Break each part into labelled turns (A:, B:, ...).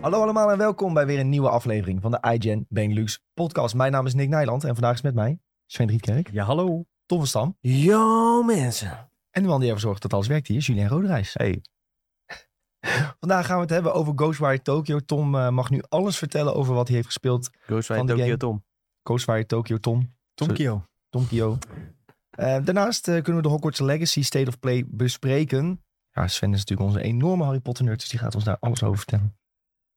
A: Hallo allemaal en welkom bij weer een nieuwe aflevering van de iGen Benelux podcast. Mijn naam is Nick Nijland en vandaag is met mij Sven Rietkerk,
B: Ja, hallo.
A: Tom van Stam
B: Ja, mensen.
A: en de man die ervoor zorgt dat alles werkt hier is Julien Roderijs.
B: Hey.
A: Vandaag gaan we het hebben over Ghostwire Tokyo. Tom eh, mag nu alles vertellen over wat hij heeft gespeeld.
B: Ghostwire
A: Van de
B: Tokyo
A: game.
B: Tom.
A: Ghostwire Tokyo, Tom.
B: Tomkio.
A: Tomkio. Eh daarnaast eh, kunnen we de Hogwarts Legacy State of Play bespreken. Ja, Sven is natuurlijk onze enorme Harry Potter nerd, dus die gaat ons daar alles over vertellen.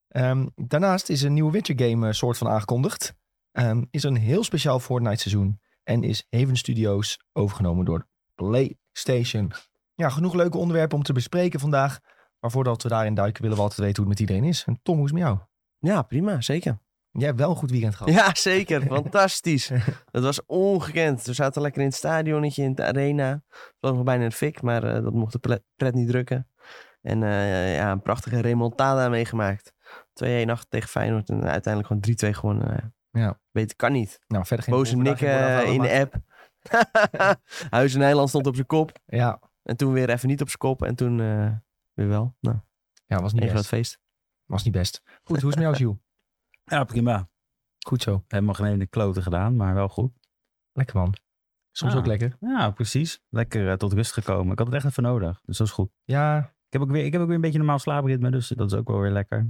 A: Ehm, daarnaast is een nieuwe Witcher game eh, soort van aangekondigd. Ehm, is een heel speciaal Fortnite seizoen. En is Haven Studios overgenomen door PlayStation. Ja, genoeg leuke onderwerpen om te bespreken vandaag. Maar voordat we daarin duiken, willen we altijd weten hoe het met iedereen is. En Tom, hoe is het met jou?
B: Ja, prima, zeker.
A: Jij hebt wel een goed weekend gehad.
B: Ja, zeker. Fantastisch. dat was ongekend. We zaten lekker in het stadionnetje, in de arena. Het was nog bijna een fik, maar eh, dat mocht de ple- pret niet drukken. En eh, ja, een prachtige remontada meegemaakt. 2-1 achter tegen Feyenoord en uiteindelijk gewoon 3-2 gewonnen. Nou ja,
A: Ja.
B: Beter kan niet.
A: Nou, verder geen
B: Boze
A: overdag,
B: Nick
A: ik word
B: eh,
A: afgehaald,
B: in
A: maar-
B: de app. Huizen Nijland stond op zijn kop.
A: Ja,
B: En toen weer even niet op zijn kop. En toen eh, weer wel. Nou,
A: ja, was niet
B: één
A: best.
B: groot feest.
A: Was niet best. Goed, hoe is het met jou, Jules?
C: Ja, prima.
A: Goed zo.
C: Helemaal geen ene klote gedaan, maar wel goed.
A: Lekker man. Soms
C: Ah.
A: ook lekker.
C: Ja, precies. Lekker eh, tot rust gekomen. Ik had het echt even nodig, dus dat is goed.
A: Ja,
C: Ik heb ook weer, ik heb ook weer een beetje een normaal slaapritme, dus dat is ook wel weer lekker.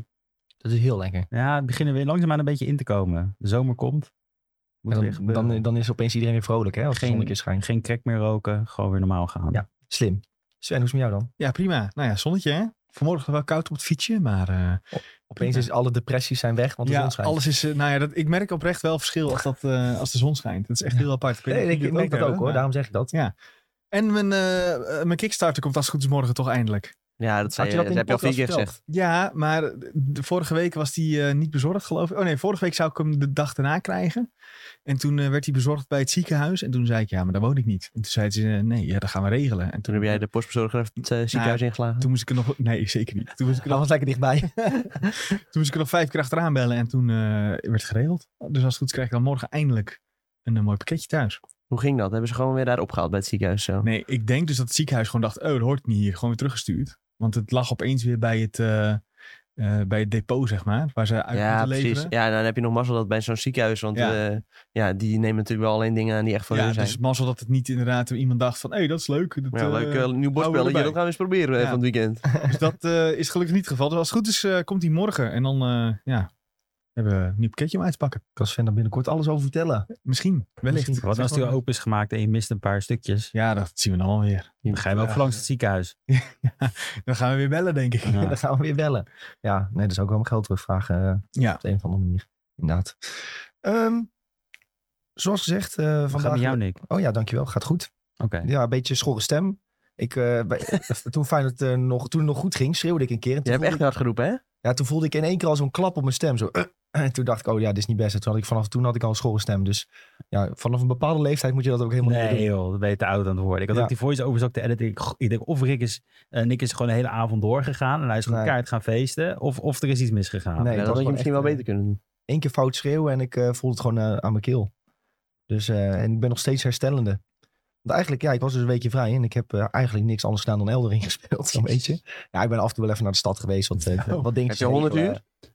A: dat is heel lekker.
C: Ja, het beginnen weer langzaamaan een beetje in te komen. De zomer komt. Moet weer
A: En dan,
C: gebeuren.
A: dan, dan is opeens iedereen weer vrolijk, hè? Als het
C: Geen-
A: zonnetje schijnt.
C: Geen crack meer roken, gewoon weer normaal gaan.
A: Ja. Slim. Sven, hoe is het met jou dan?
D: Ja, prima. Nou ja, zonnetje hè. Vanmorgen wel koud op het fietsje, maar eh,
A: Opeens is alle depressies zijn weg, want de
D: ja,
A: zon schijnt.
D: alles is. eh, nou ja, dat, ik merk oprecht wel verschil als, dat, eh, als de zon schijnt. Het is echt heel apart. Ik weet
A: Nee,
D: niet
A: ik
D: of
A: ik merk
D: jullie
A: dat ook
D: hebben,
A: hoor,
D: maar-
A: daarom zeg ik dat.
D: Ja. En mijn, eh, eh, mijn Kickstarter komt als het goed is morgen toch eindelijk.
B: Ja, dat, zei
A: je
B: je,
A: dat
B: dat,
A: in de
B: heb je al vier
A: podcast
B: keer
A: verteld?
B: gezegd.
D: Ja, maar de vorige week was die eh, niet bezorgd, geloof ik. Oh nee, vorige week zou ik hem de dag daarna krijgen. En toen eh, werd hij bezorgd bij het ziekenhuis. En toen zei ik, ja, maar daar woon ik niet. En toen zei ze, eh, nee, ja, dat gaan we regelen. En
B: Toen heb jij de postbezorger even het eh, ziekenhuis ingeslagen.
D: toen moest ik er nog... Nee, zeker niet. Toen moest ik er
A: Dat was lekker dichtbij.
D: Toen moest ik er nog vijf keer achteraan bellen en toen eh, werd geregeld. Dus als het goed is krijg ik dan morgen eindelijk een, eh, mooi pakketje thuis.
B: Hoe ging dat? Hebben ze gewoon weer daar opgehaald bij het ziekenhuis? Zo?
D: Nee, ik denk dus dat het ziekenhuis gewoon dacht, oh, dat hoort niet hier. Gewoon weer teruggestuurd. Want het lag opeens weer bij het, eh, eh, bij het depot, zeg maar. Waar ze uit
B: ja,
D: moeten
B: precies.
D: leveren.
B: Ja, nou, dan heb je nog mazzel dat bij zo'n ziekenhuis. Want
D: Ja.
B: ja. ja, die nemen natuurlijk wel alleen dingen aan die echt van hun
D: dus
B: zijn.
D: het mazzel dat het niet inderdaad iemand dacht van, hé, hey, dat is leuk. Dat,
B: ja,
D: eh,
B: leuk eh, nieuw
D: houden we
B: borstbelletje.
D: erbij.
B: Dat gaan we eens proberen eh,
D: Ja.
B: van het weekend.
D: Dus dat eh, is gelukkig niet het geval. Dus als het goed is, eh, komt hij morgen. En dan, eh, ja, hebben we een nieuw pakketje om uit te pakken.
A: Ik kan Sven daar binnenkort alles over vertellen.
D: Misschien, wellicht.
A: Misschien.
C: Wat als het weer open is gemaakt en je mist een paar stukjes?
D: Ja, dat zien we dan wel weer.
C: Dan ga je wel
A: Ja.
C: ook langs het ziekenhuis.
D: Dan gaan we weer bellen, denk ik.
C: Ja.
A: dan gaan we weer bellen. Ja, nee, dat zou ik wel mijn geld terugvragen eh,
D: Ja.
A: op de een of andere manier. Inderdaad. Ehm, zoals gezegd, eh,
C: Wat gaat
A: vandaag...
C: met jou, Nick? Oké.
A: Oh ja, dankjewel. Gaat goed. Ja, een beetje schorre stem. Ik, eh, bij- toen Feyenoord eh, nog, toen het nog goed ging, schreeuwde ik een keer. En
B: Je
A: toen,
B: hebt
A: voelde
B: echt hard geroepen, hè?
A: ik, ja, toen voelde ik in één keer al zo'n klap op mijn stem. Zo, en toen dacht ik, oh ja, dit is niet best. En toen had ik, vanaf toen had ik al een schorre stem. Dus ja, vanaf een bepaalde leeftijd moet je dat ook helemaal niet
C: Nee
A: meer doen.
C: joh, dat ben je te oud aan het worden. Ik had
A: Ja.
C: ook die voice-overs ook te editen. Ik, ik denk of Rick is, eh, Nick is gewoon de hele avond doorgegaan. En hij is gewoon
A: Nee.
C: kaart gaan feesten. Of, of er is iets misgegaan.
A: Nee,
B: Ja,
A: het was
B: dat had je
A: gewoon echt,
B: misschien
A: eh,
B: wel beter kunnen doen.
A: Eén keer fout schreeuwen en ik eh, voelde het gewoon eh, aan mijn keel. Dus, eh, en ik ben nog steeds herstellende. Want eigenlijk, ja, ik was dus een weekje vrij en ik heb eh, eigenlijk niks anders gedaan dan Eldering gespeeld, zo'n beetje. Ja, ik ben af en toe wel even naar de stad geweest. Wat, eh,
D: Oh.
A: wat dingetjes
B: Heb je 100
A: regelen.
B: uur?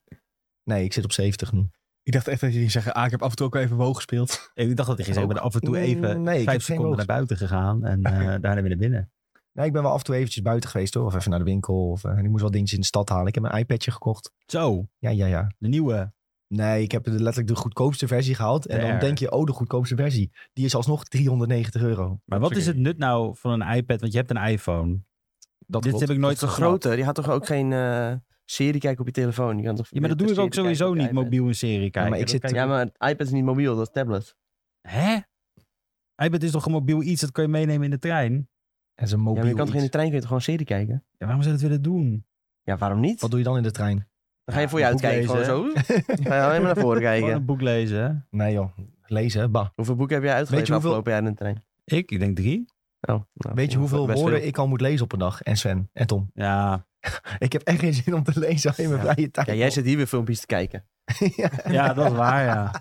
A: Nee, ik zit op 70 nu.
D: Ik dacht echt dat je ging zeggen, ah, ik heb af en toe ook wel even woog gespeeld.
C: Ik dacht dat hij ging zeggen, ik ben af en toe
A: Nee,
C: even
A: ik heb geen
C: vijf seconden
A: woord.
C: naar buiten gegaan. En eh, daarna weer naar binnen.
A: Nee, ik ben wel af en toe eventjes buiten geweest hoor. Of even naar de winkel. Of, eh, en ik moest wel dingetjes in de stad halen. Ik heb een iPadje gekocht.
C: Zo,
A: Ja, ja, ja.
C: de nieuwe.
A: Nee, ik heb de- letterlijk de goedkoopste versie gehaald. En dan
C: Ter.
A: denk je, oh, de goedkoopste versie. Die is alsnog 390 euro.
C: Maar wat is het nut nou van een iPad? Want je hebt een iPhone.
A: Dat
C: Dit
A: klopt.
C: heb ik nooit
B: Zo'n
C: gesnapt.
B: grote, die had toch ook geen eh, serie kijken op je telefoon? Die kan toch
C: Ja, maar dat doe
B: meer
C: ik ook
B: serie kijken
C: sowieso
B: op je
C: niet,
B: iPad?
C: mobiel een serie kijken.
A: maar ik
C: Dat
A: zit-
C: kijk
B: Ja, maar het iPad is niet mobiel, dat is tablet.
C: Hè? iPad is toch een mobiel iets, dat kan je meenemen in de trein?
A: En zijn
B: Ja,
A: mobiel
B: maar je kan toch in de
A: iets.
B: trein kun je toch gewoon serie kijken?
C: Ja, waarom zou je dat willen doen?
B: Ja, waarom niet?
A: Wat doe je dan in de trein?
B: Dan ga je voor je
C: Ja,
B: uitkijken,
C: boek
B: gewoon zo. Ga je alleen maar naar voren
C: Gewoon
B: kijken.
C: een boek lezen.
A: Nee joh, lezen, hè? bah.
B: Hoeveel boeken heb jij
A: Weet
B: uitgelezen
A: je hoeveel-
B: afgelopen jaar in de trein?
C: Ik? Ik denk drie.
B: Oh, nou,
A: Weet je hoeveel
B: best
A: woorden
B: veel.
A: ik al moet lezen op een dag? En Sven en Tom.
C: Ja,
A: Ik heb echt geen zin om te lezen in mijn
B: Ja.
A: vrije tijd.
B: Ja, jij zit hier weer filmpjes te kijken.
A: Ja.
C: ja dat is waar, ja.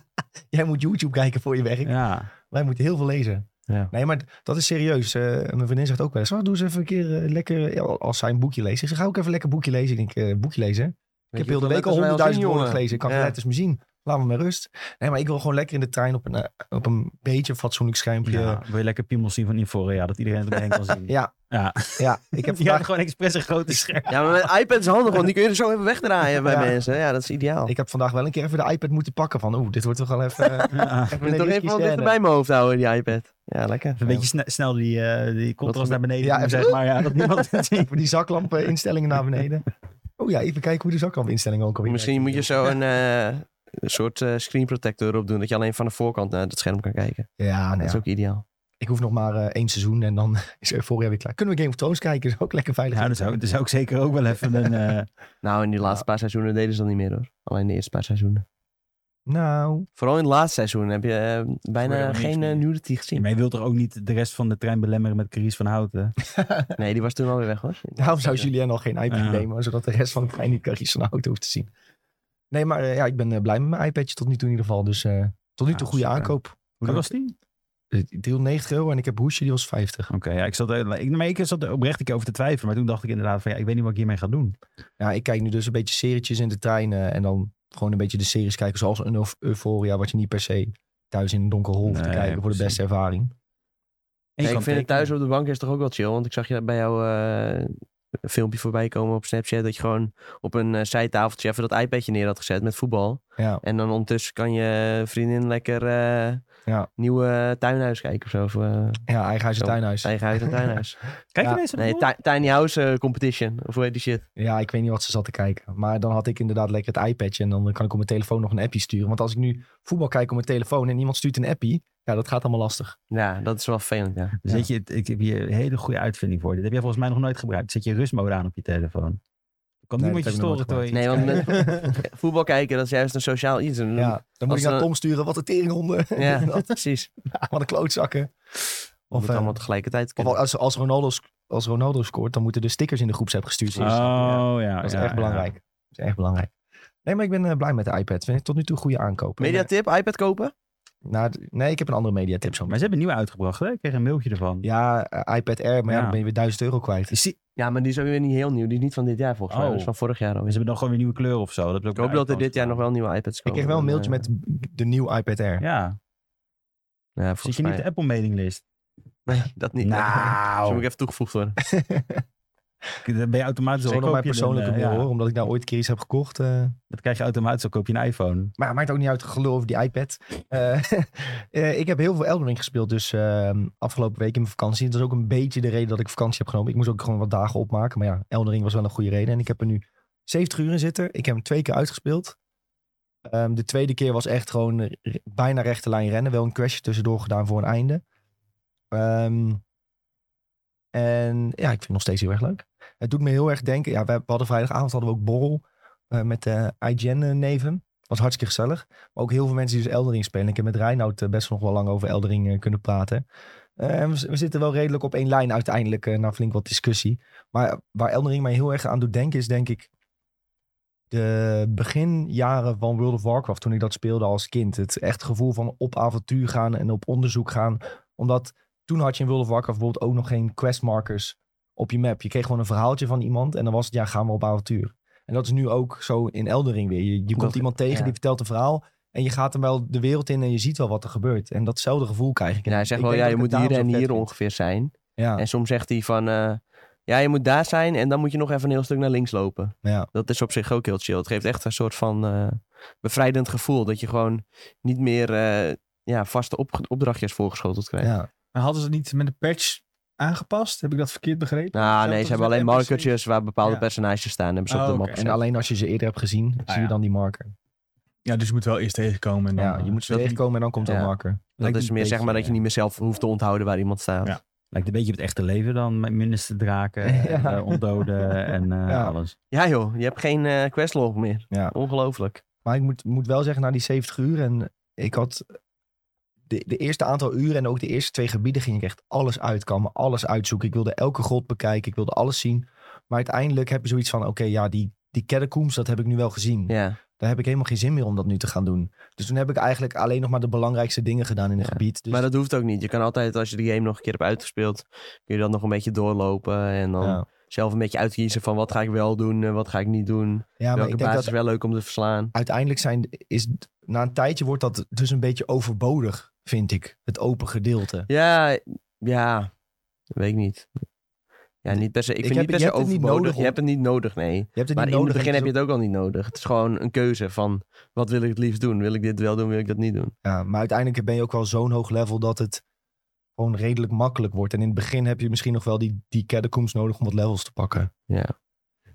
A: Jij moet YouTube kijken voor je werk.
C: ja.
A: Wij moeten heel veel lezen.
B: Ja.
A: Nee, maar d- dat is serieus. Eh, mijn vriendin zegt ook wel eens, "Oh, doe eens even een keer eh, lekker, ja, als zij een boekje leest. Ik zeg, ga ook even lekker boekje lezen. Ik denk, eh, boekje lezen? Ik heb heel de week al honderdduizend woorden gelezen. Ik kan
B: eh,
A: het eens me zien. Laat me maar rust. Nee, maar ik wil gewoon lekker in de trein op een, eh, op een beetje fatsoenlijk schuimpje.
C: Ja,
A: Ja,
C: wil je lekker piemels zien van Inforia, dat iedereen het omheen kan zien.
A: Ja.
C: ja.
A: ik heb
C: Je had
A: vandaag,
C: gewoon expres een grote scherm.
B: Ja, maar met iPad is handig, want die kun je er zo even wegdraaien bij
A: Ja.
B: mensen. Ja, dat is ideaal. Ik
A: ik heb vandaag wel een keer even de iPad moeten pakken. Van oeh, dit wordt toch wel even... eh,
C: Ja.
A: even
B: moet
A: een
B: toch
A: risky
B: even wat
A: scène.
B: dichterbij mijn hoofd houden, die iPad. Ja, lekker.
C: Een beetje sne- snel die, eh, die contrast naar beneden
A: Ja,
C: doen,
A: even-
C: zeg maar. Ja, dat niemand het ziet.
A: Even die zaklampen instellingen naar beneden. Oh ja, even kijken hoe de zaklampeninstellingen ook alweer
B: Misschien moet
A: werken.
B: je zo een eh, een soort eh screen protector op doen. Dat je alleen van de voorkant naar het scherm kan kijken.
A: Ja, nou
B: Dat
A: ja.
B: is ook ideaal.
A: ik hoef nog maar eh, één seizoen en dan is Euphoria weer klaar. Kunnen we Game of Thrones kijken? Is ook lekker veilig.
C: Ja, dat zou, dat zou ik zeker ook wel even een... eh,
B: Nou, in die laatste paar seizoenen deden ze dat niet meer hoor. Alleen de eerste paar seizoenen.
A: Nou,
B: Vooral in het laatste seizoen heb je eh, bijna
C: helemaal niks
B: geen
C: meer.
B: eh, nudity gezien.
C: maar je wilt toch ook niet de rest van de trein belemmeren met Caries van Houten?
B: Nee, die was toen alweer weg hoor.
A: daarom zou Julien nog geen iPad
C: Ja.
A: nemen, zodat de rest van de trein niet Carries van Houten hoeft te zien. Nee, maar eh, ja, ik ben eh, blij met mijn iPadje tot nu toe in ieder geval. Dus eh, tot nu toe
C: Ja,
A: goede
C: super.
A: aankoop.
C: Hoe duur was die?
A: Eh, Deel 90 euro en ik heb Hoesje, die was 50.
C: Oké, ja, ik zat, eh, ik, maar ik zat er oprecht een keer over te twijfelen. Maar toen dacht ik inderdaad van, ja, ik weet niet wat ik hiermee ga doen.
A: Ja, ik kijk nu dus een beetje serietjes in de trein eh, en dan gewoon een beetje de series kijken zoals een Euf- Euphoria, wat je niet per se thuis in een donker hol hoeft te
C: Nee,
A: kijken voor de
C: precies.
A: beste ervaring.
C: En je
B: ik
C: kan
B: vind het
C: tekenen.
B: thuis op de bank is toch ook wel chill. Want ik zag je bij jou eh, een filmpje voorbij komen op Snapchat. Dat je gewoon op een eh, zijtafeltje even dat iPadje neer had gezet met voetbal.
A: Ja,
B: En dan ondertussen kan je vriendin lekker eh,
A: Ja.
B: nieuwe eh, tuinhuis kijken of zo. Of, eh,
A: ja eigen huis en
B: Zo,
A: tuinhuis.
B: eigen huis en tuinhuis.
C: Kijk
A: Ja,
C: je deze
B: nee,
C: nog?
B: ti- Tiny House eh, Competition. Of hoe heet die shit?
A: Ja, ik weet niet wat ze zat te kijken. Maar dan had ik inderdaad lekker het iPadje. En dan kan ik op mijn telefoon nog een appje sturen. Want als ik nu voetbal kijk op mijn telefoon en iemand stuurt een appie. Ja, dat gaat allemaal lastig.
B: Ja, dat is wel vervelend, ja.
C: Dus weet je, het- ik heb hier een hele goede uitvinding voor. Dit heb jij volgens mij nog nooit gebruikt. Zet je rustmode aan op je telefoon. Ik kan
A: Nee,
C: niemand je
A: dat heb ik nog
C: storen
A: nooit
C: terwijl je...
B: Nee, want met voetbal kijken, dat is juist een sociaal iets.
A: Ja,
B: En-
A: dan moet
B: Mm. Als
A: ik naar
B: dan-
A: Tom sturen. Wat een teringhonden.
B: ja, precies.
A: Wat een klootzakken.
B: Of
A: Of,
B: het
A: eh,
B: allemaal tegelijkertijd
A: of
B: kunnen.
A: als, als, Ronaldo, sc- als Ronaldo scoort, dan moeten de stickers in de groepsapp gestuurd worden.
C: Oh ja.
A: dat is
C: ja,
A: echt
C: ja.
A: belangrijk. Dat is echt belangrijk. Nee, maar ik ben eh, blij met de iPad. Vind ik tot nu toe een goede aankoop.
B: Mediatip, iPad kopen?
A: Nou, d- nee, ik heb een andere mediatip zo.
C: Maar ze hebben een nieuwe uitgebracht. Hè? Ik kreeg een mailtje ervan.
A: Ja, eh, iPad Air. Maar ja,
C: Ja.
A: dan ben je weer 1000 euro kwijt.
C: Is die-
B: Ja, maar die is ook weer niet heel nieuw. Die is niet van dit jaar volgens mij.
C: Oh.
B: Dat is van vorig jaar
C: Ze
B: alweer.
C: hebben dan gewoon weer nieuwe kleur of zo. Dat
B: Ik Dus hoop dat er dit jaar nog wel nieuwe iPads
A: Ik
B: komen.
A: kreeg wel een mailtje
B: Eh,
A: met de nieuwe iPad Air.
C: Ja.
B: Ja,
C: Zit
B: volgens
C: je niet op de
B: mij. Nou.
C: Apple mailinglist?
B: Nee, dat niet. Zo moet ik even toegevoegd worden.
C: Dan ben je automatisch
A: Dat is
C: al
A: ook nog mijn
C: koop je een,
A: persoonlijke
C: eh,
A: mail
C: ja.
A: hoor, omdat ik daar ooit een keer iets heb gekocht. eh.
C: Dat krijg je automatisch al koop je een iPhone.
A: maar het maakt ook niet uit, gelul over die iPad. Eh, eh, ik heb heel veel Elden Ring gespeeld, dus ehm, afgelopen week in mijn vakantie. Dat is ook een beetje de reden dat ik vakantie heb genomen. Ik moest ook gewoon wat dagen opmaken, maar ja, Elden Ring was wel een goede reden. En ik heb er nu 70 uur in zitten. Ik heb hem twee keer uitgespeeld. Ehm, de tweede keer was echt gewoon eh, re- bijna rechte lijn rennen. Wel een crashje tussendoor gedaan voor een einde. Ehm, en ja, ik vind het nog steeds heel erg leuk. Het doet me heel erg denken. Ja, we we hadden vrijdagavond hadden we ook borrel eh, met de IGN-neven. Was hartstikke gezellig. Maar ook heel veel mensen die dus Eldering spelen. Ik heb met Reinoud eh, best nog wel lang over Eldering kunnen praten. Eh, en we, we zitten wel redelijk op één lijn uiteindelijk eh, na flink wat discussie. Maar waar Eldering mij heel erg aan doet denken is denk ik de beginjaren van World of Warcraft, toen ik dat speelde als kind. Het echt gevoel van op avontuur gaan en op onderzoek gaan. Omdat toen had je in World of Warcraft bijvoorbeeld ook nog geen questmarkers op je map. Je kreeg gewoon een verhaaltje van iemand en dan was het, ja, gaan we op avontuur. En dat is nu ook zo in Eldering weer. Je, je komt
B: Dat-
A: iemand tegen
B: ja.
A: die vertelt een verhaal en je gaat hem wel de wereld in en je ziet wel wat er gebeurt. En datzelfde gevoel krijg ik.
B: Ja, hij zegt
A: Ik
B: wel,
A: denk
B: ja, je
A: dat ik het
B: moet hier
A: daarom
B: en
A: zo
B: hier
A: vet vind.
B: ongeveer zijn.
A: Ja,
B: En soms zegt hij van, eh, ja, je moet daar zijn en dan moet je nog even een heel stuk naar links lopen.
A: Ja.
B: Dat is op zich ook heel chill. Het geeft echt een soort van eh, bevrijdend gevoel. Dat je gewoon niet meer eh, ja, vaste op opdrachtjes voorgeschoteld krijgt.
A: ja.
D: Maar hadden ze het niet met een patch aangepast? Heb ik dat verkeerd begrepen?
B: Nou,
D: Zo
B: nee,
D: dat
B: ze hebben
D: met
B: alleen
D: NPC's.
B: markertjes waar bepaalde
D: Ja.
B: personages staan. Hebben ze op
D: Oh,
B: de
D: oké.
B: map
A: En
B: gezet.
A: alleen als je ze eerder hebt gezien,
B: Nou
A: zie je
D: ja.
A: dan die marker.
D: Ja, dus je moet wel eerst tegenkomen. En dan, eh,
A: Ja, je moet ze
B: dat-
A: tegenkomen en dan komt er een
B: ja.
A: marker.
B: Dat is meer zeg maar dat je niet meer zelf hoeft te onthouden waar iemand staat.
D: Ja.
C: Lijkt een beetje op het echte leven dan. Met ministerdraken, en,
A: Ja.
C: eh, ondoden en eh,
A: Ja.
C: alles.
B: Ja, joh, je hebt geen eh questlog meer.
A: Ja.
B: Ongelooflijk.
A: Maar ik moet, moet wel zeggen, na die 70 uur en ik had de, de eerste aantal uren en ook de eerste twee gebieden ging ik echt alles uitkammen, alles uitzoeken. Ik wilde elke grot bekijken, ik wilde alles zien. Maar uiteindelijk heb je zoiets van, oké, ja, die, die catacombs, dat heb ik nu wel gezien.
B: Ja.
A: Daar heb ik helemaal geen zin meer om dat nu te gaan doen. Dus toen heb ik eigenlijk alleen nog maar de belangrijkste dingen gedaan in het
B: Ja.
A: gebied. Dus
B: Maar dat hoeft ook niet. Je kan altijd, als je de game nog een keer hebt uitgespeeld, kun je dat nog een beetje doorlopen. En dan
A: ja.
B: zelf een beetje uitkiezen van wat ga ik wel doen en wat ga ik niet doen.
A: Ja, maar
B: Welke
A: ik denk
B: baas
A: dat
B: is wel leuk om te verslaan.
A: uiteindelijk zijn, is, na een tijdje wordt dat dus een beetje overbodig, vind ik. Het open gedeelte.
B: Ja, ja, weet ik niet. Ja, niet per se. Ik, vind
A: heb-
B: niet per
A: je
B: se
A: hebt het niet
B: overbodig.
A: nodig om-
B: Je hebt het niet nodig, nee.
A: Je hebt het
B: Maar
A: niet
B: in het
A: nodig.
B: begin heb je
A: is
B: het ook al niet nodig. Het is gewoon een keuze van wat wil ik het liefst doen? Wil ik dit wel doen? Wil ik dat niet doen?
A: ook- ja, maar uiteindelijk ben je ook wel zo'n hoog level dat het gewoon redelijk makkelijk wordt. En in het begin heb je misschien nog wel die, die catacombs nodig om wat levels te pakken. Dus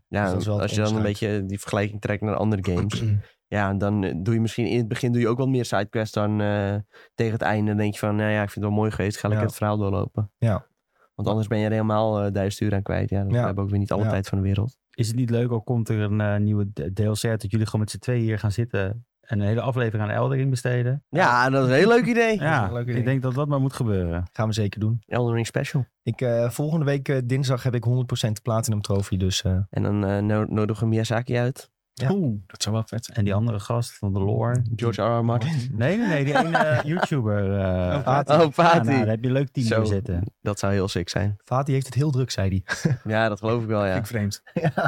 B: Ja,
A: dat is wel het
B: als je dan een
A: onderscheid.
B: beetje die vergelijking trekt naar andere games. ja, dan eh, doe je misschien in het begin doe je ook wat meer sidequests dan eh, tegen het einde. Dan denk je van, nou ja, ik vind het wel mooi geweest. Ga lekker
A: Ja.
B: het verhaal doorlopen.
A: Ja.
B: Want anders ben je er helemaal eh duizend uur aan kwijt. Ja, dat
A: Ja.
B: we hebben ook weer niet alle
A: Ja.
B: tijd van de wereld.
C: Is het niet leuk, al komt er een eh, nieuwe d- DLC uit, dat jullie gewoon met z'n tweeën hier gaan zitten en een hele aflevering aan Eldering besteden?
B: Ja, dat is een heel leuk idee.
A: is
C: Ja,
A: een leuk idee.
C: ik denk dat dat maar moet gebeuren.
A: Gaan we zeker doen.
B: Elden Ring Special.
A: Ik, eh, volgende week eh, dinsdag heb ik 100% Platinum Trophy. Dus eh,
B: En dan eh, no- nodigen we Miyazaki uit.
A: Ja. Eh,
D: Oeh, dat zou wel vet zijn.
C: En die andere gast van de lore.
B: George R.R. Martin.
C: Nee, nee, nee, die ene eh, YouTuber. eh,
D: Oh,
A: Fatih.
B: Oh,
C: ja,
B: Fatih.
C: nou, daar heb je een leuk team
B: Zo.
C: voor zitten.
B: Dat zou heel sick zijn.
A: Fatih heeft het heel druk, zei hij.
B: Ja, dat geloof ik wel, ja.
D: Vind ik vreemd.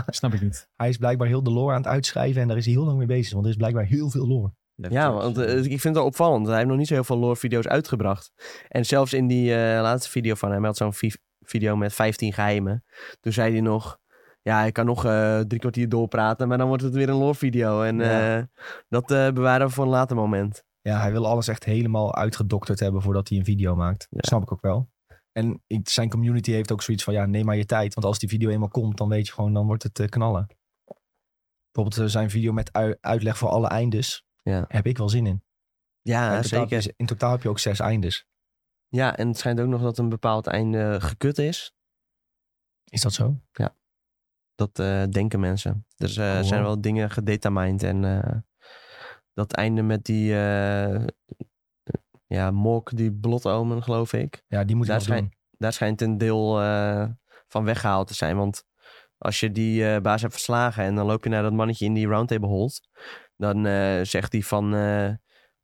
D: Snap ik niet.
A: Hij is blijkbaar heel de lore aan het uitschrijven en daar is hij heel lang mee bezig. Want er is blijkbaar heel veel lore.
B: Ja, want eh, ik vind het wel opvallend. Hij heeft nog niet zo heel veel lore-video's uitgebracht. En zelfs in die eh, laatste video van hem, hij had zo'n vi- video met 15 geheimen. Toen zei hij nog, ja, ik kan nog eh, drie kwartier doorpraten, maar dan wordt het weer een lore-video. En
A: Ja.
B: eh, dat eh, bewaren we voor een later moment.
A: Ja, hij wil alles echt helemaal uitgedokterd hebben voordat hij een video maakt.
B: Ja.
A: Snap ik ook wel. En ik- zijn community heeft ook zoiets van, ja, neem maar je tijd. Want als die video eenmaal komt, dan weet je gewoon, dan wordt het eh, knallen. Bijvoorbeeld eh, zijn video met ui- uitleg voor alle eindes.
B: Ja.
A: Heb ik wel zin in.
B: Ja,
A: in, totaal,
B: zeker.
A: heb je- in totaal heb je ook zes eindes.
B: Ja, en het schijnt ook nog dat een bepaald einde gekut is.
A: Is dat zo?
B: Dat eh, denken mensen. Dus er
A: Oh,
B: zijn
A: wow.
B: wel dingen gedatamined. En eh, dat einde met die eh ja, mok, die blotomen, geloof ik.
A: Ja, die moet ik
B: Daar
A: nog doen.
B: daar schijnt een deel eh, van weggehaald te zijn. Want als je die eh, baas hebt verslagen en dan loop je naar dat mannetje in die roundtable hold, dan eh, zegt hij van, eh,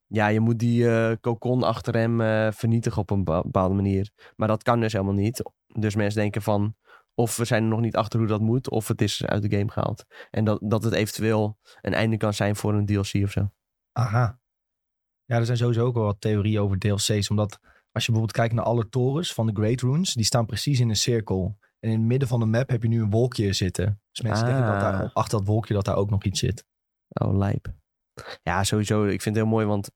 B: ja, je moet die eh, kokon achter hem eh, vernietigen op een bepa- bepaalde manier. Maar dat kan dus helemaal niet. Dus mensen denken van, of we zijn er nog niet achter hoe dat moet, of het is uit de game gehaald. En dat, dat het eventueel een einde kan zijn voor een DLC of zo.
A: Aha. Ja, er zijn sowieso ook wel wat theorieën over DLC's. Omdat als je bijvoorbeeld kijkt naar alle torens van de Great Runes, die staan precies in een cirkel. En in het midden van de map heb je nu een wolkje zitten. Dus mensen denken dat
B: Ah.
A: daar, achter dat wolkje dat daar ook nog iets zit.
B: Oh, lijp. Ja, sowieso. Ik vind het heel mooi, want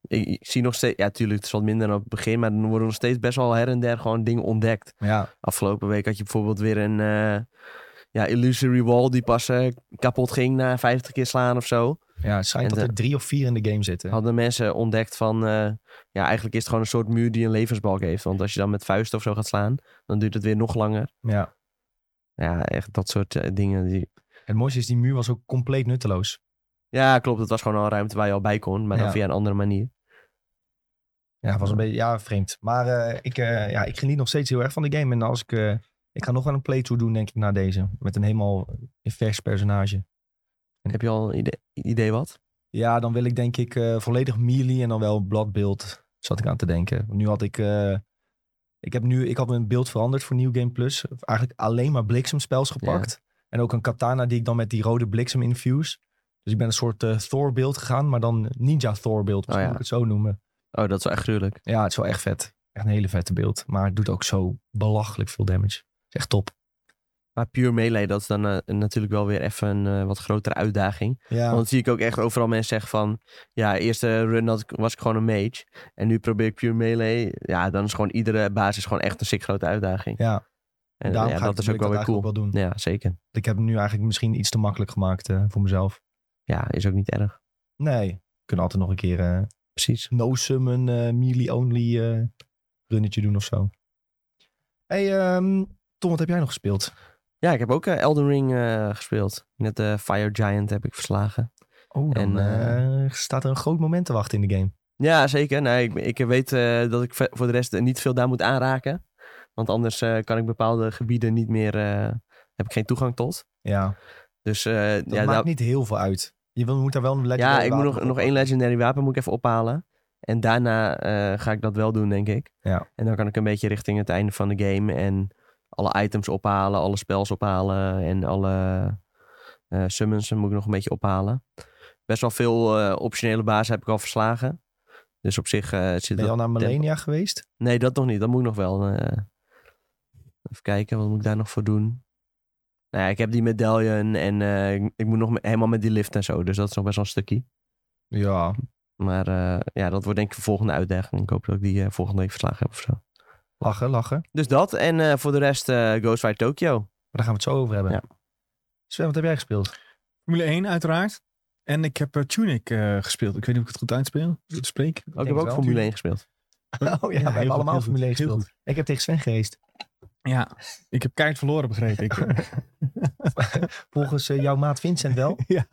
B: ik, ik zie nog steeds... Ja, tuurlijk, het is wat minder dan op het begin, maar er worden nog steeds best wel her en der gewoon dingen ontdekt.
A: Maar ja,
B: Afgelopen week had je bijvoorbeeld weer een eh, ja, illusory wall die pas eh, kapot ging na 50 keer slaan of zo.
A: ja het schijnt
B: En
A: dat
B: de- Oh.
A: er drie of vier in de game zitten.
B: Hadden mensen ontdekt van... eh, ja, eigenlijk is het gewoon een soort muur die een levensbalk heeft. Want als je dan met vuisten of zo gaat slaan, dan duurt het weer nog langer.
A: Ja.
B: Ja, echt dat soort eh, dingen. Die...
A: Het mooiste is, die muur was ook compleet nutteloos.
B: Ja, klopt. Het was gewoon al een ruimte waar je al bij kon, maar dan
A: Ja.
B: via een andere manier.
A: Ja, het was
B: Oh.
A: een beetje ja, vreemd. Maar eh, ik, eh, ja, ik geniet nog steeds heel erg van de game. En als ik, eh, ik ga nog wel een playthrough doen, denk ik, na deze. Met een helemaal eh, vers personage.
B: Heb je al een idee, idee wat?
A: Ja, dan wil ik denk ik eh, volledig melee en dan wel bladbeeld, zat ik aan te denken. Nu had ik, eh, ik heb nu, ik had mijn beeld veranderd voor New Game Plus. Eigenlijk alleen maar bliksemspels gepakt. En ook een katana die ik dan met die rode bliksem infuse. Dus ik ben een soort eh, Thor beeld gegaan, maar dan Ninja Thor beeld, misschien
B: ja.
A: moet ik het zo noemen.
B: Oh, dat is wel echt gruwelijk.
A: Ja, het is wel echt vet. Echt een hele vette beeld. Maar het doet ook zo belachelijk veel damage. Is echt top.
B: Maar pure melee, dat is dan eh, natuurlijk wel weer even een eh, wat grotere uitdaging.
A: Ja,
B: Want dan zie ik ook echt overal mensen zeggen van... Ja, eerste run had ik- was ik gewoon een mage. En nu probeer ik pure melee. Ja, dan is gewoon iedere basis gewoon echt een sick grote uitdaging.
A: ja.
B: En
A: daarom
B: ja,
A: ga
B: dat
A: ik,
B: is
A: wil
B: ook
A: ik
B: wel
A: dat
B: weer cool.
A: eigenlijk wel doen.
B: Ja, zeker.
A: Ik heb het nu eigenlijk misschien iets te makkelijk gemaakt eh, voor mezelf.
B: Ja, is ook niet erg.
A: Nee, we kunnen altijd nog een keer... eh,
B: Precies.
A: no-summon, eh melee-only eh, runnetje doen of zo. hey, ehm, Tom, wat heb jij nog gespeeld?
B: Ja, ik heb ook eh, Elden Ring eh, gespeeld. Net de Fire Giant heb ik verslagen.
A: Oh, dan
B: En, eh,
A: eh, staat er een groot moment te wachten in de game.
B: Ja, zeker. Nou, ik, ik weet eh, dat ik ve- voor de rest eh, niet veel daar moet aanraken. Want anders eh, kan ik bepaalde gebieden niet meer... eh, heb ik geen toegang tot.
A: Ja,
B: Dus eh,
A: dat
B: ja,
A: maakt
B: daar-
A: niet heel veel uit. Je wil- moet daar wel een legendary
B: ja, ik moet
A: wapen
B: nog,
A: voor
B: nog één
A: pakken.
B: legendary wapen moet ik even ophalen. En daarna eh, ga ik dat wel doen, denk ik.
A: Ja.
B: En dan kan ik een beetje richting het einde van de game. En alle items ophalen, alle spels ophalen en alle eh summons moet ik nog een beetje ophalen. Best wel veel eh, optionele bazen heb ik al verslagen. Dus op zich eh, zit
A: Ben
B: dat...
A: je al naar Millennia geweest?
B: Nee, dat nog niet. Dat moet ik nog wel. eh, even kijken, wat moet ik daar nog voor doen? Nou ja, ik heb die medaillon en eh, ik, ik moet nog me- helemaal met die lift en zo. Dus dat is nog best wel een stukje.
A: Ja.
B: Maar eh, ja, dat wordt denk ik de volgende uitdaging. Ik hoop dat ik die eh, volgende week verslagen heb of zo.
A: Lachen, lachen.
B: Dus dat. En eh, voor de rest eh Ghostwire Tokyo.
A: Maar daar gaan we het zo over hebben.
B: Ja.
A: Sven, wat heb jij gespeeld?
D: Formule 1 uiteraard. En ik heb eh, Tunic eh, gespeeld. Ik weet niet of ik het goed uitspeel. Goed spreek.
B: Ook,
A: denk
B: heb
A: het
B: ook
A: wel.
B: Formule 1 gespeeld.
A: Oh ja,
D: heel
A: we hebben
D: goed,
A: allemaal
D: heel
A: Formule 1
D: goed, heel
A: gespeeld. Ik heb tegen Sven gereest.
D: Ja, ik heb kaart verloren, begreep ik.
A: Volgens eh, jouw maat Vincent wel.
D: ja.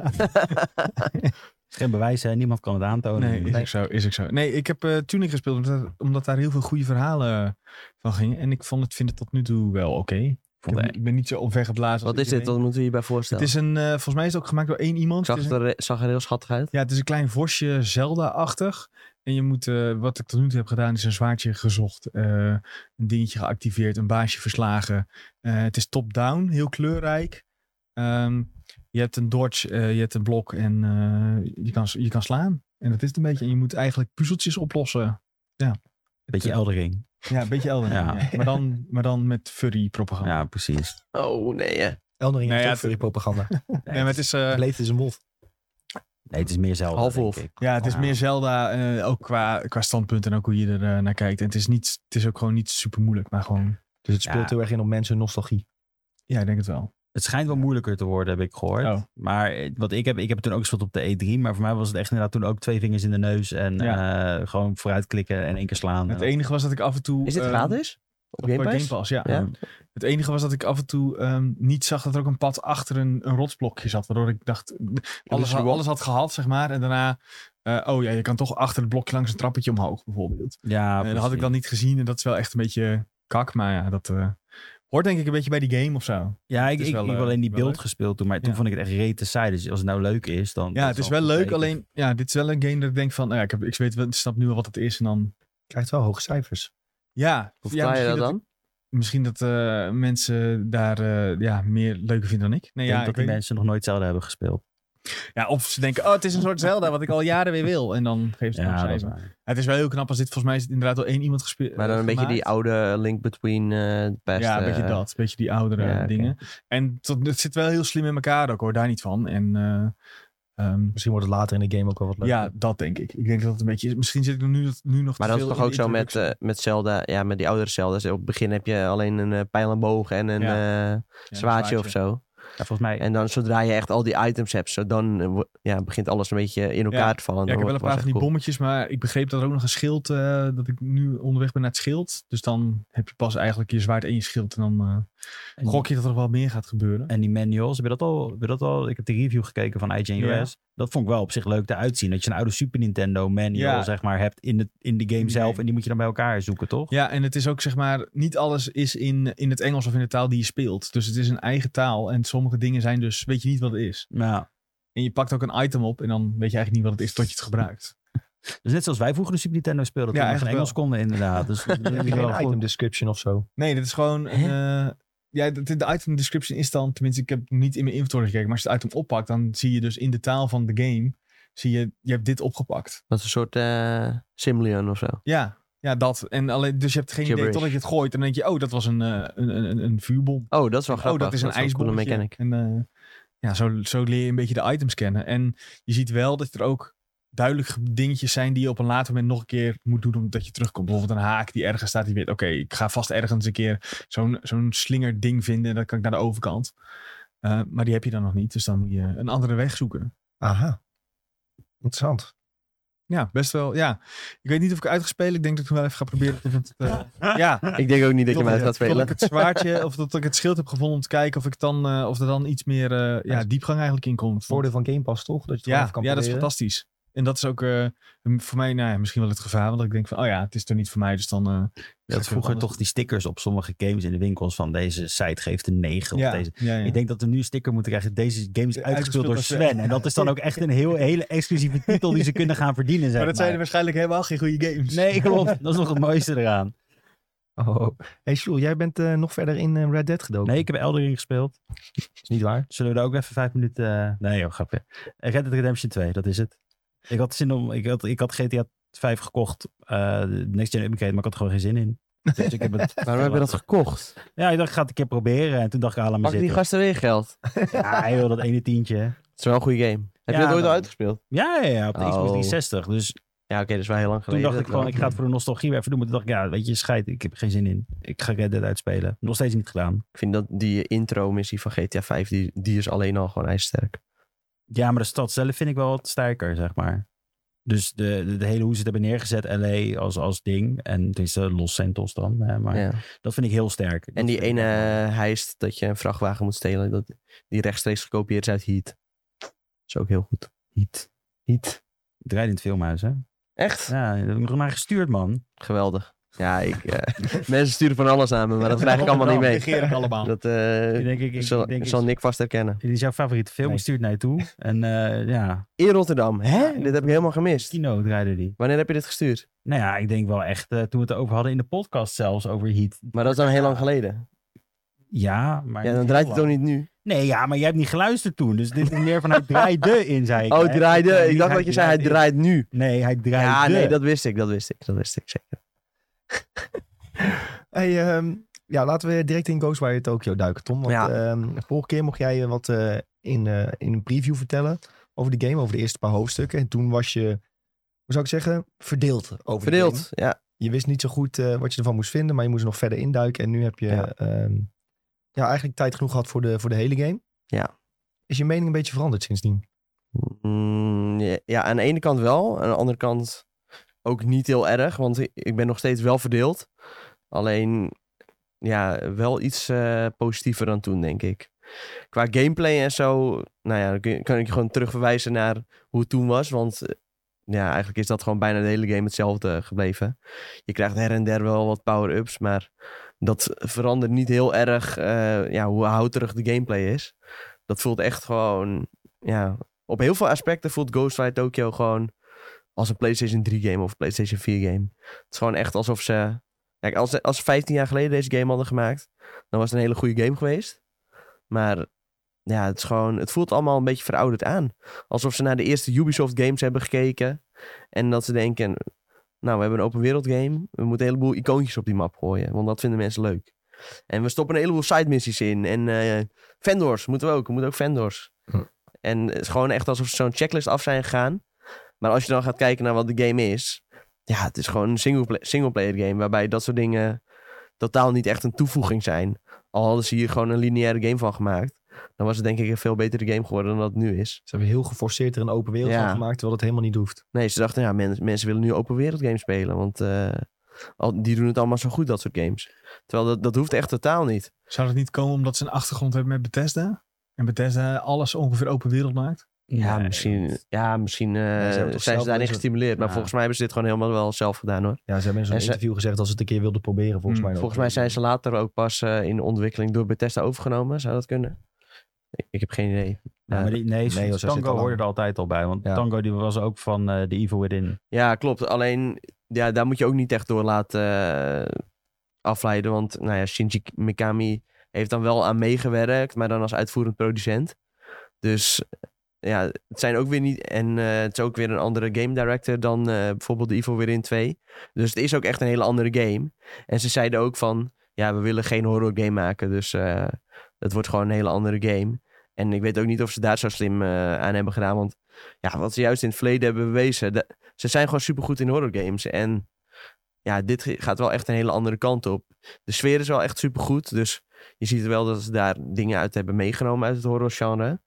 C: is geen bewijs, hè? Niemand kan het aantonen.
D: Nee, is
A: Oh, Nee.
D: ik zo. Is ik zo. Nee, ik heb eh Tunic gespeeld omdat, omdat daar heel veel goede verhalen eh, van gingen. En ik vond het, vind het tot nu toe wel oké. Ik heb-
B: Vond-
D: Ik, ben niet zo onvergeblazen. als
B: Wat is dit?
D: iedereen.
B: Wat moeten we hierbij voorstellen?
D: Het is een, eh, volgens mij is het ook gemaakt door één iemand.
B: Ik zag,
D: Het is
B: het
D: een-
B: er, zag er heel schattig uit.
D: ja, het is een klein vosje, Zelda-achtig. En je moet, eh, wat ik tot nu toe heb gedaan, is een zwaardje gezocht. eh, een dingetje geactiveerd, een baasje verslagen. Eh, het is top-down, heel kleurrijk. Ehm, je hebt een dodge, eh, je hebt een blok en eh, je, kan, je kan slaan. En dat is het een beetje. En je moet eigenlijk puzzeltjes oplossen. Ja.
C: Beetje Eldering.
D: Ja, een beetje Elden.
C: Ja.
D: Ja. Maar, dan, maar dan met furry propaganda.
C: Ja, precies.
B: Oh nee. hè.
A: Eldering
D: Nou
A: heeft
D: ja,
A: ook voor die propaganda.
C: Nee,
D: Nee, maar het is, eh,
A: Bleef is een wolf.
C: nee, het is meer zelf. Oh,
B: Half wolf.
D: ja, het is
C: Ja.
D: meer Zelda, eh, ook qua, qua standpunt en ook hoe je er eh, naar kijkt. En het is, niet, het is ook gewoon niet super moeilijk, maar gewoon,
A: Dus het speelt
C: Ja.
A: heel erg in op mensen nostalgie.
D: ja, ik denk het wel.
C: Het schijnt wel moeilijker te worden, heb ik gehoord.
D: Oh.
C: Maar eh, wat ik heb, ik heb het toen ook gespeeld op de E3. Maar voor mij was het echt inderdaad toen ook twee vingers in de neus. En eh, gewoon vooruitklikken en één keer slaan.
D: Het
C: En-
D: enige was dat ik af en toe...
B: Is dit
D: ehm,
B: gratis? Op
D: bij
B: Game Pass?
D: Game Pass, ja.
B: Ja.
D: Het enige was dat ik af en toe ehm, niet zag dat er ook een pad achter een, een rotsblokje zat. Waardoor ik dacht, alles,
B: is er
D: had-
B: wel-
D: alles had gehaald, zeg maar. En daarna, eh, oh ja, je kan toch achter het blokje langs een trappetje omhoog, bijvoorbeeld.
C: ja,
D: Eh, dat had ik
C: precies.
D: dan niet gezien en dat is wel echt een beetje kak. Maar ja, dat eh, hoort denk ik een beetje bij die game of zo.
C: Ja, ik,
D: is
C: ik,
D: wel,
C: ik heb
D: eh,
C: alleen die
D: wel
C: beeld
D: leuk.
C: gespeeld toen. Maar toen
D: Ja.
C: vond ik het echt rete saai. Dus als het nou leuk is, dan...
D: Ja,
C: dat
D: het is wel
C: goed
D: leuk.
C: teken.
D: Alleen, ja, dit is wel een game dat ik denk van, nou ja, ik, heb, ik, weet, wel- ik snap nu wel wat het is. En dan,
A: Krijgt wel hoge cijfers.
D: ja.
B: Hoe
D: ja,
B: verklaar je
D: misschien
B: dat dan?
D: Misschien dat eh, mensen daar eh, ja, meer leuker vinden dan ik. Nee,
C: Ik
D: ja,
C: denk
D: ik
C: dat die
D: weet-
C: mensen nog nooit zelden hebben gespeeld.
D: ja, of ze denken, oh, het is een soort Zelda wat ik al jaren weer wil. En Dus dan geven ze het
C: Ja,
D: nog
C: dat is
D: cijfer.
C: waar.
D: Het is wel heel knap als dit, volgens mij is het inderdaad al één iemand gespeeld.
B: Maar dan een beetje die oude link between eh past.
D: eh, Ja, een beetje
B: eh,
D: dat. Een beetje die oudere
B: ja, oké.
D: dingen. En tot, het zit wel heel slim in elkaar ook hoor, daar niet van. En eh, ehm,
A: Misschien wordt het later in de game ook wel wat leuker.
D: ja, dat denk ik. Ik denk dat het een beetje is. Misschien zit ik er nu, nu nog
B: Maar
D: te
B: dat is
D: veel
B: toch ook
D: in de
B: zo met,
D: introductie.
B: eh, met Zelda, ja, met die oudere Zelda's. Op het begin heb je alleen een eh, pijl en boog en een
D: Ja.
B: eh,
D: Ja,
B: zwaardje of zo.
C: Ja, volgens mij...
B: En dan zodra je echt al die items hebt, zo, dan eh, wo- ja, begint alles een beetje in elkaar te vallen.
D: Ja, ik heb
B: Dat
D: wel
B: oh, was
D: een paar van
B: echt
D: die
B: cool.
D: bommetjes, maar ik begreep dat er ook nog een schild, eh, dat ik nu onderweg ben naar het schild. Dus dan heb je pas eigenlijk je zwaard en je schild en dan eh,
C: en-
D: gok je dat er wel meer gaat gebeuren.
C: En die manuals, heb je dat al? Heb je dat al? Ik heb de review gekeken van IGN US.
D: Ja.
C: Dat vond ik wel op zich leuk te uitzien. Dat je een oude Super Nintendo manual,
D: Ja.
C: zeg maar, hebt in de, in de game
D: In de
C: zelf.
D: game.
C: En die moet je dan bij elkaar zoeken, toch?
D: Ja, en het is ook zeg maar, niet alles is in, in het Engels of in de taal die je speelt. Dus het is een eigen taal en sommige dingen zijn dus, weet je niet wat het is.
C: Nou,
D: En je pakt ook een item op en dan weet je eigenlijk niet wat het is tot je het gebruikt.
C: dus net zoals wij vroeger de Super Nintendo speelden.
D: Ja,
C: Toen we geen
D: eigenlijk
C: Engels konden, inderdaad. Dus dat is
A: Heb je
C: wel
A: geen
C: goed.
A: item description of zo?
D: Nee, dit is gewoon, een, eh, ja, de, de item description is dan, tenminste ik heb niet in mijn inventory gekeken, maar als je het item oppakt, dan zie je dus in de taal van de game, zie je, je hebt dit opgepakt.
B: Dat is een soort eh Simlion of zo.
D: Ja, ja dat. En alleen, dus je hebt geen idee
B: Gibberish.
D: totdat je het gooit. En dan denk je, oh, dat was een, eh, een, een, een- een vuurbom.
B: Oh, dat is wel
D: Oh,
B: grappig.
D: dat is een
B: wel coole
D: ijsbom.
B: mechanic.
D: En eh, ja, zo, zo leer je een beetje de items kennen. En je ziet wel dat er ook duidelijk ge- dingetjes zijn die je op een later moment nog een keer moet doen omdat je terugkomt. Bijvoorbeeld een haak die ergens staat, die weet, oké, ik ga vast ergens een keer zo'n zo'n slinger ding vinden en dan kan ik naar de overkant. Eh, maar die heb je dan nog niet, dus dan moet je een andere weg zoeken.
A: Aha. Interessant.
D: Ja, best wel, ja. Ik weet niet of ik het uit ga spelen. Ik denk dat ik hem wel even ga proberen. tot het, eh, ja,
B: Ik denk ook niet dat je mij gaat
D: Tot
B: spelen.
D: ik het zwaardje of dat ik het schild heb gevonden om te kijken of, ik dan, eh, of er dan iets meer eh, ja, diepgang eigenlijk in komt.
A: Voordeel van Game Pass toch? Dat je het gewoon
D: ja,
A: even kan
D: ja, dat is
A: proberen.
D: fantastisch. En dat is ook eh, m- voor mij nou ja, misschien wel het gevaar. Want ik denk van, oh ja, het is toch niet voor mij. Dus dan... eh, ga
C: Je
D: ik
C: had
D: wat
C: vroeger
D: anders
C: toch die stickers op sommige games in de winkels van deze site geeft een 9
D: doen.
C: of
D: Ja,
C: deze.
D: ja, ja.
C: Ik denk dat we nu een sticker moeten krijgen. Deze game is
D: Ja,
C: uitgespeeld
D: uitgespeeld
C: door
D: door
C: Sven.
D: Sven.
C: En dat is dan ook echt een heel, hele exclusieve titel die ze kunnen gaan verdienen. Zeg
D: maar dat zijn er waarschijnlijk helemaal geen goede games.
C: Nee, klopt. Dat is nog het mooiste eraan.
A: Oh. Hey Sjoel, jij bent eh, nog verder in eh, Red Dead gedoken.
C: Nee, ik heb Eldering gespeeld.
A: is niet waar.
C: Zullen we daar ook even vijf minuten... eh, Nee joh, grapje. Eh, Red Dead Redemption 2, dat is het. Ik had zin om... Ik had, ik had GTA 5 gekocht, eh, de Next Gen Upgrade, maar ik had er gewoon geen zin in. Dus ik heb het...
B: Waarom heb je dat gekocht?
C: Ja, ik dacht, ik ga het een keer proberen. En toen dacht ik, ah, laat
B: Pak
C: maar
B: die
C: zitten.
B: gasten weer geld.
C: Ja, joh, dat ene tientje. hè.
B: Het is wel een goede game. Heb
C: Ja,
B: je dat ooit
C: dan-
B: al uitgespeeld?
C: Ja, ja, ja, op de
B: Oh.
C: Xbox 360. Dus
B: Ja, oké, dat is wel heel lang
C: toen
B: geleden.
C: dacht ik gewoon, ik ga het voor de nostalgie weer even doen. Maar toen dacht ik, ja, weet je, scheid, ik heb er geen zin in. Ik ga Red Dead uitspelen. Nog steeds niet gedaan.
B: Ik vind dat die intro-missie van GTA 5, die, die is alleen al gewoon ijzersterk.
C: Ja, maar de stad zelf vind ik wel wat sterker, zeg maar. Dus de, de, de hele hoe ze het hebben neergezet, LA als, als ding. En het is eh, Los Santos dan. hè, maar
B: Ja.
C: dat vind ik heel sterk.
B: En
C: Dat
B: die
C: vind
B: ene eh,
C: ik wel-
B: heist dat je een vrachtwagen moet stelen, dat, die rechtstreeks gekopieerd is uit Heat. Is ook heel goed.
C: Heat.
B: Heat.
C: Het rijdt in het filmhuis, hè?
B: Echt?
C: Ja, daar heb ik nog naar gestuurd, man.
B: Geweldig. Ja, ik, eh, mensen sturen van alles aan me, maar dat krijg ik allemaal niet mee.
D: Reageren allemaal.
B: Dat eh,
C: Ik denk, ik, ik,
B: zal,
C: ik denk,
B: zal Nick vast herkennen.
C: dit is jouw favoriete film,
A: Nee.
C: die stuurt naar je toe. En eh, ja,
B: In Rotterdam. Hè? Dit heb ik helemaal gemist.
C: Kino draaide die.
B: Wanneer heb je dit gestuurd?
C: Nou ja, ik denk wel echt, eh, toen we het over hadden in de podcast zelfs, over Heat.
B: Maar dat is dan heel lang geleden.
C: Ja, maar...
B: Ja,
C: niet
B: dan
C: heel
B: draait het
C: lang.
B: toch niet nu?
C: Nee, ja, maar jij hebt niet geluisterd toen. Dus dit is meer van hij draaide in, zei ik.
B: Oh,
C: Hij-
B: het draaide. Ik
C: Niet
B: dacht dat je zei, hij draait nu.
C: in. Nee, hij draaide.
B: Ja, nee, dat wist ik. Dat wist ik. Dat wist ik zeker.
A: Hey, ehm, ja, laten we direct in Ghostwire Tokyo duiken, Tom. Want,
B: Ja.
A: ehm, de vorige keer mocht jij eh, wat eh, in, eh, in een preview vertellen over de game, over de eerste paar hoofdstukken. En toen was je, hoe zou ik zeggen, verdeeld over de game.
B: Verdeeld. Ja,
A: Je wist niet zo goed eh, wat je ervan moest vinden, maar je moest er nog verder induiken. En nu heb je
B: Ja.
A: ehm, ja, eigenlijk tijd genoeg gehad voor de, voor de hele game.
B: Ja.
A: Is je mening een beetje veranderd sindsdien?
B: Mm, ja- ja, aan de ene kant wel. Aan de andere kant ook niet heel erg. Want i- ik ben nog steeds wel verdeeld. Alleen, ja, wel iets eh, positiever dan toen, denk ik. Qua gameplay en zo, nou ja, dan kun je- kan ik je gewoon terugverwijzen naar hoe het toen was. Want eh, ja, eigenlijk is dat gewoon bijna de hele game hetzelfde gebleven. Je krijgt her en der wel wat power-ups, maar dat verandert niet heel erg eh, ja, hoe houterig de gameplay is. Dat voelt echt gewoon, ja, op heel veel aspecten voelt Ghostwire Tokyo gewoon als een PlayStation 3 game of PlayStation 4 game. Het is gewoon echt alsof ze... Kijk, als ze als ze 15 jaar geleden deze game hadden gemaakt, dan was het een hele goede game geweest. Maar ja, het, is gewoon, het voelt allemaal een beetje verouderd aan. Alsof ze naar de eerste Ubisoft games hebben gekeken. En dat ze denken, nou, we hebben een open wereld game. We moeten een heleboel icoontjes op die map gooien, want dat vinden mensen leuk. En we stoppen een heleboel side missies in. En eh, vendors moeten we ook. We moeten ook vendors. En het is gewoon echt alsof ze zo'n checklist af zijn gegaan. Maar als je dan gaat kijken naar wat de game is. Ja, het is gewoon een singlepla- singleplayer game. Waarbij dat soort dingen totaal niet echt een toevoeging zijn. Al hadden ze hier gewoon een lineaire game van gemaakt. Dan was het denk ik een veel betere game geworden dan dat het nu is.
A: Ze hebben heel geforceerd er een open wereld
B: Ja.
A: van gemaakt, terwijl het helemaal niet hoeft.
B: Nee, ze dachten, ja, men- mensen willen nu open wereld games spelen. Want eh, al, die doen het allemaal zo goed, dat soort games. Terwijl dat, dat hoeft echt totaal niet.
D: Zou dat niet komen omdat ze een achtergrond hebben met Bethesda? En Bethesda alles ongeveer open wereld maakt?
B: Ja,
C: Nee,
B: misschien, ja, misschien eh,
A: hebben toch zelf
B: zijn ze
A: wel
B: daarin
A: eens-
B: gestimuleerd. Maar
C: Ja.
B: volgens mij hebben ze dit gewoon helemaal wel zelf gedaan hoor.
A: Ja, ze hebben in zo'n
B: En ze-
A: interview gezegd dat ze het een keer wilden proberen, volgens
D: Mm,
A: mij. nog.
B: Volgens mij zijn ze later ook pas eh, in de ontwikkeling door Bethesda overgenomen. Zou dat kunnen? Ik, ik heb geen idee.
C: Ja, maar die, nee,
A: joh, zo zit het
C: Tango
A: al
C: hoorde
A: lang.
C: er altijd al bij. Want
A: Ja.
C: Tango die was ook van eh The Evil Within.
B: Ja, klopt. Alleen ja, daar moet je ook niet echt door laten eh, afleiden. Want nou ja, Shinji Mikami heeft dan wel aan meegewerkt, maar dan als uitvoerend producent. Dus ja, het zijn ook weer niet. En eh, het is ook weer een andere game director dan eh, bijvoorbeeld de Evil Within 2. Dus het is ook echt een hele andere game. En ze zeiden ook van. Ja, we willen geen horror game maken. Dus eh, het wordt gewoon een hele andere game. En ik weet ook niet of ze daar zo slim eh, aan hebben gedaan. Want ja, wat ze juist in het verleden hebben bewezen. da- ze zijn gewoon supergoed in horror games. En ja, dit ge- gaat wel echt een hele andere kant op. De sfeer is wel echt supergoed. Dus je ziet wel dat ze daar dingen uit hebben meegenomen uit het horrorgenre.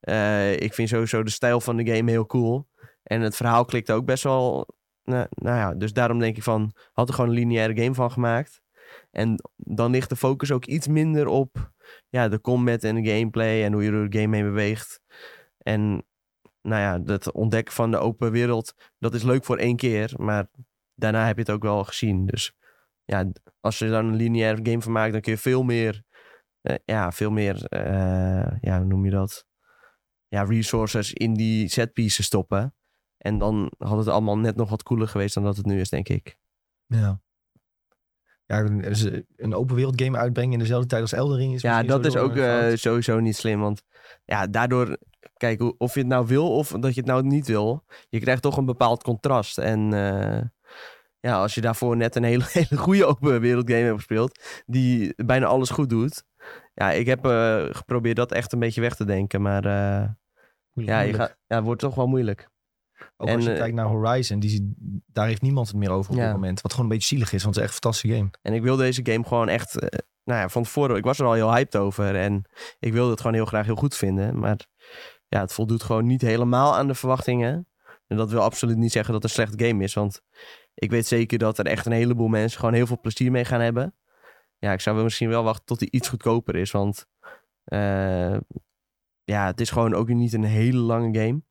B: Eh, ik vind sowieso de stijl van de game heel cool. En het verhaal klikt ook best wel. Nou, nou ja, dus daarom denk ik van, had er gewoon een lineaire game van gemaakt. En dan ligt de focus ook iets minder op ja, de combat en de gameplay en hoe je door de game heen beweegt. En nou ja, dat ontdekken van de open wereld, dat is leuk voor één keer, maar daarna heb je het ook wel gezien. Dus ja, als je daar een lineaire game van maakt, dan kun je veel meer, eh, ja, veel meer, eh, ja, hoe noem je dat? Ja, resources in die setpieces stoppen. En dan had het allemaal net nog wat cooler geweest dan dat het nu is, denk ik.
A: Ja. ja, een- ze- eh, een open wereld game uitbrengen in dezelfde tijd als Elden Ring is
B: Ja,
A: misschien
B: dat is
A: sowieso
B: ook
A: een
B: eh,
A: fout.
B: sowieso niet slim. Want ja, daardoor, kijk, hoe- of je het nou wil of dat je het nou niet wil, je krijgt toch een bepaald contrast. En eh, ja, als je daarvoor net een hele, hele goede open wereldgame hebt gespeeld, die bijna alles goed doet. Ja, ik heb eh, geprobeerd dat echt een beetje weg te denken, maar eh, ja, je
A: Moeilijk.
B: gaat, ja, het wordt toch wel moeilijk.
A: Ook
B: en,
A: als je
B: eh,
A: kijkt naar Horizon, die, daar heeft niemand het meer over op
B: Ja.
A: dit moment. Wat gewoon een beetje zielig is, want het is echt een fantastische game.
B: En ik wil deze game gewoon echt, eh, nou ja, van tevoren, ik was er al heel hyped over. En ik wilde het gewoon heel graag heel goed vinden. Maar ja, het voldoet gewoon niet helemaal aan de verwachtingen. En dat wil absoluut niet zeggen dat het een slecht game is. Want ik weet zeker dat er echt een heleboel mensen gewoon heel veel plezier mee gaan hebben. Ja, ik zou wel misschien wel wachten tot die iets goedkoper is. Want eh, ja, het is gewoon ook niet een hele lange game.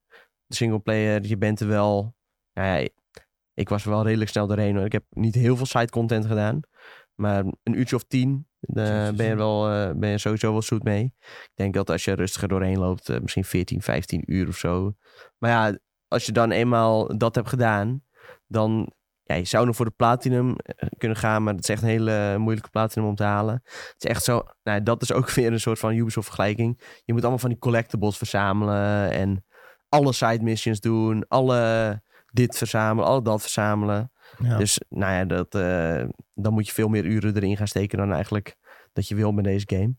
B: De singleplayer, je bent er wel... Nou ja, ik was er wel redelijk snel doorheen. Hoor. Ik heb niet heel veel side content gedaan. Maar een uurtje of tien, daar ben je, wel, eh, ben je sowieso wel zoet mee. Ik denk dat als je rustiger doorheen loopt, eh, misschien 14, 15 uur of zo. Maar ja, als je dan eenmaal dat hebt gedaan, dan... Ja, je zou nog voor de platinum eh, kunnen gaan, maar dat is echt een hele moeilijke platinum om te halen. Het is echt zo, nou, dat is ook weer een soort van Ubisoft-vergelijking. Je moet allemaal van die collectibles verzamelen en alle side missions doen, alle dit verzamelen, al dat verzamelen.
A: Ja.
B: Dus nou ja, dat, eh, dan moet je veel meer uren erin gaan steken dan eigenlijk dat je wil met deze game.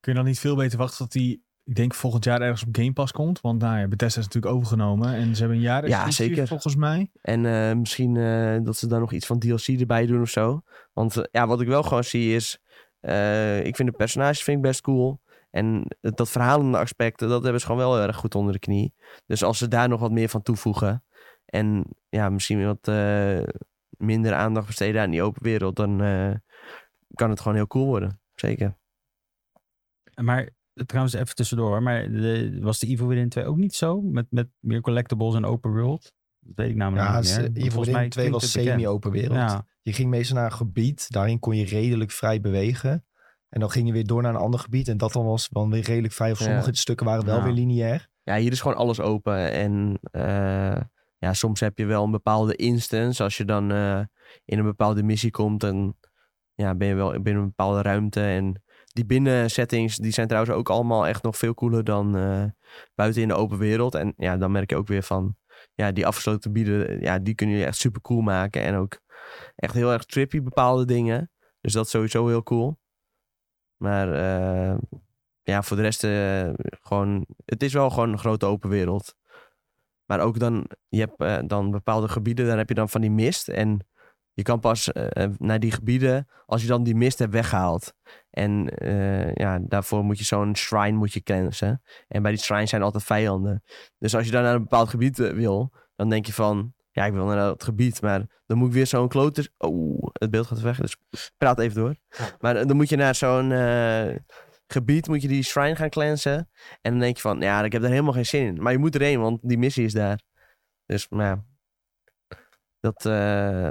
D: Kun je dan niet veel beter wachten tot die, ik denk volgend jaar ergens op Game Pass komt? Want nou ja, Bethesda is natuurlijk overgenomen en ze hebben een jaar
B: Ja,
D: exclusief
B: zeker.
D: volgens mij.
B: En eh, misschien eh, dat ze daar nog iets van DLC erbij doen of zo. Want eh, ja, wat ik wel gewoon zie is, eh, ik vind de personages vind ik best cool. En het- dat verhalende aspect, dat hebben ze gewoon wel heel erg goed onder de knie. Dus als ze daar nog wat meer van toevoegen. En ja, misschien weer wat eh, minder aandacht besteden aan die open wereld. Dan eh, kan het gewoon heel cool worden. Zeker.
C: Maar trouwens, even tussendoor. hoor, Maar de- was de Evil Within 2 ook niet zo? Met, met meer collectibles en open world? Dat weet ik namelijk
A: Ja,
C: niet meer.
A: ze-
C: Want
A: Evil
C: volgens
A: Within
C: mij
A: 2
C: klinkt
A: was
C: het bekend.
A: semi-open wereld.
C: Ja,
A: Je ging meestal naar een gebied, daarin kon je redelijk vrij bewegen. En dan ging je weer door naar een ander gebied. En dat dan was dan weer redelijk vrij. Of
B: Ja.
A: sommige stukken waren wel
C: Ja.
A: weer lineair.
B: Ja, hier is gewoon alles open. En eh, ja, soms heb je wel een bepaalde instance. Als je dan eh, in een bepaalde missie komt, dan ja, ben je wel binnen een bepaalde ruimte. En die binnensettings, die zijn trouwens ook allemaal echt nog veel cooler dan eh, buiten in de open wereld. En ja, dan merk je ook weer van, ja, die afgesloten bieden, ja, die kunnen jullie echt super cool maken. En ook echt heel erg trippy bepaalde dingen. Dus dat is sowieso heel cool. Maar eh, ja, voor de rest eh, gewoon, het is wel gewoon een grote open wereld. Maar ook dan, je hebt eh, dan bepaalde gebieden, daar heb je dan van die mist. En je kan pas eh, eh, naar die gebieden als je dan die mist hebt weggehaald. En eh, ja, daarvoor moet je zo'n shrine moet je cleansen. En bij die shrine zijn altijd vijanden. Dus als je dan naar een bepaald gebied eh, wil, dan denk je van, ja, ik wil naar dat gebied. Maar dan moet ik weer zo'n klote... Oh, het beeld gaat weg, dus praat even door. Maar eh, dan moet je naar zo'n eh, gebied, moet je die shrine gaan cleansen. En dan denk je van, ja, ik heb daar helemaal geen zin in. Maar je moet erheen, want die missie is daar. Dus, maar ja. Dat, eh,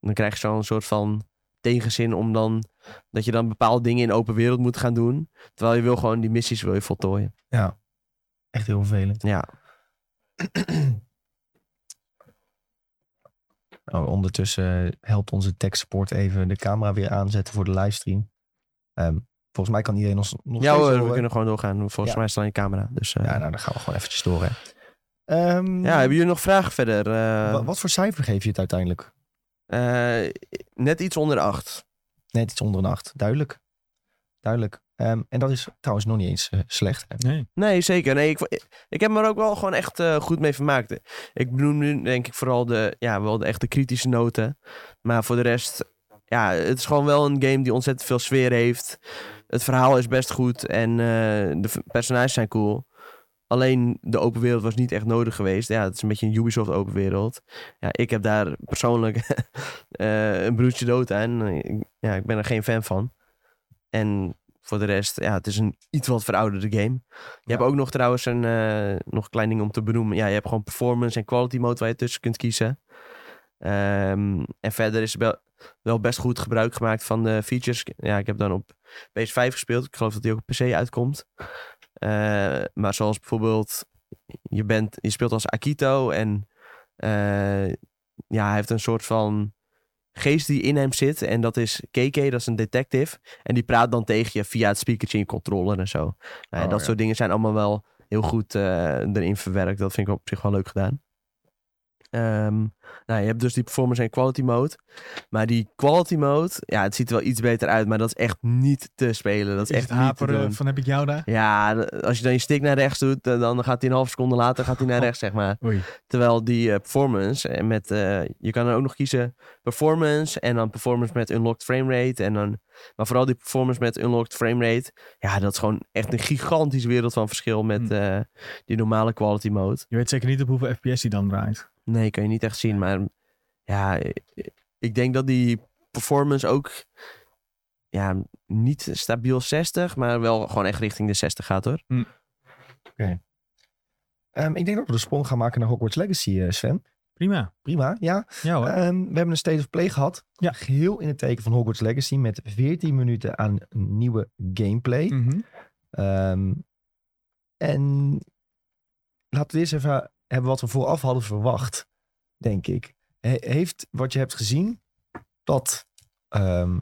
B: dan krijg je zo'n soort van tegenzin om dan... Dat je dan bepaalde dingen in open wereld moet gaan doen. Terwijl je wil gewoon die missies wil je voltooien.
A: Echt heel vervelend.
B: Ja,
A: Oh, ondertussen eh, helpt onze tech support even de camera weer aanzetten voor de livestream. Ehm, volgens mij kan iedereen ons nog
B: ja
A: steeds
B: hoor, we
A: horen.
B: kunnen gewoon doorgaan. Volgens
A: Ja.
B: mij staat je camera. Dus, eh,
A: Ja,
B: ja,
A: nou, dan gaan we gewoon eventjes door, hè. Ehm,
B: hebben jullie nog vragen verder? Eh,
A: wa- Wat voor cijfer geef je het uiteindelijk?
B: eh, net iets onder de acht.
A: Net iets onder een acht. Duidelijk. Duidelijk. Ehm, en dat is trouwens nog niet eens eh, slecht. hè.
D: Nee.
B: Nee, zeker. Nee, ik, ik heb me er ook wel gewoon echt eh, goed mee vermaakt. Ik benoem nu denk ik vooral de, ja, wel de echte kritische noten. Maar voor de rest, ja, het is gewoon wel een game die ontzettend veel sfeer heeft. Het verhaal is best goed en eh, de v- personages zijn cool. Alleen de open wereld was niet echt nodig geweest. Ja, het is een beetje een Ubisoft open wereld. Ja, ik heb daar persoonlijk eh, een broertje dood aan. Ik- Ja, ik ben er geen fan van. En voor de rest, ja, het is een iets wat verouderde game. Je hebt ook nog trouwens een eh, nog een klein ding om te benoemen. Ja, je hebt gewoon performance en quality mode waar je tussen kunt kiezen. Ehm, en verder is er wel, wel best goed gebruik gemaakt van de features. Ja, ik heb dan op PS5 gespeeld. Ik geloof dat die ook op PC uitkomt. Eh, maar zoals bijvoorbeeld, je, bent, je speelt als Akito en eh, ja, hij heeft een soort van geest die in hem zit. En dat is KK, dat is een detective. En die praat dan tegen je via het speakertje in je controller en zo. Nou ja,
A: Oh,
B: dat
A: ja.
B: soort dingen zijn allemaal wel heel goed eh, erin verwerkt. Dat vind ik op zich wel leuk gedaan. Ehm, nou, je hebt dus die performance en quality mode. Maar die quality mode, ja, het ziet er wel iets beter uit. Maar dat is echt niet te spelen. Dat is,
D: Is
B: echt
D: het
B: niet te
D: haperen
B: doen.
D: van heb ik jou daar?
B: Ja, d- als je dan je stick naar rechts doet, dan- dan gaat hij een halve seconde later gaat hij naar rechts, zeg maar.
D: Oei.
B: Terwijl die eh, performance, en met, eh, je kan dan ook nog kiezen performance en dan performance met unlocked framerate. En dan, maar vooral die performance met unlocked framerate, ja, dat is gewoon echt een gigantisch wereld van verschil met
D: Hmm.
B: eh, die normale quality mode.
D: Je weet zeker niet op hoeveel FPS die dan draait.
B: Nee, kan je niet echt zien, maar ja, ik- ik denk dat die performance ook, ja, niet stabiel 60, maar wel gewoon echt richting de 60 gaat hoor.
A: Ehm, ik denk dat we de sprong gaan maken naar Hogwarts Legacy, eh, Sven.
D: Prima.
A: Prima, ja.
D: Ja
B: Eh,
D: hoor.
A: Ehm, we hebben een State of Play gehad.
D: Ja.
A: Geheel in het teken van Hogwarts Legacy met 14 minuten aan nieuwe gameplay.
D: Mhm.
A: Ehm, en laten we eerst even hebben wat we vooraf hadden verwacht, denk ik. He- heeft wat je hebt gezien dat ehm,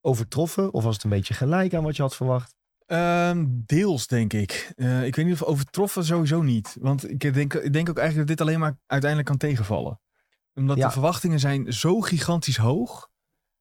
A: overtroffen? Of was het een beetje gelijk aan wat je had verwacht?
D: Ehm, deels, denk ik. Eh, ik weet niet of overtroffen sowieso niet. Want ik denk, ik denk ook eigenlijk dat dit alleen maar uiteindelijk kan tegenvallen. Omdat
A: Ja.
D: de verwachtingen zijn zo gigantisch hoog...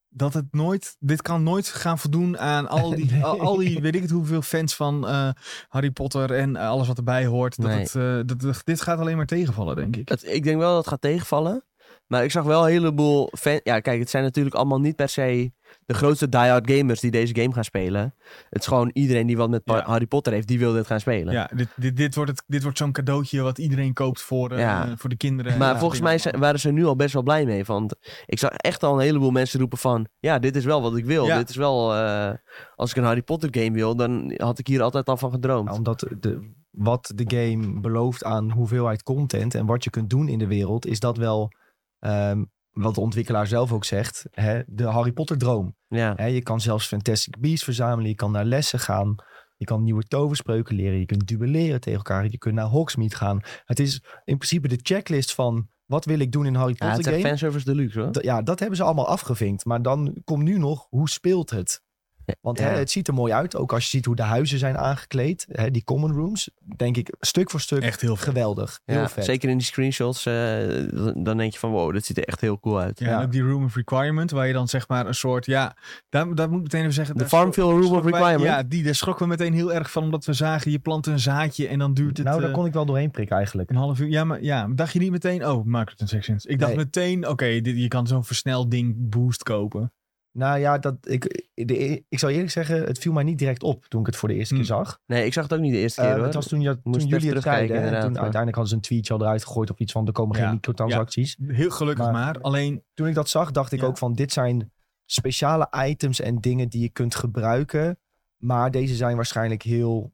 D: dat het nooit... Dit kan nooit gaan voldoen aan al die...
A: Nee.
D: al, al die weet ik het hoeveel fans van eh, Harry Potter en eh, alles wat erbij hoort. Dat
B: Nee.
D: het, eh, dat, dat- dit gaat alleen maar tegenvallen, denk ik.
B: Het- ik denk wel dat het gaat tegenvallen. Maar ik zag wel een heleboel fan... Ja, kijk, het zijn natuurlijk allemaal niet per se de grootste die-hard gamers die deze game gaan spelen. Het is gewoon iedereen die wat met pa-
D: Ja.
B: Harry Potter heeft, die wil dit gaan spelen.
D: Ja, dit, dit, dit wordt, het- dit wordt zo'n cadeautje wat iedereen koopt voor, eh,
B: Ja.
D: voor de kinderen.
B: Maar
D: Ja,
B: volgens
D: dingen
B: mij
D: allemaal.
B: zijn- waren ze nu al best wel blij mee. Want ik zag echt al een heleboel mensen roepen van... Ja, dit is wel wat ik wil.
D: Ja.
B: Dit is wel... eh, als ik een Harry Potter game wil, dan had ik hier altijd al van gedroomd.
A: Nou, omdat de, wat de game belooft aan hoeveelheid content en wat je kunt doen in de wereld, is dat wel ehm, wat de ontwikkelaar zelf ook zegt: hè, de Harry Potter-droom.
B: ja.
A: Hè, je kan zelfs Fantastic Beasts verzamelen. Je kan naar lessen gaan. Je kan nieuwe toverspreuken leren. Je kunt duelleren tegen elkaar. Je kunt naar Hogsmeade gaan. Het is in principe de checklist van... wat wil ik doen in een Harry
B: ja, het
A: Potter
B: is echt
A: game?
B: fanservice deluxe hoor.
A: Dat- ja, dat hebben ze allemaal afgevinkt. Maar dan komt nu nog, hoe speelt het? Want
B: Ja.
A: hè, het ziet er mooi uit. Ook als je ziet hoe de huizen zijn aangekleed. Hè, die common rooms. Denk ik stuk voor stuk
D: Echt heel veel.
A: geweldig.
B: Ja,
A: heel vet.
B: Zeker in die screenshots, eh, dan- dan denk je van wow, dit ziet er echt heel cool uit.
D: Ja, en ook die Room of Requirement, waar je dan zeg maar een soort, ja, daar, daar moet ik meteen even zeggen.
B: De
D: daar
B: Farmville
D: schrok-
B: Room of
D: schrokken wij-
B: Requirement.
D: ja, die, daar schrokken we meteen heel erg van, omdat we zagen, je plant een zaadje en dan duurt het
A: nou, daar
D: eh,
A: kon ik wel doorheen prikken eigenlijk.
D: een half uur. Ja, maar ja, dacht je niet meteen, oh, microtransactions. Ik dacht
A: Nee.
D: meteen, oké, dit je kan zo'n versneld ding boost kopen.
A: Nou ja, dat, ik, de, ik zal je eerlijk zeggen... het viel mij niet direct op toen ik het voor de eerste
D: Hm.
A: keer zag.
B: Nee, ik zag het ook niet de eerste
A: Eh,
B: keer hoor.
A: het was toen, ja,
B: Moest
A: toen
B: even
A: jullie het
B: terugkijken,
A: zeiden. hè, En
B: inderdaad,
A: toen,
B: maar-
A: uiteindelijk hadden ze een tweetje al eruit gegooid of iets van er komen
D: Ja,
A: geen microtransacties.
D: Heel gelukkig maar,
A: Maar-
D: alleen,
A: Toen ik dat zag, dacht ik
D: Ja.
A: ook van dit zijn speciale items en dingen die je kunt gebruiken. Maar deze zijn waarschijnlijk heel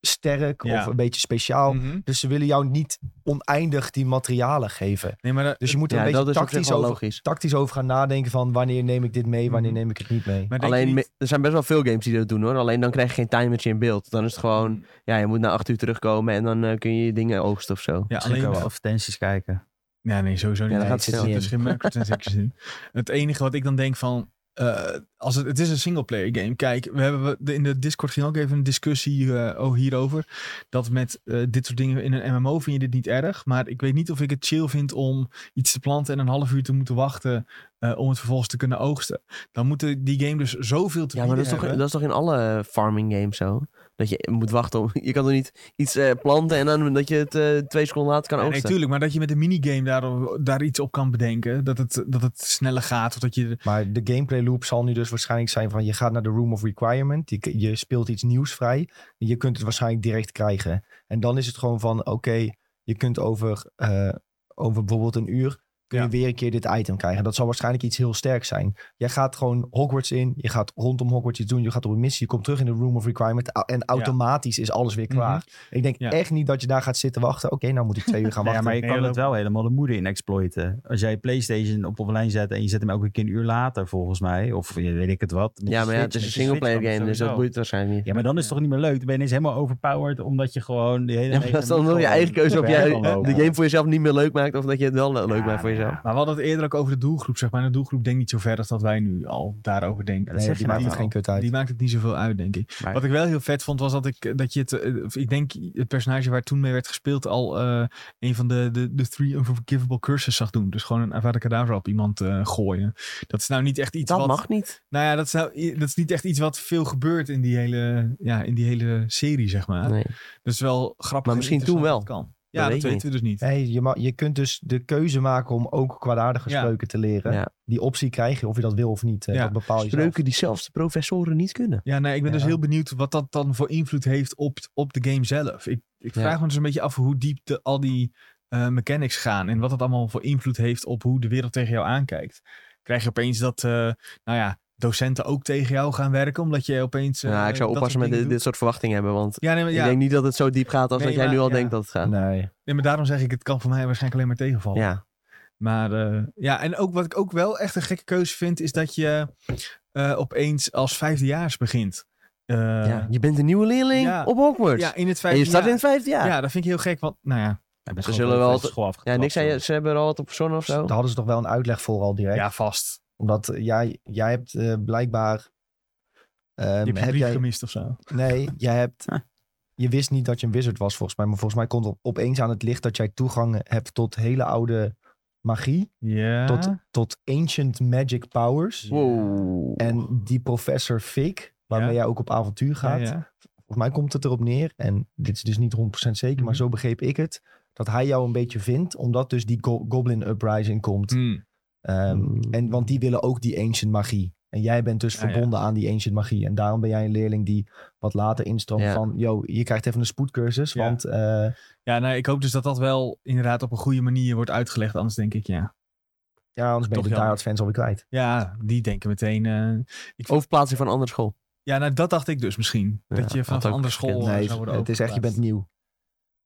A: sterk
D: Ja.
A: of een beetje speciaal.
D: Mhm.
A: Dus ze willen jou niet oneindig die materialen geven.
D: nee, maar daar-
A: Dus je moet er
B: ja,
A: een
B: dat
A: beetje
B: is op zich
A: tactisch
B: wel
A: over,
B: logisch.
A: tactisch over gaan nadenken van wanneer neem ik dit mee, wanneer
D: Mhm.
A: neem ik het niet mee.
D: maar denk je
B: Alleen,
D: niet-
B: me- er zijn best wel veel games die dat doen hoor. Alleen dan krijg je geen timertje in beeld. Dan is het gewoon, ja, je moet na acht uur terugkomen en dan eh, kun je je dingen oogsten of zo.
D: ja,
C: Alleen
D: alleen,
C: wel advertenties kijken.
D: Ja, nee, sowieso niet.
B: Ja, daar
D: Nee,
B: gaat het
D: er
B: snel
D: zitten dus geen microtransactions in. Het enige wat ik dan denk van... eh, als het, het is een singleplayer game. Kijk, we hebben we- de- in de Discord ging ook even een discussie eh, oh, hierover. Dat met eh, dit soort dingen in een MMO vind je dit niet erg. Maar ik weet niet of ik het chill vind om iets te planten en een half uur te moeten wachten eh, om het vervolgens te kunnen oogsten. Dan moeten die game dus zoveel te
B: Ja, maar dat is, toch,
D: hebben.
B: dat is toch in alle farming games zo? Dat je moet wachten om... Je kan toch niet iets eh, planten en dan dat je het eh, twee seconden later kan
D: Ja, nee,
B: oogsten?
D: tuurlijk, maar dat je met een minigame daar, daar iets op kan bedenken. Dat het, dat het sneller gaat. Of dat je
A: Maar de gameplay loop zal nu dus waarschijnlijk zijn van je gaat naar de Room of Requirement. Je, je speelt iets nieuws vrij. En je kunt het waarschijnlijk direct krijgen. En dan is het gewoon van oké, je kunt over, eh, over bijvoorbeeld een uur kun
D: Ja.
A: je weer een keer dit item krijgen. Dat zal waarschijnlijk iets heel sterk zijn. Jij gaat gewoon Hogwarts in. Je gaat rondom Hogwarts iets doen. Je gaat op een missie. Je komt terug in de Room of Requirement. au- En automatisch is alles weer klaar. Ik denk
D: Ja.
A: echt niet dat je daar gaat zitten wachten. Oké, nou moet ik twee uur gaan
C: Ja,
A: wachten.
C: maar je
D: nee,
C: kan
D: dat-
C: het wel helemaal de moeder in exploiten. Als jij je PlayStation op online zet en je zet hem elke keer een uur later, volgens mij. Of eh, weet ik het wat. Met
B: Ja,
C: de
B: maar ja, het is een
C: Switch, met de Switch
B: singleplayer
C: kan het
B: game, dus dat
C: sowieso.
B: boeit waarschijnlijk niet.
C: Ja, maar dan is het toch niet meer leuk? Dan ben je ineens helemaal overpowered omdat je gewoon... De hele
B: Ja, maar dat is dan wel je eigen keuze of jij
C: jij
B: de game voor jezelf niet meer leuk maakt of dat je het wel leuk maakt voor jezelf.
D: Maar we hadden het eerder ook over de doelgroep, zeg maar. En de doelgroep denkt niet zo ver als dat wij nu al daarover denken.
C: dat zeg je
A: die
C: nou
A: maakt het
C: wel.
A: geen kut uit.
D: Die maakt het niet zoveel uit, denk ik.
C: Maar-
D: Wat ik wel heel vet vond, was dat ik, dat je het, eh, of ik denk het personage waar toen mee werd gespeeld, al eh, een van de, de, de Three Unforgivable Curses zag doen. Dus gewoon een Avada Kedavra op iemand eh, gooien. Dat is nou niet echt iets
B: Dat
D: wat...
B: mag niet.
D: Nou ja, dat is, nou, dat is niet echt iets wat veel gebeurt in die hele, ja, in die hele serie, zeg maar.
B: Nee.
D: Dat is wel grappig.
B: Maar
D: en
B: misschien toen
D: interessant
B: wel.
D: dat het Kan. Ja, dat,
B: weet je
D: weten we dus niet.
A: Nee, je, ma- je kunt dus de keuze maken om ook kwaadaardige
D: Ja.
A: spreuken te leren.
B: Ja.
A: Die optie krijg je, of je dat wil of niet. eh,
D: Ja.
A: Dat
B: Oh,
A: bepaal je zelf.
B: Spreuken die zelfs de professoren niet kunnen.
D: Ja, nee, ik ben
A: Ja.
D: dus heel benieuwd wat dat dan voor invloed heeft op, t- op de game zelf. Ik, ik
B: Ja.
D: vraag me dus een beetje af hoe diep de, al die eh, mechanics gaan. En wat dat allemaal voor invloed heeft op hoe de wereld tegen jou aankijkt. Krijg je opeens dat, eh, nou ja, docenten ook tegen jou gaan werken. Omdat je opeens... eh,
B: ja, ik zou
D: dat
B: oppassen met
D: soort
B: dit,
D: dingen
B: dit soort verwachtingen hebben. Want
D: doet. Ja, nee, maar, ja,
B: ik denk niet dat het zo diep gaat als
D: Nee,
B: dat jij
D: maar-
B: nu al
D: ja.
B: denkt dat het gaat.
A: Nee.
D: nee, maar daarom zeg ik, het kan voor mij waarschijnlijk alleen maar tegenvallen.
B: Ja.
D: Maar eh, ja, en ook wat ik ook wel echt een gekke keuze vind, is dat je eh, opeens als vijfdejaars begint. Eh,
B: ja. Je bent een nieuwe leerling
D: Ja.
B: op Hogwarts.
D: ja, in het
B: en
D: vijfde
B: je staat
D: jaar.
B: in het vijfde jaar. Ja,
D: Ja, dat vind ik heel gek, want nou ja,
C: Hij bent
B: Ze
C: gewoon
B: zullen
C: van de
B: wel
C: school afgetrapt,
B: niks zei je,
C: joh.
B: ze hebben er al wat op verzonnen of zo.
A: Daar hadden ze toch wel een uitleg voor al direct.
D: ja vast.
A: Omdat eh, jij, jij hebt eh, blijkbaar... ehm,
D: Je hebt je
A: heb
D: brief
A: jij-
D: gemist of zo.
A: Nee, jij hebt... Je wist niet dat je een wizard was volgens mij. Maar volgens mij komt op, opeens aan het licht dat jij toegang hebt tot hele oude magie.
D: Ja.
A: Tot, tot ancient magic powers.
B: Wow.
A: En die professor Fik, waarmee
D: Ja.
A: jij ook op avontuur gaat.
D: Ja, ja.
A: Volgens mij komt het erop neer, en dit is dus niet 100% zeker, maar
D: Mhm.
A: zo begreep ik het, dat hij jou een beetje vindt, omdat dus die go- Goblin Uprising komt.
D: Hmm.
A: Ehm,
B: Mm.
A: en, want die willen ook die ancient magie. En jij bent dus
D: Ah, Ja, ja.
A: verbonden aan die ancient magie. En daarom ben jij een leerling die wat later instroomt
B: Ja.
A: van, yo, je krijgt even een spoedcursus,
D: Ja.
A: want eh,
D: Ja, nou, ik hoop dus dat dat wel inderdaad op een goede manier wordt uitgelegd. Anders denk ik, ja.
A: ja, anders ben
D: Toch
A: je de Die
D: jammer. Oh,
A: Hard fans alweer kwijt.
D: Ja, die denken meteen... eh,
B: Overplaatsing van een andere school.
D: ja, nou, dat dacht ik dus misschien.
B: Ja,
D: dat je
B: had
D: vanaf een
B: ook
D: andere school
B: gekund.
D: eh,
A: nee,
D: zou worden
A: het is echt, je bent
D: overgeplaatst.
A: nieuw.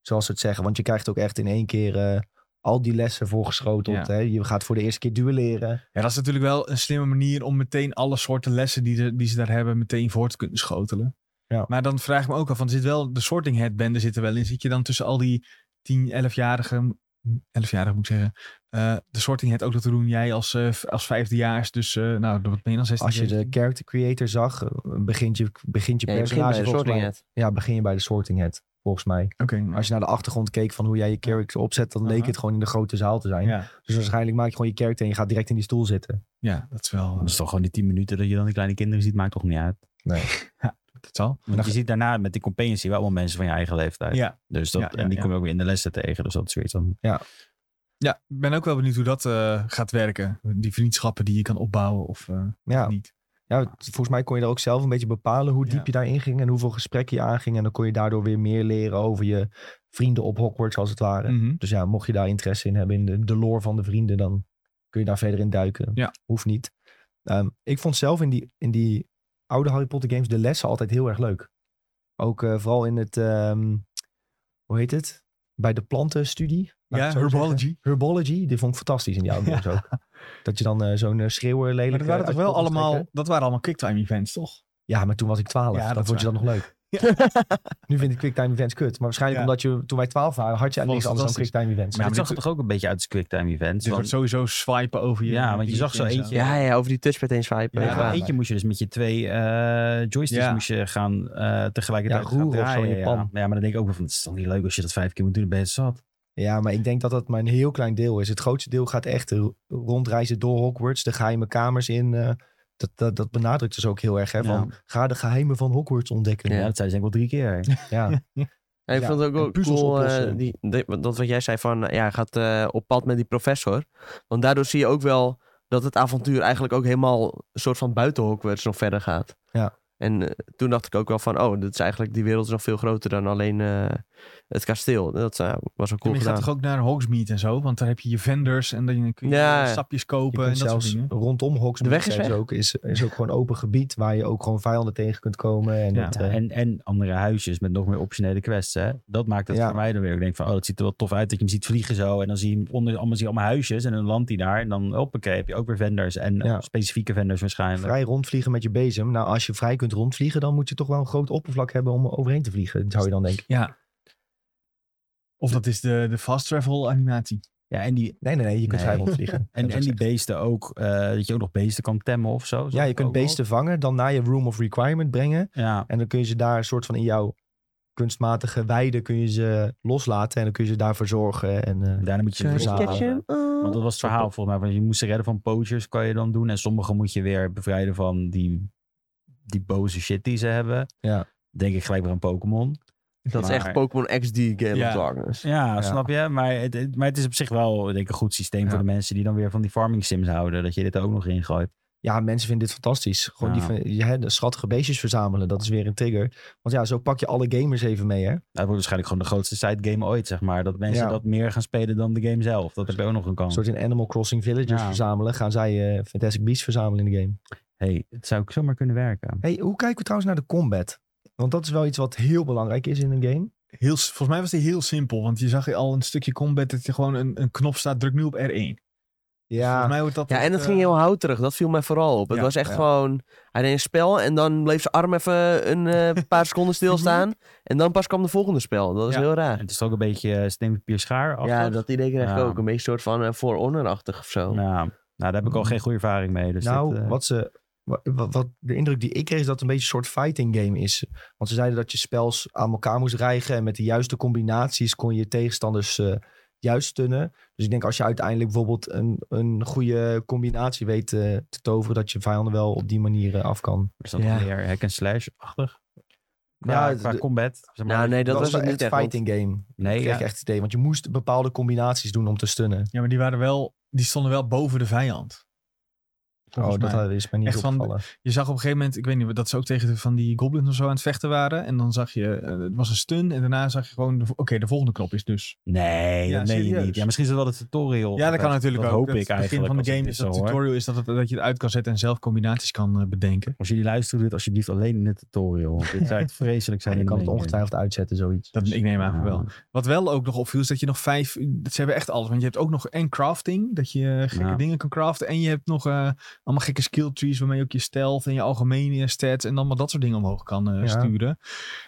A: Zoals ze het zeggen, want je krijgt ook echt in één keer eh, al die lessen voorgeschoteld.
D: Ja.
A: Hè? Je gaat voor de eerste keer duelleren.
D: Ja, dat is natuurlijk wel een slimme manier om meteen alle soorten lessen die, de- die ze daar hebben, meteen voor te kunnen schotelen.
A: Ja.
D: Maar dan vraag ik me ook af, want er zit wel, de sorting head bende zit er wel in. Zit je dan tussen al die 10, 11-jarigen, 11-jarigen moet ik zeggen, eh, de sorting head ook dat te doen, jij als, eh, v- als vijfdejaars, dus eh, nou, wat ben je dan, 16?
A: Als je de
D: 17?
A: character creator zag, eh, begint je, begint je
B: Ja, je begint bij
A: personage
B: de
A: volgens
B: sorting
A: mij-
B: net.
A: Ja, begin je bij de sorting head, volgens mij.
D: Oké,
A: Als je naar de achtergrond keek van hoe jij je character opzet, dan leek
D: Aha.
A: het gewoon in de grote zaal te zijn.
D: ja.
A: Dus waarschijnlijk maak je gewoon je character en je gaat direct in die stoel zitten.
D: ja, dat is wel,
C: Dat is toch gewoon die 10 minuten dat je dan die kleine kinderen ziet, maakt toch niet uit.
D: dat zal.
C: Want je ziet daarna met die companions zie je wel allemaal mensen van je eigen leeftijd.
D: Nou, Ja.
C: Dus dat,
D: Ja, ja,
C: en die
D: ja.
C: kom je ook weer in de lessen tegen. Dus dat is weer iets van...
D: Ja, ik ben ook wel benieuwd hoe dat eh, gaat werken. Die vriendschappen die je kan opbouwen of eh,
A: Ja,
D: niet.
A: ja het- volgens mij kon je er ook zelf een beetje bepalen hoe
D: Ja.
A: diep je daarin ging en hoeveel gesprekken je aanging. En dan kon je daardoor weer meer leren over je vrienden op Hogwarts, als het ware.
D: Mhm.
A: Dus ja, mocht je daar interesse in hebben in de, de lore van de vrienden, dan kun je daar verder in duiken.
D: Ja.
A: Hoeft niet. Ehm, ik vond zelf in die, in die oude Harry Potter games de lessen altijd heel erg leuk. Ook eh, vooral in het, ehm, hoe heet het? Bij de plantenstudie. laat ik
D: Ja,
A: het zo zeggen.
D: herbology.
A: Herbology, die vond ik fantastisch in die oude games ook. Dat je dan eh, zo'n eh, schreeuwer lelijk...
D: Maar dat waren
A: eh,
D: toch
A: uit de
D: wel
A: pot kon
D: allemaal,
A: trekken.
D: dat waren allemaal quicktime events, toch?
A: Ja, maar toen was ik 12.
D: Ja,
A: dan
D: dat is
A: vond je dat nog leuk. Nu vind ik quicktime events kut. Maar waarschijnlijk
D: Ja.
A: omdat je, toen wij 12 waren, had je
D: Vond
A: niks
D: het
A: anders dan
D: fantastisch.
A: quicktime events.
C: Maar dit
D: maar dit-
C: zag er toch ook een beetje uit als quicktime events.
D: Dus je
C: want-
D: wordt sowieso swipen over je.
C: Ja, want je zag zo
D: en
C: eentje-
B: Ja, ja, over die touchpad heen swipen.
C: Ja,
A: Ja,
B: Ja,
A: maar-
C: eentje moest je dus met je twee eh, joysticks
D: Ja.
C: moest je gaan eh, tegelijkertijd
A: Ja,
C: gaan
A: roeren of zo in
C: draaien,
A: je
C: ja.
A: pan.
C: Ja, maar dan denk ik ook wel van, het is toch niet leuk als je dat vijf keer moet doen, dan ben je zat.
A: Ja, maar ik denk dat dat maar een heel klein deel is. Het grootste deel gaat echt ro- rondreizen door Hogwarts. De geheime kamers in. eh, dat, dat, dat benadrukt dus ook heel erg. Hè,
C: Ja.
A: van, ga de geheimen van Hogwarts ontdekken.
C: Ja,
A: Ja.
C: dat zei ze denk ik wel drie keer.
B: Ja, ik
A: Ja,
B: vond het ook
A: en
B: wel
A: puzzels
B: cool, eh,
A: oplossen.
B: die, die- dat wat jij zei van, eh, ja, hij gaat eh, op pad met die professor. Want daardoor zie je ook wel dat het avontuur eigenlijk ook helemaal een soort van buiten Hogwarts nog verder gaat.
A: Ja.
B: En eh, toen dacht ik ook wel van, oh, dit is eigenlijk, die wereld is nog veel groter dan alleen eh, het kasteel. Dat eh, was ook cool
D: je gaat
B: gedaan.
D: toch ook naar Hogsmeade en zo? Want daar heb je je vendors en dan kun je
B: Ja, ja.
D: sapjes
A: Je
D: kopen en
A: kunt
D: eh, dat soort
A: zelfs
D: dingen.
A: rondom Hogsmeade
B: weg is
A: zijn ze
B: weg.
A: ook, is, is ook gewoon open gebied waar je ook gewoon vijanden tegen kunt komen. En
C: Ja,
A: dat, eh,
C: en, en andere huisjes met nog meer optionele quests. Hè. Dat maakt het
A: Ja.
C: voor mij dan weer. Ik denk van, oh, dat ziet er wel tof uit dat je hem ziet vliegen zo. En dan zie je hem onder, allemaal, zie je allemaal huisjes en dan landt hij daar. En dan, hoppakee, heb je ook weer vendors. En
A: Ja.
C: eh, specifieke vendors waarschijnlijk.
A: vrij rondvliegen met je bezem. Nou, als je vrij kunt rondvliegen, dan moet je toch wel een groot oppervlak hebben om overheen te vliegen. Zou je dan denken.
D: Ja. Of dat is de, de fast travel animatie.
C: Ja, en die,
A: Nee, nee, nee. Je kunt
C: Nee.
A: vrij rondvliegen.
C: en,
A: Hebben ze
C: en die
A: gezegd.
C: beesten ook, eh, dat je ook nog beesten kan temmen of zo.
A: Ja, je kunt
C: Ook wel.
A: beesten vangen, dan naar je room of requirement brengen.
C: Ja,
A: En dan kun je ze daar een soort van in jouw kunstmatige weide kun je ze loslaten. En dan kun je ze daarvoor zorgen. En, eh,
C: en daarna moet je
A: Sorry,
C: het
A: Verzamelen.
B: Catch
C: verzamelen.
B: 'em all.
C: Want dat was het verhaal volgens mij. Want je moest ze redden van poachers, kan je dan doen. En sommige moet je weer bevrijden van die, die boze shit die ze hebben.
A: Ja.
C: Denk ik gelijk weer aan Pokémon.
B: Dat is echt
C: Maar-
B: Pokémon XD Game
D: Ja.
B: of Darkness.
C: Ja,
A: Ja.
C: snap je? Maar het, het- maar het is op zich wel denk ik, een goed systeem
A: Ja.
C: voor de mensen die dan weer van die farming sims houden. Dat je dit er ook nog in gooit.
A: ja, mensen vinden dit fantastisch. Gewoon
C: Ja.
A: die van- ja, de schattige beestjes verzamelen. Dat is weer een trigger. Want ja, zo pak je alle gamers even mee, hè?
C: Dat wordt waarschijnlijk gewoon de grootste side game ooit, zeg maar. Dat mensen
A: Ja.
C: dat meer gaan spelen dan de game zelf. Dat heb je ook nog een
A: Een
C: kans.
A: soort in Animal Crossing Villagers
C: Ja.
A: verzamelen. Gaan zij eh Fantastic Beasts verzamelen in de game.
C: hey, het zou ook zomaar kunnen werken.
A: Hey, hoe kijken we trouwens naar de combat? Want dat is wel iets wat heel belangrijk is in een game.
D: Heel, s- volgens mij was die heel simpel. Want je zag al een stukje combat dat je gewoon een, een knop staat. Druk nu op R1.
A: Ja,
D: Volgens mij wordt dat
B: Ja, en dat
D: eh,
B: ging heel houterig. Dat viel mij vooral op. Het
D: Ja,
B: was echt
A: ja.
B: gewoon... Hij deed een spel en dan bleef zijn arm even een eh, paar seconden stilstaan. En dan pas kwam de volgende spel. Dat was
D: Ja.
B: heel
C: En
B: raar.
C: het is ook een beetje eh, steenpapier schaar af.
B: Ja, dat idee kreeg ik
C: Ja.
B: ook. Een beetje een soort van eh, For Honor-achtig of zo.
C: Nou, nou, daar heb ik al geen goede ervaring mee. Dus
A: nou,
C: dit, eh,
A: wat ze. wa- wa- Wat, de indruk die ik kreeg is dat het een beetje een soort fighting game is. Want ze zeiden dat je spels aan elkaar moest rijgen. En met de juiste combinaties kon je tegenstanders eh, juist stunnen. Dus ik denk als je uiteindelijk bijvoorbeeld een, een goede combinatie weet eh, te toveren. Dat je vijanden wel op die manier eh, af kan.
C: is dat
B: ja.
C: meer hack and slash-achtig?
A: Ja,
C: Ja, qua
A: de-
C: combat. zeg maar.
B: Nou, nee, dat, was
A: wel
B: het niet
A: echt
B: echt. want-
A: fighting game.
C: nee,
A: Ik kreeg
C: ja.
A: echt het idee. Want je moest bepaalde combinaties doen om te stunnen.
D: Ja, maar die, waren wel, die stonden wel boven de vijand. Volgens
A: oh, dat
D: mij.
A: eh, is mij niet
D: Echt van-
A: opgevallen.
D: Je zag op een gegeven moment, ik weet niet, dat ze ook tegen de- van die goblins of zo aan het vechten waren. En dan zag je, eh, het was een stun. En daarna zag je gewoon, de vo- oké, de volgende knop is dus.
C: Nee,
D: Ja,
C: dat meen je
D: serieus.
C: niet. Ja, misschien is het wel het tutorial.
D: Ja, dat kan natuurlijk ook.
C: hoop
D: Dat
C: ik eigenlijk.
D: Het begin van
C: als
D: de
C: ik
D: game
C: dit
D: is dat
C: zo hoor.
D: tutorial is dat, het- dat je het uit kan zetten en zelf combinaties kan eh, bedenken.
C: Als jullie luisteren, doe het alsjeblieft alleen in het tutorial. Want Dit zou echt vreselijk zijn.
A: je
C: in
A: kan
C: de
A: het
C: main game.
A: ongetwijfeld uitzetten, zoiets.
C: Dus,
D: Dat, ik
C: eh,
D: neem aan van wel. Wat wel ook nog opviel is dat je nog vijf... Ze hebben echt alles. Want je hebt ook nog en crafting. Dat je eh, gekke
C: Ja.
D: dingen kan craften. En je hebt nog eh, allemaal gekke skill trees. Waarmee je ook je stealth en je algemene stats. En allemaal dat soort dingen omhoog kan eh,
A: Ja.
D: sturen.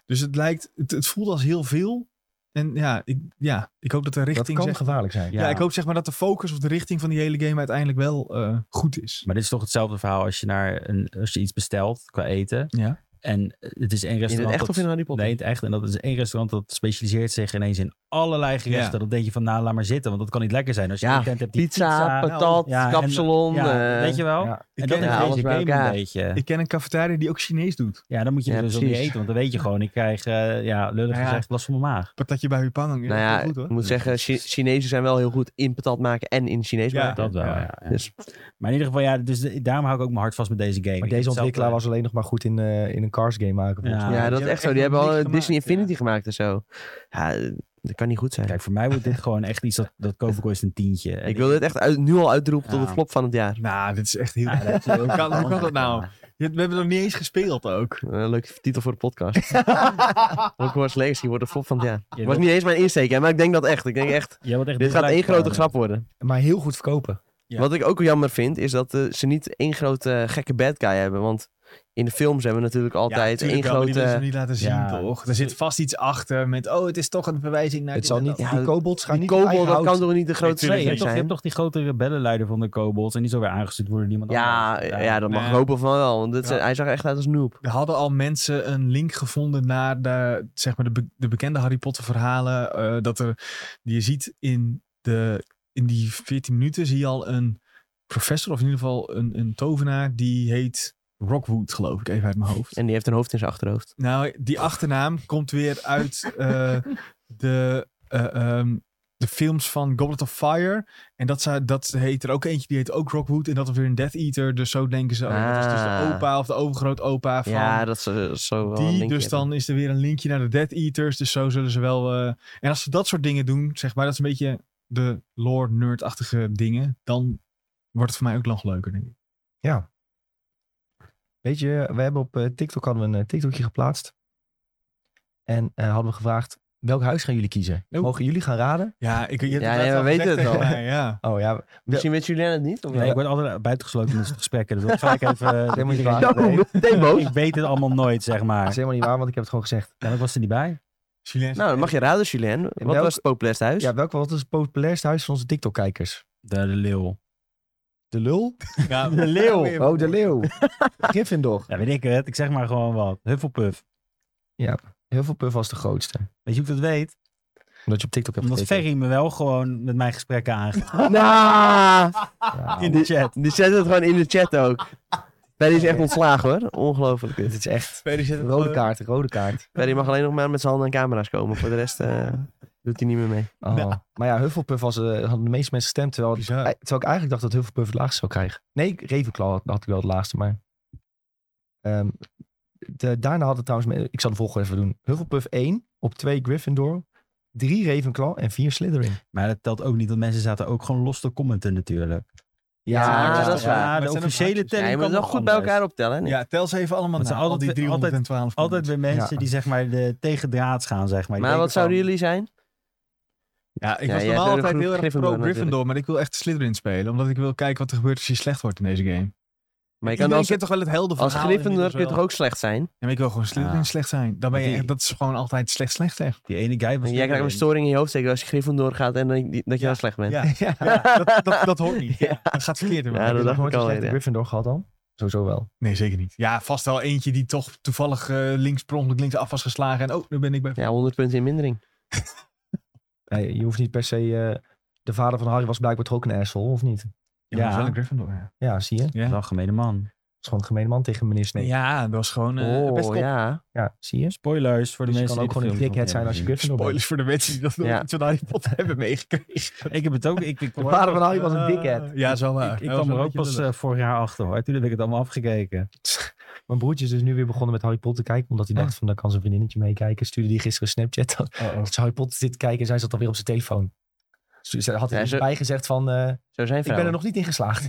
D: Dus het lijkt... Het, het voelt als heel veel. En ja ik, ja, ik hoop dat de
A: dat
D: richting...
A: kan
D: zeg-
A: gevaarlijk zijn.
D: ja. ik hoop zeg maar dat de focus of de richting van die hele game uiteindelijk wel eh, goed is.
C: Maar dit is toch hetzelfde verhaal als je, naar een, als je iets bestelt qua eten.
D: Ja.
C: En eh, het is één
B: In het
C: restaurant.
B: echt
C: dat,
B: of in Harry Potter?
C: Nee, in het echt. En dat is één restaurant dat specialiseert zich ineens in allerlei gerechten.
D: Ja.
C: Dat denk je van, nou, laat maar zitten. Want dat kan niet lekker zijn. Als je
B: Ja,
C: een tent hebt die
B: Pizza,
D: nou,
B: patat,
C: ja, en-
B: kapsalon.
C: ja,
B: eh,
C: weet je wel?
A: Ja.
D: Ik
C: En dat
D: ken,
C: is
B: Ja, alles
C: deze
B: bij
C: game een
B: elkaar.
C: beetje.
D: ik ken een cafetaria die ook Chinees doet.
C: Ja, dan moet je
B: Ja,
C: er dus al niet
B: precies.
C: eten. Want dan weet je gewoon, ik krijg, eh, ja, lullig
D: Nou ja.
C: gezegd, last van mijn maag.
D: patatje bij Hupang.
B: nou ja,
D: goed hoor.
B: ik moet zeggen, Chi- Chinezen zijn wel heel goed in patat maken en in Chinees
D: Ja.
B: maken.
C: Dat wel,
D: Ja.
C: ja, ja.
B: Dus
C: Maar in ieder geval, ja, dus de- daarom hou ik ook mijn hart vast met deze
A: Maar
C: game. Ik
A: deze
C: heb hetzelfde-
A: ontwikkelaar was alleen nog maar goed in, eh, in een Cars game maken. volgens
C: eh, Ja.
A: mij.
B: ja,
D: die
B: dat is
D: hebben
B: echt zo.
D: echt
B: Die hebben
D: nog
B: al
D: niks
B: eh, Disney
D: gemaakt,
B: Infinity gemaakt en zo. Ja, eh, dat kan niet goed zijn.
C: Kijk, voor mij wordt dit gewoon echt iets dat, dat koop ik ooit een tientje. En
B: ik wil dit echt uit, nu al uitroepen tot
C: Ja.
B: de flop van het jaar.
D: Nou, dit is echt heel...
C: Ja, dat-
D: hoe, kan, hoe kan dat nou? Je- We hebben nog niet eens gespeeld ook.
B: Eh, leuke titel voor de podcast. Hogwarts Legacy wordt de flop van het jaar.
C: Je
B: was
C: wilt-
B: niet eens mijn insteek, hè, maar ik denk dat echt. Ik denk echt,
C: Jij wordt echt
B: dit gaat één
C: gelijk-
B: grote grap worden.
A: Maar heel goed verkopen.
D: Ja.
B: Wat ik ook jammer vind, is dat eh, ze niet één grote eh, gekke bad guy hebben. Want in de films hebben we natuurlijk altijd één
D: tuurlijk wel, maar Die
B: grote...
D: willen ze niet laten zien,
C: ja.
D: toch? Er zit vast iets achter met... Oh, het is toch een verwijzing naar...
A: het
D: dit
A: zal
D: en
A: niet,
D: dat.
B: Ja,
A: die kobolds gaan
B: die
A: niet op
B: kobold,
A: eigen
B: dat kan
A: hout.
B: toch niet de grootste
C: Nee, je
B: vijand
C: hebt, toch, je hebt
B: zijn?
C: toch die grote rebellenleider van de kobolds en die zal weer aangestuurd worden door iemand
B: Ja,
C: anders.
B: ja, dat mag
D: Nee.
B: ik hopen van wel. Want dit
D: Ja.
B: zijn- hij zag er echt uit als noob.
D: Er hadden al mensen een link gevonden naar de, zeg maar de, be- de bekende Harry Potter verhalen. eh, dat er, die je ziet in, de, in die 14 minuten zie je al een professor, of in ieder geval een, een tovenaar, die heet Rockwood, geloof ik, even uit mijn hoofd.
B: En die heeft een hoofd in zijn achterhoofd.
D: Nou, die achternaam komt weer uit eh, de, eh, ehm, de films van Goblet of Fire. En dat, zou- dat heet er ook eentje, die heet ook Rockwood. En dat is weer een Death Eater. Dus zo denken ze, oh, ja, dat is dus de
B: Ah.
D: opa of de overgrootopa van
B: Ja, dat is eh, zo wel een
D: die.
B: linkje
D: Dus dan is er weer een linkje naar de Death Eaters. Dus zo zullen ze wel... eh, en als ze dat soort dingen doen, zeg maar, dat is een beetje de lore-nerd-achtige dingen. Dan wordt het voor mij ook nog leuker, denk ik.
A: Weet je, we hebben op eh, TikTok hadden we een eh, TikTokje geplaatst. En eh, hadden we gevraagd, welk huis gaan jullie kiezen?
D: Oeh.
A: Mogen jullie gaan raden?
D: Ja, ik, je hebt
B: Ja,
D: het
B: nee,
D: al
B: we weten
D: gezegd
B: het
D: tegen
B: al.
D: mij, ja.
A: Oh ja,
B: Misschien weten jullie het niet? Of
C: Nee, ik word altijd buitengesloten in dit gesprekken. Dus dat ga ik even...
B: Ah,
C: eh,
A: helemaal niet
C: iedereen-
A: waar.
B: Nou, meteen boos.
C: Ik weet het allemaal nooit, zeg
A: dat is
C: maar.
A: helemaal niet waar, want ik heb het gewoon gezegd.
C: En ik was er niet bij.
D: Julien
B: Nou, dan mag je raden, Julien. Wat
A: welk-
B: was het populairste huis?
A: Ja, welk was het populairste huis van onze TikTok-kijkers?
C: De leeuw.
A: De lul?
D: Ja,
C: De leeuw.
D: weer-
A: Oh, de leeuw. Gryffindor.
C: Ja, weet ik het. Ik zeg maar gewoon wat. Hufflepuff.
A: Heel veel puff was de grootste.
C: Weet je hoe ik dat weet?
A: Omdat je op TikTok hebt
C: Omdat
A: gekeken.
C: Ferry me wel gewoon met mijn gesprekken aangeeft.
B: Nou,
A: Ja,
C: In de chat.
B: die zet het gewoon in de chat ook. Perry is echt ontslagen hoor. Ongelooflijk.
A: dit is echt
D: Verder zit het
A: rode
D: gewoon-
A: kaart, rode kaart.
B: Perry mag alleen nog maar met zijn handen aan camera's komen. Voor de rest eh, doet hij niet meer mee.
A: Oh. Maar ja, Hufflepuff was, eh, hadden de meeste mensen gestemd. Terwijl, eh,
D: Bizar.
A: terwijl ik eigenlijk dacht dat Hufflepuff het laagste zou krijgen. Nee, Ravenclaw had, had ik wel het laagste, maar... Ehm, de, daarna had het trouwens... me- Ik zal de volgorde even doen. Hufflepuff 1, op 2 Gryffindor, 3 Ravenclaw en 4 Slytherin.
C: Maar dat telt ook niet, want mensen zaten ook gewoon los te commenten natuurlijk.
A: Ah,
B: Ja,
D: maar-
B: dat is waar.
D: maar
C: Ja,
D: het
C: de
D: zijn ook
C: officiële
D: hartjes.
B: Ja,
C: telling
B: je moet
C: kan
B: het wel
C: nog
B: goed bij
C: anders.
B: elkaar optellen. hè, Nick?
D: Ja, tel ze even allemaal
C: Want ze
D: na.
C: altijd-
D: Al die 312
C: Altijd weer mensen
A: Ja.
C: die zeg maar de tegendraads gaan, zeg maar. Je
B: maar
C: weet
B: wat
C: wel-
B: zouden jullie zijn?
D: Ja, ik
B: Ja,
D: was
B: jij
D: normaal
B: bent
D: altijd
B: een
D: heel erg
B: Gryffindor
D: pro-Gryffindor, maar ik wil echt Slytherin spelen. Omdat ik wil kijken wat er gebeurt als je slecht wordt in deze game.
B: Maar je
D: Ik
B: kan
D: denk
B: als,
D: je toch wel het helder
B: als Gryffindor kun je toch
D: ook...
B: ook Ah. slecht zijn?
D: Ja, maar ik wil gewoon Slytherin
C: Ja.
D: slecht zijn. Dan ben je
C: Die-
D: echt, dat is gewoon altijd slecht slecht echt.
C: Die ene guy was...
B: Jij krijgt een storing in je hoofd zeker als je Gryffindor gaat en dat je, dat je
D: Ja.
B: dan slecht bent.
D: Ja,
A: Ja.
D: ja, dat, dat, dat hoort niet.
B: Ja.
D: Dat gaat verkeerd in
B: Ja,
D: mijn
A: Heb
B: dat
A: je nog
B: dacht
A: nooit
B: ik al,
A: een slechte
B: ja.
A: Gryffindor gehad dan? Sowieso wel.
D: Nee, zeker niet. Ja, vast wel eentje die toch toevallig eh, links per ongeluk links af was geslagen. En oh, nu ben ik bij...
B: Ja, 100 punten in mindering.
A: Nee, je hoeft niet per se... eh, de vader van Harry was blijkbaar toch ook een asshole, of niet?
D: Ja, dat is wel
C: Ja.
D: een Gryffindor, ja.
A: Ja, zie je? Het
C: Een algemene man.
A: is gewoon een gemene man tegen meneer Snape. Ja,
D: Ja, dat was gewoon... eh, best
B: oh,
D: op-
B: ja.
A: zie je?
C: Spoilers voor de
A: Dus je
C: mensen
A: kan ook gewoon een
C: die de films nog
A: dickhead zijn
C: niet
A: als je
C: hebben
A: Gryffindor bent.
D: Spoilers voor de mensen die dat nog
B: Ja.
D: niet van Harry Potter hebben meegekregen.
C: gezien. Ik heb het ook... Ik, ik,
A: De vader van Harry was een dickhead.
D: Eh, Ja, zo waar.
C: ik, ik
D: Hij was
C: kwam er
D: wel
C: ook
D: een beetje
C: pas eh, vorig jaar achter, hoor. Toen heb ik het allemaal afgekeken.
A: Mijn broertje is dus nu weer begonnen met Harry Potter kijken. Omdat hij dacht van, dan kan zijn vriendinnetje meekijken. Stuurde die gisteren een Snapchat. Dat dat ze Harry Potter zit te kijken en zij zat alweer op zijn telefoon. Dus ze had hij
B: Ja,
A: er
B: zo-
A: bij gezegd van, eh, ik
B: Zo zijn
A: ben er
B: vrouwen.
A: nog niet in geslaagd.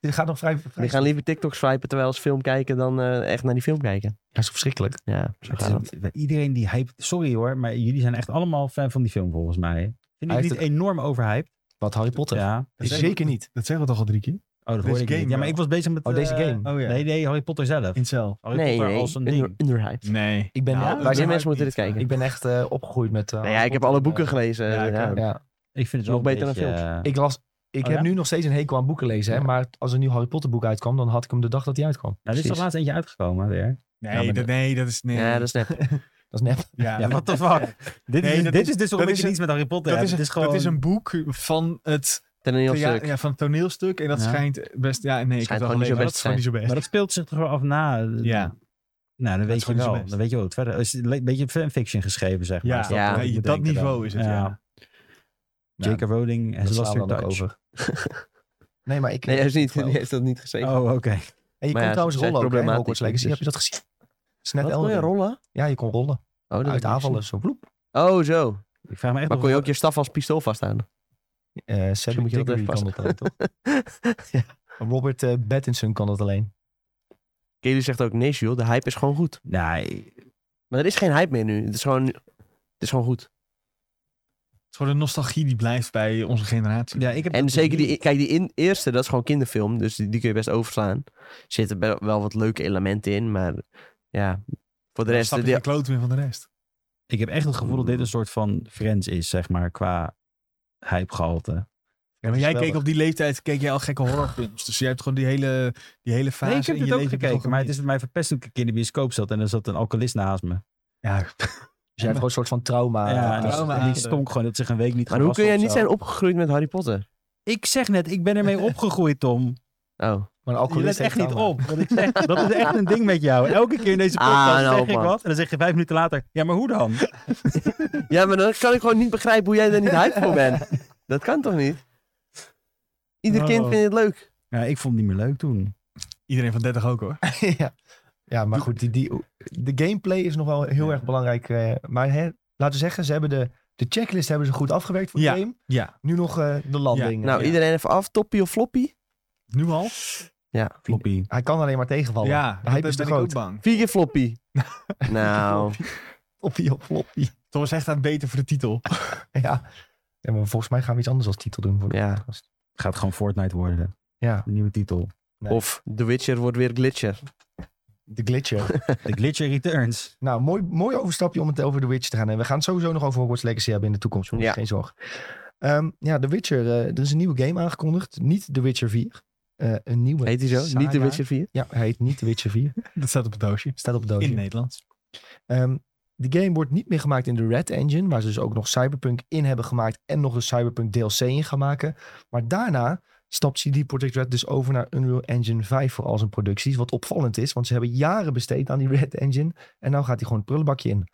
A: Dit gaat nog vrij... vrij
B: Die gaan liever TikTok swipen terwijl ze film kijken dan eh, echt naar die film kijken.
A: Ja, is verschrikkelijk.
B: Ja, zo
C: Het is
B: gaat dat.
C: een- Iedereen die hype... Sorry hoor, maar jullie zijn echt allemaal fan van die film volgens mij. Vinden
A: Hij
C: jullie
A: heeft
C: het enorm overhyped?
A: Wat Harry Potter?
C: Ja.
D: Dat zeggen we-
A: Zeker niet.
D: Dat zeggen we toch al drie keer?
C: Oh, dat
D: Deze
C: hoorde ik
D: game
C: niet. Ja, maar
D: wel.
C: ik was bezig met...
A: Oh, deze
C: eh,
A: game.
D: Oh ja.
C: Nee, nee, Harry Potter zelf.
D: In cel.
C: Harry
B: Nee,
C: Potter
B: nee,
C: als een
B: under-
C: ding.
B: underhyped.
D: Nee.
A: Ik ben,
C: Ja,
A: wij
B: Wij
A: zijn-
B: zijn mensen moeten dit kijken.
A: ik ben echt eh, opgegroeid met... eh,
B: Nou ja,
A: Harry
B: ik heb alle
A: Potter
B: boeken
A: en,
B: gelezen.
D: ja, ik
B: ja.
D: ook.
A: eh, ja.
C: Ik vind het
B: Nog
C: wel een
B: beter dan
C: beetje, eh,
A: Ik las... Ik
C: Oh,
A: heb
C: ja?
A: nu nog steeds een hekel aan boeken lezen. Hè?
B: Ja.
A: Maar als er nu Harry Potter boek uitkwam, dan had ik hem de dag dat hij uitkwam.
C: Nou, er is toch laatst eentje uitgekomen weer.
D: Nee, dat, nee, dat is... Nee.
B: Ja, dat is net.
A: Dat is nep.
D: Ja,
C: Ja, what the fuck? dit,
D: Nee,
C: is,
D: dat
C: dit
D: is-
C: is dus waarom
D: dat
C: ik
D: is
C: niets met Harry Potter
D: Dat
C: heb.
D: is, een,
C: het is gewoon...
D: dat is een boek van het,
B: Ten een heel
D: thea-
B: stuk.
D: ja, van het toneelstuk. En dat
C: Ja.
D: schijnt best... Ja, nee, ik
B: Schijnt
D: heb het
B: gewoon
D: al
B: niet zo
D: gelezen. maar Dat
B: best
D: is gewoon niet zo best.
C: Maar dat speelt zich toch wel af na... eh,
D: Ja.
C: Nou, dan weet
D: is
C: je
D: gewoon niet zo
C: wel.
D: best.
C: Dan weet je wel hoe het verder... Het is een beetje fanfiction geschreven, zeg maar.
D: Ja,
C: is
D: dat,
C: dat
B: Ja.
C: wat ik
D: nee,
C: moet
D: dat
C: denken dan.
D: niveau is het, ja. Ja.
C: J.K. Rowling
A: Dat
C: has lost
A: slaan we
C: her
A: dan ook
C: touch.
A: over. Nee, maar ik...
B: Nee, hij is niet,
A: ik-
B: die heeft dat niet geschreven.
C: Oh, oké.
A: En je
B: Maar
A: kon
B: ja,
A: trouwens
B: ze zijn
A: rollen ook, hè, in
B: problematisch,
A: Hogwarts Legacy.
B: dus-
A: Heb je dat gezien? Het is net
B: Wat, kon
A: Elden
B: je
A: Ring.
B: rollen?
A: Ja, je kon rollen.
B: Oh, dat
A: Uit
B: heb ik
A: aanvallen, zo vloep.
B: niet. Oh, zo.
C: Ik vraag me echt
B: Maar
C: af-
B: kon je ook je staf als pistool vasthouden?
A: Eh Sam
B: moet je dat
A: Diggory
B: even
A: kan dat alleen, toch?
B: Ja.
A: Robert eh, Pattinson kan dat alleen.
B: Kelly zegt ook, nee joh, de hype is gewoon goed.
C: Nee,
B: Maar er is geen hype meer nu. Het is gewoon, het is gewoon goed.
D: Het is gewoon de nostalgie die blijft bij onze generatie.
C: ja, ik heb
B: En
C: dat
B: zeker
C: niet.
B: die, kijk, die in, eerste, dat is gewoon kinderfilm. Dus die, die kun je best overslaan. Er zitten be- wel wat leuke elementen in, maar ja, voor de
D: Dan
B: rest...
D: stap je
B: die-
D: de kloot weer van de rest.
C: Ik heb echt het gevoel dat dit een soort van Friends is, zeg maar, qua hypegehalte.
D: Ja, maar jij
A: geweldig.
D: keek op die leeftijd keek jij al gekke horrorfilms. Dus jij hebt gewoon die hele, die hele fase
C: Nee, ik heb
D: in
C: dit
D: je
C: ook
D: leven
C: gekeken,
D: toch
C: maar het is voor mij verpest toen ik een keer in de bioscoop zat en er zat een alcoholist naast me.
D: Ja,
A: Dus jij hebt gewoon een soort van trauma.
C: ja,
A: eh,
C: en die-
D: Ah, trauma
C: en die
D: aan.
C: stonk gewoon dat zich een week niet
B: Maar hoe kun
C: gewassen
B: jij
C: of
B: niet
C: zo.
B: zijn opgegroeid met Harry Potter?
C: Ik zeg net, ik ben ermee opgegroeid, Tom.
B: Oh.
A: Maar een
C: Je let
A: alcoholist
C: echt
A: heeft
C: niet
A: trauma.
C: op. want ik zeg, dat is echt een ding met jou. Elke keer in deze
B: Ah,
C: podcast
B: nou,
C: zeg ik
B: man.
C: wat en dan zeg je vijf minuten later, ja, maar hoe dan?
B: Ja, maar dan kan ik gewoon niet begrijpen hoe jij daar niet hype voor bent. Dat kan toch niet? Ieder kind
C: Oh.
B: vindt het leuk.
C: Ja, ik vond het niet meer leuk toen.
D: iedereen van 30 ook hoor.
A: ja. ja, maar goed. Die, die, de gameplay is nog wel heel erg belangrijk. eh, maar hè, laten we zeggen, ze hebben de, de checklist hebben ze goed afgewerkt voor
D: Ja.
A: de game.
D: Ja,
A: Nu nog eh, de landing.
B: Nou,
A: Ja.
B: iedereen even af. Toppie of floppy?
D: nu al.
C: Floppy.
A: Hij kan alleen maar tegenvallen.
D: Ja,
A: de hype
D: dat
A: is te
D: ben ik ook
A: groot.
D: bang.
B: Vier keer floppy. nou,
A: Floppy op floppy.
D: Tom is echt aan het beter voor de titel.
A: Ja. ja, maar volgens mij gaan we iets anders als titel doen voor de
B: Ja.
A: podcast.
C: Gaat gewoon Fortnite worden,
A: Ja.
C: de nieuwe titel.
A: Nee.
B: of The Witcher wordt weer Glitcher.
A: De glitcher.
C: De Glitcher Returns.
A: nou, mooi, mooi overstapje om het over The Witcher te gaan. En we gaan het sowieso nog over Hogwarts Legacy hebben in de toekomst. jongens.
B: Ja.
A: Geen zorg. Ehm, ja, The Witcher. eh, er is een nieuwe game aangekondigd. Niet The Witcher 4. Eh, een nieuwe
B: Heet hij zo? Niet de
A: saga.
B: Witcher 4?
A: Ja, hij heet niet The Witcher 4.
D: Dat staat op het doosje.
A: Staat op het doosje.
D: In het Nederlands.
A: Ehm, de game wordt niet meer gemaakt in de Red Engine, waar ze dus ook nog Cyberpunk in hebben gemaakt en nog een Cyberpunk DLC in gaan maken. Maar daarna stapt CD Projekt Red dus over naar Unreal Engine 5 voor al zijn producties, wat opvallend is, want ze hebben jaren besteed aan die Red Engine en nou gaat hij gewoon het prullenbakje in.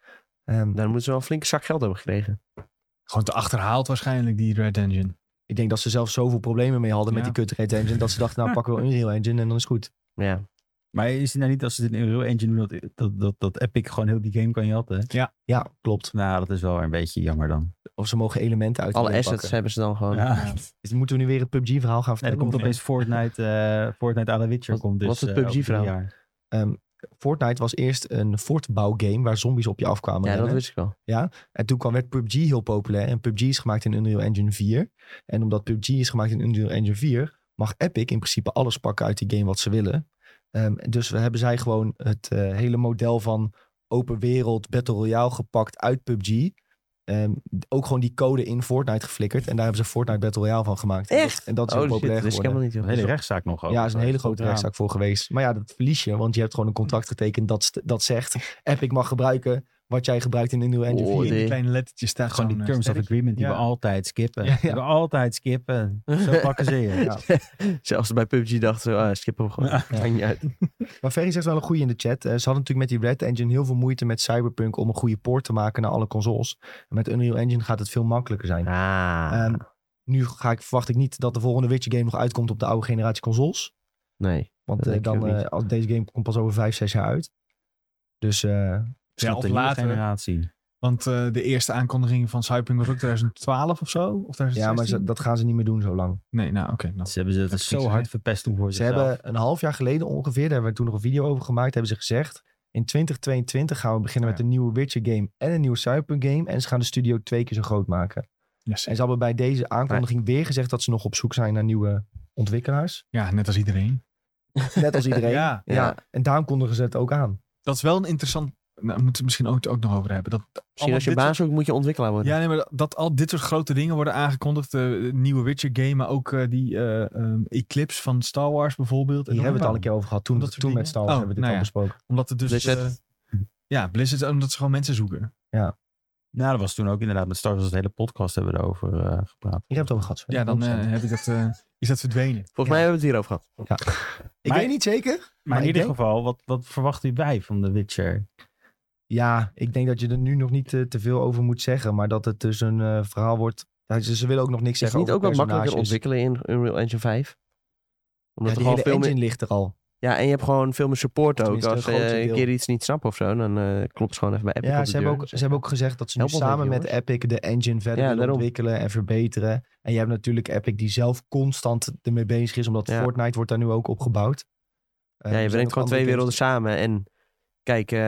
A: Ehm,
B: Daar moeten ze wel een flinke zak geld hebben gekregen.
D: Gewoon te achterhaald waarschijnlijk, die Red Engine.
A: ik denk dat ze zelf zoveel problemen mee hadden
D: Ja.
A: met die kut Red Engine, dat ze dachten, nou pakken we Unreal Engine en dan is het goed.
B: Ja.
C: Maar is het nou niet als ze het in Unreal Engine doen, dat, dat, dat, dat Epic gewoon heel die game kan jatten?
A: Ja, klopt.
C: Nou, dat is wel een beetje jammer dan.
A: Of ze mogen elementen uit de
B: Alle
A: game
B: assets
A: pakken.
B: hebben ze dan gewoon.
C: Ja.
A: Dus moeten we nu weer het PUBG-verhaal gaan
C: Nee,
A: vertellen?
C: er komt
A: of niet?
C: opeens Fortnite, eh Fortnite à la Witcher.
B: Wat-
C: komt dus,
B: wat is het
C: eh, over
B: PUBG verhaal?
C: drie jaar.
A: Ehm, Fortnite was eerst een fortbouwgame waar zombies op je afkwamen.
B: Ja, dat
A: rennen.
B: wist ik wel.
A: En toen kwam, werd PUBG heel populair. En PUBG is gemaakt in Unreal Engine 4. En omdat PUBG is gemaakt in Unreal Engine 4, mag Epic in principe alles pakken uit die game wat ze willen. Ehm, dus we hebben zij gewoon het eh, hele model van open wereld, battle royale gepakt uit PUBG. Ehm, ook gewoon die code in Fortnite geflikkerd. En daar hebben ze Fortnite Battle Royale van gemaakt. En dat-
B: Echt?
A: En dat is
B: oh,
A: heel
B: shit,
A: populair
B: dat wist ik
A: geworden.
B: helemaal niet.
C: Een
B: joh.
C: hele rechtszaak nog over.
A: Ja, er is een hele grote
C: Ja.
A: rechtszaak voor geweest. Maar ja, dat verlies je, want je hebt gewoon een contract getekend dat, st- dat zegt... Epic mag gebruiken wat jij gebruikt in Unreal Engine
B: Oh,
A: 4.
D: In die
B: de-
D: kleine lettertjes staat
C: Gewoon die
D: zo'n, eh,
C: terms of
D: sterretje.
C: agreement die
D: Ja.
C: we altijd skippen.
A: Ja, ja.
C: Die we altijd skippen. Zo pakken ze je.
A: Ja.
B: Zelfs bij PUBG dachten ze, ah, skip hem gewoon.
C: Ja.
B: Maakt niet uit.
A: Maar Ferry zegt wel een goede in de chat. Eh, ze hadden natuurlijk met die Red Engine heel veel moeite met Cyberpunk om een goede poort te maken naar alle consoles. En met Unreal Engine gaat het veel makkelijker zijn.
B: Ah,
A: Ehm, nu ga ik, verwacht ik niet dat de volgende Witcher game nog uitkomt op de oude generatie consoles.
B: nee.
A: Want
B: Dat
A: eh,
B: denk ik
A: dan,
B: ook niet.
A: eh, als deze game komt pas over vijf, zes jaar uit. Dus eh,
C: Snap
D: of
C: de nieuwe
D: later.
C: generatie.
D: Want eh, de eerste aankondiging van Cyberpunk was ook 2012 of zo? Of 2016?
A: ja, maar ze- dat gaan ze niet meer doen zo lang.
D: Nee, nou oké. nou.
C: Ze hebben ze
D: Dat
C: het
D: is
C: zo
D: niks,
C: hard
D: hè?
C: verpest toen voor
A: Ze
C: zichzelf.
A: hebben een half jaar geleden ongeveer, daar hebben we toen nog een video over gemaakt, hebben ze gezegd. In 2022 gaan we beginnen
D: Ja.
A: met een nieuwe Witcher game en een nieuwe Cyberpunk game. En ze gaan de studio twee keer zo groot maken.
D: Yes.
A: En ze hebben bij deze aankondiging weer gezegd dat ze nog op zoek zijn naar nieuwe ontwikkelaars.
D: Ja, net als iedereen.
A: Net als iedereen. ja.
D: Ja,
B: Ja.
A: En daarom kondigen ze het ook aan.
D: dat is wel een interessant... Nou, daar moeten we het misschien ook, ook nog over hebben. Dat
B: Misschien
D: allemaal
B: als je
D: dit soort-
B: baas ook moet je ontwikkelaar worden.
D: Ja, nee, maar dat- dat al dit soort grote dingen worden aangekondigd. eh, nieuwe Witcher game, maar ook eh, die eh, ehm, Eclipse van Star Wars bijvoorbeeld. En
A: Hier
D: nog
A: hebben we het al een
D: meer.
A: keer over gehad. Toen,
D: Dat soort
A: toen met
D: dingen.
A: Star Wars
D: Oh,
A: hebben we dit
D: nou
A: al
D: ja.
A: besproken.
D: Omdat het dus...
B: Blizzard.
D: eh, ja, Blizzard, omdat ze gewoon mensen zoeken.
C: Nou, dat was toen ook inderdaad met Star Wars. De hele podcast hebben we erover eh, gepraat.
A: Hier hebben we het over gehad. sorry.
D: Ja, dan eh, heb ik dat, eh, is dat verdwenen.
B: Volgens mij hebben we het hierover gehad.
A: Ik
C: Maar-
A: weet niet zeker.
C: Maar in
A: ik
C: ieder
A: denk-
C: geval, wat, wat verwacht u bij van The Witcher?
A: Ja, ik denk dat je er nu nog niet eh, te veel over moet zeggen. Maar dat het dus een eh, verhaal wordt. Ja, ze, ze willen ook nog niks
B: Is het
A: zeggen
B: niet ook
A: over
B: wat makkelijker
A: personages.
B: ontwikkelen in Unreal Engine 5?
A: Ja,
B: Omdat er
A: die
B: gewoon
A: hele
B: veel
A: engine
B: meer...
A: ligt er al.
B: Ja, en je hebt gewoon veel meer support ook.
A: Tenminste,
B: Als
A: een
B: ze
A: groot
B: eh, een
A: deel.
B: keer iets niet snappen of zo, dan eh, klopt het gewoon even bij Epic op
A: ja,
B: de
A: ze hebben,
B: deur.
A: ook, ze hebben ook gezegd dat ze nu
B: Help ons
A: samen
B: even,
A: met Epic de engine verder
B: Ja,
A: willen
B: daarom.
A: ontwikkelen en verbeteren. En je hebt natuurlijk Epic die zelf constant ermee bezig is, omdat
B: Ja.
A: Fortnite wordt daar nu ook op gebouwd. Eh,
B: Ja,
A: er zijn
B: je brengt
A: ook
B: gewoon
A: andere
B: twee werelden
A: games-
B: samen. En kijk, eh,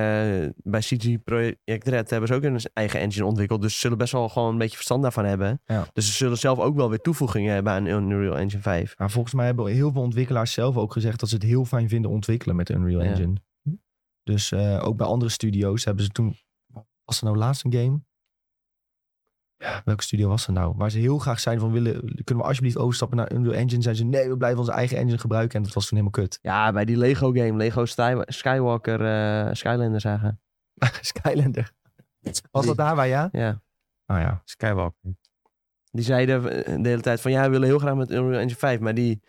B: bij CG Projekt Red hebben ze ook hun eigen engine ontwikkeld. Dus ze zullen best wel gewoon een beetje verstand daarvan hebben.
A: Ja.
B: Dus ze zullen zelf ook wel weer toevoegingen hebben aan Unreal Engine 5.
A: Maar Nou, volgens mij hebben heel veel ontwikkelaars zelf ook gezegd dat ze het heel fijn vinden ontwikkelen met Unreal
B: Ja.
A: Engine. Dus eh, ook bij andere studio's hebben ze toen. Was er nou laatst een game? Ja, welke studio was er nou? Waar ze heel graag zijn van willen. Kunnen we alsjeblieft overstappen naar Unreal Engine? Zijn ze nee, we blijven onze eigen engine gebruiken. En dat was toen helemaal kut.
B: Ja, bij die Lego game, Lego Sky- Skywalker, eh Skylander zagen.
A: Skylander. Was
B: Die-
A: dat daar waar, ja?
B: Ja.
A: Oh ja.
C: Skywalker.
B: Die zeiden eh, de hele tijd van ja, we willen heel graag met Unreal Engine 5. Maar die,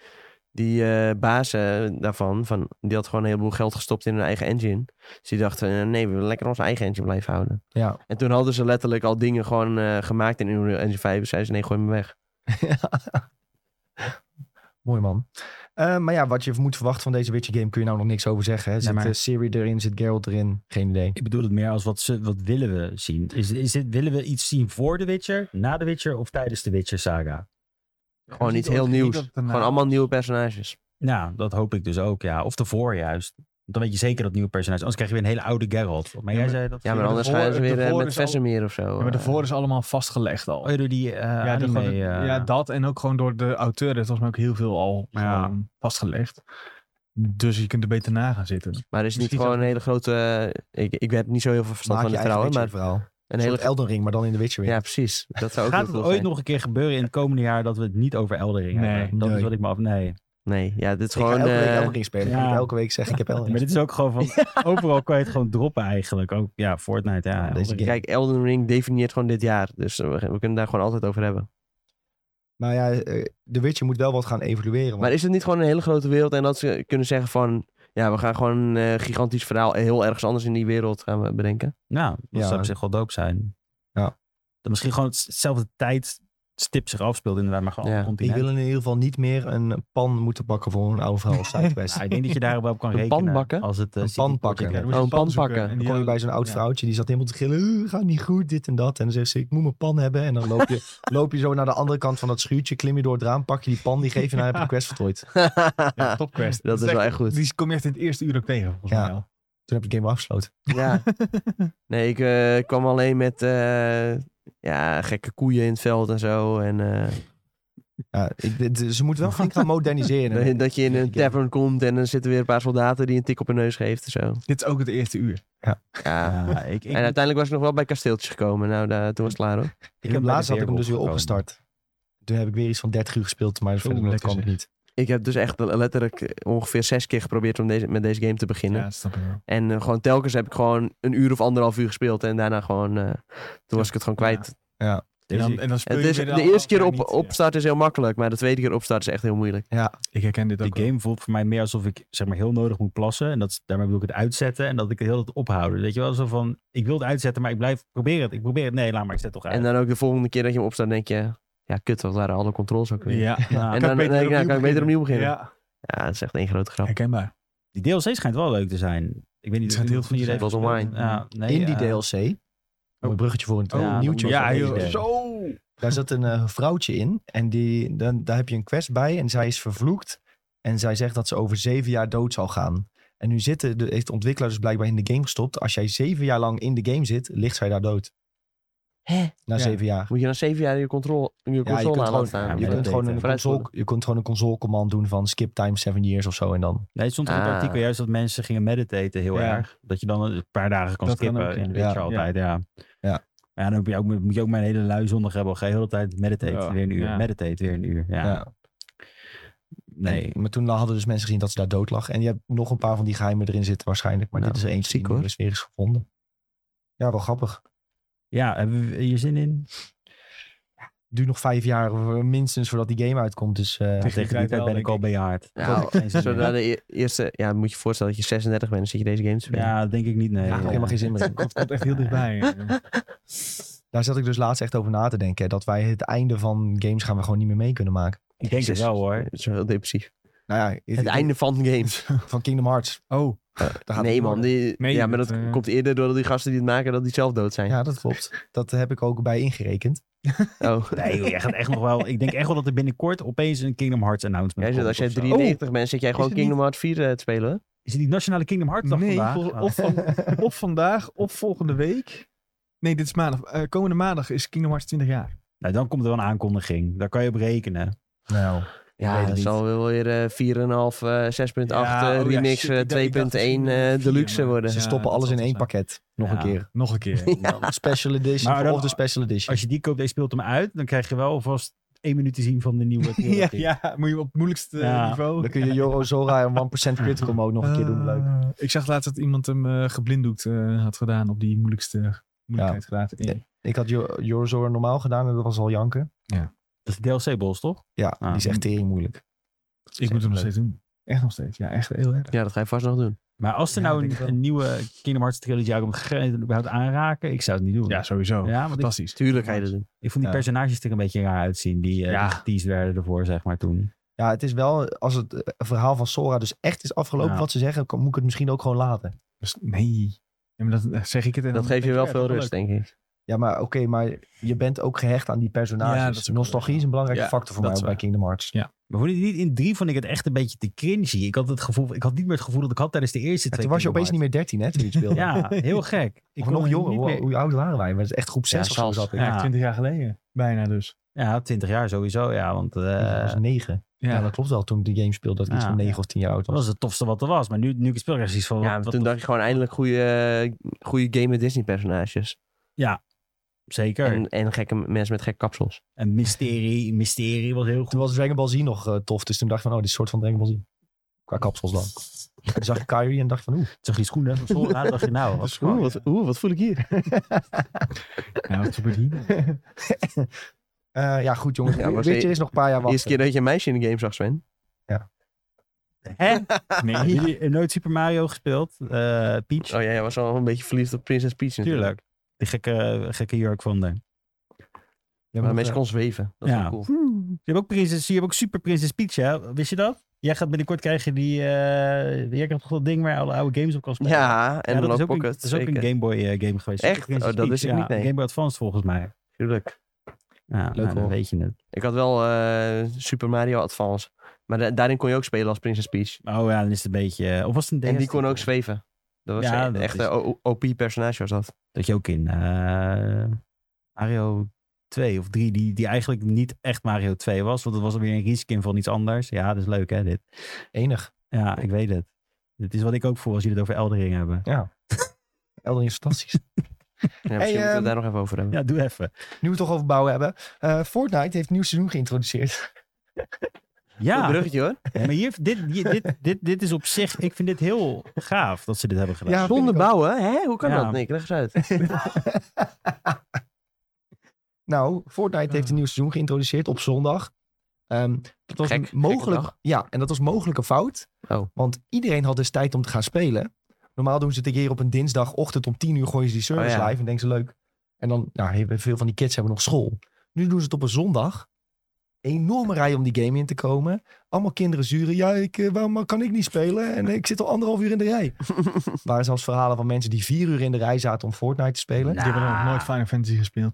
B: die eh, bazen daarvan, van, die had gewoon een heleboel geld gestopt in hun eigen engine. Dus die dachten, eh, nee, we willen lekker onze eigen engine blijven houden.
A: Ja.
B: En toen hadden ze letterlijk al dingen gewoon eh, gemaakt in Unreal Engine 5. Dus zeiden ze, nee, gooi me weg.
A: Mooi man. Eh, maar ja, wat je moet verwachten van deze Witcher game kun je nou nog niks over zeggen. Hè? Zit
C: maar-
A: eh, Siri erin, zit Geralt erin? Geen idee.
C: Ik bedoel het meer als wat, ze, wat willen we zien? Is, is dit, willen we iets zien voor The Witcher, na The Witcher of tijdens de Witcher saga?
B: Gewoon
D: niet
B: iets heel
D: ook-
B: nieuws.
D: niet dat het eh, daarna-
B: Gewoon allemaal nieuwe personages.
C: Nou, dat hoop ik dus ook, ja. Of tevoren juist. Dan weet je zeker dat nieuwe personage. Anders krijg je weer een hele oude Geralt. Maar
D: Ja,
C: jij
D: maar-
C: zei dat...
B: Ja, maar
D: maar
B: anders
D: daarvoor-
B: gaan ze weer eh,
D: daarvoor
B: met
D: is al-
B: Vesemir of zo.
D: Ja, maar
B: eh.
D: daarvoor is allemaal vastgelegd al.
C: Oh, ja, door die eh
D: Ja, de-
C: anime...
D: gewoon de-
C: eh,
D: ja, dat en ook gewoon door de auteur. Dat was me ook heel veel al
C: Ja.
D: gewoon vastgelegd. Dus je kunt er beter na gaan zitten.
B: Maar is het niet
A: Misschien
B: gewoon een hele grote... eh, Ik, ik heb niet zo heel veel verstand
A: Maak
B: van
A: je
B: de
A: eigen
B: vrouwen,
A: Witcher
B: maar
A: verhaal.
B: een
A: Een
B: hele...
A: hele Elden Ring, maar dan in de Witcher weer.
B: Ja, precies. Dat zou ook heel
C: Gaat het
B: cool
C: ooit
B: zijn.
C: nog een keer gebeuren in het komende jaar dat we het niet over Elden Ring
D: Nee,
C: hebben? Dat
A: nee.
C: is wat ik me af... Nee.
B: Nee, ja, dit is
A: ik ga
B: gewoon...
A: elke week
B: eh,
A: Elden Ring spelen.
C: ja.
A: Ik elke week zeg ik heb Elden
C: Maar
A: Ring.
C: dit is ook gewoon van... Overal kan je het gewoon droppen eigenlijk. Ook, ja, Fortnite, ja.
A: Deze
C: Elden Ring.
A: game.
B: Kijk, Elden Ring definieert gewoon dit jaar. Dus eh, we, we kunnen daar gewoon altijd over hebben.
A: Maar ja, eh, de Witcher moet wel wat gaan evolueren.
B: Maar
A: Want
B: is het niet gewoon een hele grote wereld en dat ze kunnen zeggen van... Ja, we gaan gewoon een eh, gigantisch verhaal heel ergens anders in die wereld gaan we bedenken.
C: Nou, dat
A: Ja.
C: zou op zich wel dope zijn.
A: Ja.
C: Dat misschien gewoon hetzelfde tijdstip zich afspeelt inderdaad, maar gewoon
B: Ja.
C: op het
A: die
C: continent.
A: willen in ieder geval niet meer een pan moeten pakken voor een oude verhaal als Zuidwest.
C: Ja, ik denk dat je daar wel op kan
B: Een pan
C: rekenen.
B: bakken?
C: Als het, eh,
A: Een
C: City
A: pan
C: Project
A: bakken.
C: werd.
B: je een pan pakken.
A: Dan kom je bij zo'n oud
D: Ja.
A: vrouwtje die zat helemaal te gillen. "Eh, gaat niet goed, dit en dat. En dan zegt ze, ik moet mijn pan hebben. En dan loop je, loop je zo naar de andere kant van dat schuurtje. Klim je door het raam, pak je die pan, die geef je naar heb je de quest voltooid.
D: Ja, eh, topquest.
B: dat is wel echt goed.
D: Die kom je echt in het eerste uur ook tegen, volgens
A: Ja.
D: mij al.
A: Toen heb ik de game wel afgesloten.
B: Ja. Nee, ik eh, kwam alleen met eh, ja, gekke koeien in het veld en zo. En eh,
A: Ja, ik- dit- ze moeten wel flink gaan moderniseren.
B: dat- dat je in een
A: Ik-
B: tavern komt en dan zitten weer een paar soldaten die een tik op hun neus geeft en zo.
D: Dit is ook het eerste uur.
B: Ja.
C: Ja, ik, ik,
B: En uiteindelijk was ik nog wel bij kasteeltjes gekomen. Nou, daar, toen was het klaar hoor.
A: Ik heb laatst had ik hem dus weer opgestart. Toen heb ik weer iets van 30 uur gespeeld, maar verder
D: Oeh,
A: dat
D: lekker
A: kwam ik niet.
B: Ik heb dus echt letterlijk eh, ongeveer zes keer geprobeerd om deze, met deze game te beginnen.
D: Ja, dat snap ik wel.
B: En eh, gewoon telkens heb ik gewoon een uur of anderhalf uur gespeeld. En daarna gewoon, eh, toen was ik het gewoon kwijt.
D: En dan,
C: Deze-
D: en dan speel
B: Het
D: je
B: is,
D: weer
B: de
D: afgelopen
B: eerste keer
D: jaar
B: op,
D: niet.
B: opstart is heel makkelijk. Maar de tweede keer opstart is echt heel moeilijk.
D: Ja, ik herken dit ook.
C: Die game voelt voor mij meer alsof ik zeg maar heel nodig moet plassen. En dat, is- daarmee bedoel ik het uitzetten. En dat ik het heel het ophouden. Weet je wel, zo van, ik wil het uitzetten, maar ik blijf proberen het. Ik probeer het. Nee, laat maar, ik zet toch uit.
B: En dan ook de volgende keer dat je hem opstart, denk je... Ja, kut, wat waren alle controls ook
D: wel.
B: weer.
D: Ja.
C: Nou,
B: en
D: Kan
B: dan
D: ik
B: denk
D: beter
B: ik, nou,
D: opnieuw
B: kan ik beter opnieuw beginnen. Ja.
D: Ja,
B: dat is echt één grote grap.
D: herkenbaar.
C: die DLC schijnt wel leuk te zijn. Ik weet niet
D: Het schijnt heel
C: hoeveel
D: goed te
C: jullie
B: zijn.
C: hebben
B: Het was
C: gespeeld. Ja, nee,
A: In die
C: eh,
A: DLC, om
D: Oh.
A: een bruggetje voor een
C: Oh,
A: een nieuwtje.
C: ja,
A: over deze
C: joh.
A: game.
D: Zo!
A: Daar zat een eh, vrouwtje in en die, dan, daar heb je een quest bij en zij is vervloekt. En zij zegt dat ze over zeven jaar dood zal gaan. En nu zitten, de, heeft de ontwikkelaar dus blijkbaar in de game gestopt. Als jij zeven jaar lang in de game zit, ligt zij daar dood.
B: Hè?
A: Na
D: Ja.
A: zeven jaar.
B: Moet je dan zeven jaar je controle, je
A: Ja, je
B: console
A: kunt
B: aan laten
A: gewoon,
B: staan?
C: ja,
A: je,
C: maar
A: kunt
C: dat eh,
A: gewoon
C: deed
A: een
B: hij.
A: console, je kunt gewoon een console command doen van skip time seven years of zo. En dan
C: Nee, het stond in het
B: Ah.
C: artikel juist dat mensen gingen meditaten heel
D: Ja.
C: erg. Dat je dan een paar dagen kan
D: Dat kan
C: skippen
D: ook, ja.
C: in de Witcher
A: Ja.
C: altijd, ja.
A: Ja.
C: Maar ja, dan heb je ook, moet je ook mijn hele lui zondag hebben. Ga je de hele tijd meditate,
D: Ja.
C: weer een uur,
D: Ja.
C: meditate, weer een uur. Ja.
A: Ja.
C: Nee,
A: En- maar toen hadden dus mensen gezien dat ze daar dood lag. En je hebt nog een paar van die geheimen erin zitten waarschijnlijk. Maar
B: Nou,
A: dit is er eentje
B: ziek,
A: die nu
B: hoor.
A: dus weer is gevonden. Ja, wel grappig.
C: ja, hebben we hier zin in? Eh,
A: Duurt nog vijf jaar eh, minstens voordat die game uitkomt. Dus eh,
D: Tegen die
C: Tegen die
D: tijd
C: tijd
D: wel,
C: ben ik
D: denk
C: al
D: ik.
C: bejaard.
B: Nou,
C: Geen zin
B: zodra
C: meer.
B: de e- eerste... Ja, moet je je voorstellen dat je 36 bent en zit je deze game te spelen.
C: Ja, denk ik niet, nee.
A: daar heb ik helemaal geen zin meer in.
D: Dat komt echt heel dichtbij. Oh,
A: Daar zat ik dus laatst echt over na te denken. Dat wij het einde van games gaan we gewoon niet meer mee kunnen maken.
C: Ik denk het wel, hoor.
B: Het is wel heel depressief.
A: Nou ja,
B: Het einde van games.
A: van Kingdom Hearts.
D: Oh,
A: Daar gaat
B: Nee
A: het
B: man,
A: door.
B: die,
D: Nee,
B: ja, maar
D: dat,
B: dat
D: eh,
B: komt eerder doordat die gasten die het maken, dat die zelf dood zijn.
A: Ja, dat klopt. Dat heb ik ook bij ingerekend.
B: Oh.
C: Nee, joh, jij gaat echt nog wel... Ik denk echt wel dat er binnenkort opeens een Kingdom Hearts announcement
B: Jij zit,
C: komt.
B: als jij
C: of zo.
B: 93 bent, zit jij gewoon
D: het niet-
B: Kingdom Hearts 4 eh, te spelen. hoor.
C: Is het die Nationale Kingdom Hearts dag
D: nee,
C: vandaag?
D: vol-
C: Oh.
D: of, van,
B: Nou,
D: of vandaag of volgende week. Nee, dit is maandag. Eh, komende maandag is Kingdom Hearts 20 jaar.
C: Nou, dan komt er wel een aankondiging. Daar kan je op rekenen.
A: Nou,
B: Ja,
A: weet het
B: dat
A: niet.
B: zal wel weer eh 4,5, eh, 6,8
D: Ja,
B: eh,
D: oh ja,
B: remix
D: shit,
B: eh,
D: ik dacht- ik dacht
B: 2.1
D: misschien
B: eh,
D: vier,
B: deluxe
D: maar-
B: worden.
A: ze
D: Ja,
A: stoppen
D: dat
A: alles
D: zal
A: in
D: het
A: één
D: zijn.
A: pakket. Nog
C: Ja.
A: een keer.
D: Nog een keer.
A: Dan de special edition
C: Maar dan-
A: of de special edition.
C: Als je die koopt en je speelt hem uit, dan krijg je wel alvast één minuut te zien van de nieuwe
D: Ja,
C: trilogie.
D: ja, moet je op het moeilijkste eh,
C: Ja,
D: niveau.
A: Dan kun je Joro Zora en 1% Critical Mode nog een keer doen. Leuk.
D: Eh, ik zag laatst dat iemand hem eh, geblinddoekt eh, had gedaan op die moeilijkste moeilijkheidsgraad.
A: Ja. Ik had Jo- Joro Zora normaal gedaan en dat was al janken.
C: Dat is de DLC-boss, toch?
A: Ja,
C: Ah.
A: die is echt tering moeilijk.
D: Ik moet hem nog steeds doen. Echt nog steeds. Ja, echt heel erg.
B: Ja, dat ga je vast nog doen.
C: Maar als er
D: Ja,
C: nou
D: denk ik
C: een,
D: wel.
C: een nieuwe Kingdom Hearts trilogie uitkomt, ga je het überhaupt aanraken? Ik zou het niet doen.
D: Ja, sowieso.
C: Ja, want ik,
D: Fantastisch.
B: Tuurlijk ga je dat doen.
C: ik vond die
A: Ja.
C: personages er een beetje raar uitzien. Die eh
D: Ja.
C: die geteased werden ervoor, zeg maar, toen.
A: Ja, het is wel, als het eh, verhaal van Sora dus echt is afgelopen,
C: Ja.
A: wat ze zeggen, kan- moet ik het misschien ook gewoon laten.
D: Dus- nee. Ja, maar dat eh, zeg ik het. En
B: Dat
D: dan
B: geeft je
D: denk
B: wel
D: ik, ja,
B: veel
D: dat is
B: rust, denk ik.
A: Ja, maar oké, maar je bent ook gehecht aan die personages.
D: Ja, dat is ook
A: Nostalgie
D: wel-
A: is een belangrijke
D: Ja,
A: factor voor mij
D: dat is
A: ook bij
D: waar.
A: Kingdom Hearts.
C: Maar vond je niet in drie vond ik het echt een beetje te cringy. Ik had het gevoel, ik had niet meer het gevoel dat ik had tijdens de eerste
A: Ja,
C: twee.
A: toen was je
C: Kingdom
A: opeens niet meer 13, hè, toen je het speelde.
C: Hearts. Ja, heel gek.
A: ik
C: kon
A: nog
C: er
A: jonger.
C: niet
A: Hoe,
C: meer-
A: hoe oud waren wij? We waren echt groep 6 of zo
B: zelfs.
A: zat ik.
C: Ja.
D: leuk. Ja, 20 jaar geleden. Bijna dus.
C: Ja, 20 jaar sowieso, ja. Want eh,
A: ik was negen. Ja.
D: Ja,
A: dat klopt wel. Toen de game speelde dat ik iets
C: Ja.
A: van negen of tien jaar oud
C: dat
A: was.
C: was het tofste wat er was. Maar nu, nu ik het speel, krijg ik zoiets van...
B: Ja,
C: wat- wat-
B: toen dacht ik gewoon eindelijk goede, goede game met Disney-personages.
C: Zeker. En,
B: En, en gekke mensen met gekke kapsels.
C: mysterie, mysterie was heel goed.
A: Toen was Dragon Ball Z nog eh, tof. Dus toen dacht ik van, oh, dit is een soort van Dragon Ball Z. Qua kapsels dan. En toen zag ik Kyrie en dacht van, oeh.
C: Toen zag je die schoenen van school aan, dacht je nou... Wat,
B: voel ik hier?
D: ja, nou, wat gebeurt hier?
A: Eh, ja, goed jongens.
B: Ja,
A: Weet
B: maar
A: Witcher
B: ze-
A: is nog een paar jaar wachten.
B: Eerste keer dat je een meisje in de game zag, Sven.
C: Hè? Hebben
D: Nee,
C: jullie nooit Super Mario gespeeld? Eh, Peach?
B: Oh ja, jij was wel een beetje verliefd op Princess Peach natuurlijk.
C: Tuurlijk. Die gekke, gekke jurk van haar.
A: Ja,
B: Maar
A: maar
B: een beetje
A: dat,
B: kon zweven. Dat is
C: Ja.
B: wel cool.
C: Je hebt ook, prinses, je hebt ook Super Prinses Peach, hè? Wist je dat? Jij gaat binnenkort krijgen die... eh, jij krijgt toch dat ding waar alle oude games op kan spelen?
B: Ja, en
C: Ja,
B: dan
C: dat
B: ook
C: is ook,
B: Pocket.
C: een, dat is ook
B: zeker.
C: een Game Boy eh, game geweest. Super
B: Echt?
C: Princess
B: Oh, dat wist ik
C: Peach,
B: niet, nee.
C: Game Boy Advance volgens mij.
B: Tuurlijk.
C: Ja, nou, dan
B: hoor.
C: weet je het.
B: Ik had wel eh, Super Mario Advance. Maar da- daarin kon je ook spelen als Princess Peach.
C: Oh ja, dan is het een beetje... eh, Of was het een DS?
B: En die kon ook zweven. Dat was
C: Ja,
B: een
C: dat
B: echt eh,
C: is-
B: een OP-personage was dat.
C: Dat je ook in eh, Mario 2 of 3, die, die eigenlijk niet echt Mario 2 was. Want het was weer een reskin van iets anders. Ja, dat is leuk hè, dit.
A: enig.
C: Ja, ik weet het. Dit is wat ik ook voel als jullie het over Eldering hebben.
A: Elden Ring is fantastisch.
B: Ja, misschien moeten we
A: ehm,
B: het daar nog even over hebben.
C: Ja, doe even.
A: Nu we het toch over bouwen hebben. Eh, Fortnite heeft een nieuw seizoen geïntroduceerd.
B: Goed
C: Ja,
B: bruggetje hoor.
C: Oh, maar hier, dit, hier- dit, dit, dit is op zich, ik vind dit heel gaaf dat ze dit hebben gedaan.
A: Ja, vind
B: Zonder
A: ik ook.
B: bouwen, hè? Hoe kan
C: Ja.
B: dat? Nick, leg eens uit.
A: Nou, Fortnite
B: Ah.
A: heeft een nieuw seizoen geïntroduceerd op zondag. Ehm, dat was
B: Gek,
A: een
B: gekke
A: mogelijk,
B: dag.
A: ja, en dat was mogelijk een fout.
B: Oh.
A: Want iedereen had dus tijd om te gaan spelen. Normaal doen ze het een keer op een dinsdagochtend om 10 uur gooien ze die service
B: Oh ja.
A: live en denken ze leuk. En dan, nou, heel- veel van die kids hebben nog school. Nu doen ze het op een zondag. Enorme rij om die game in te komen. Allemaal kinderen zuren. Ja, ik, eh, waarom kan ik niet spelen? En eh, ik zit al anderhalf uur in de rij. Er waren zelfs verhalen van mensen die vier uur in de rij zaten om Fortnite te spelen.
D: die hebben nog nooit Final Fantasy gespeeld.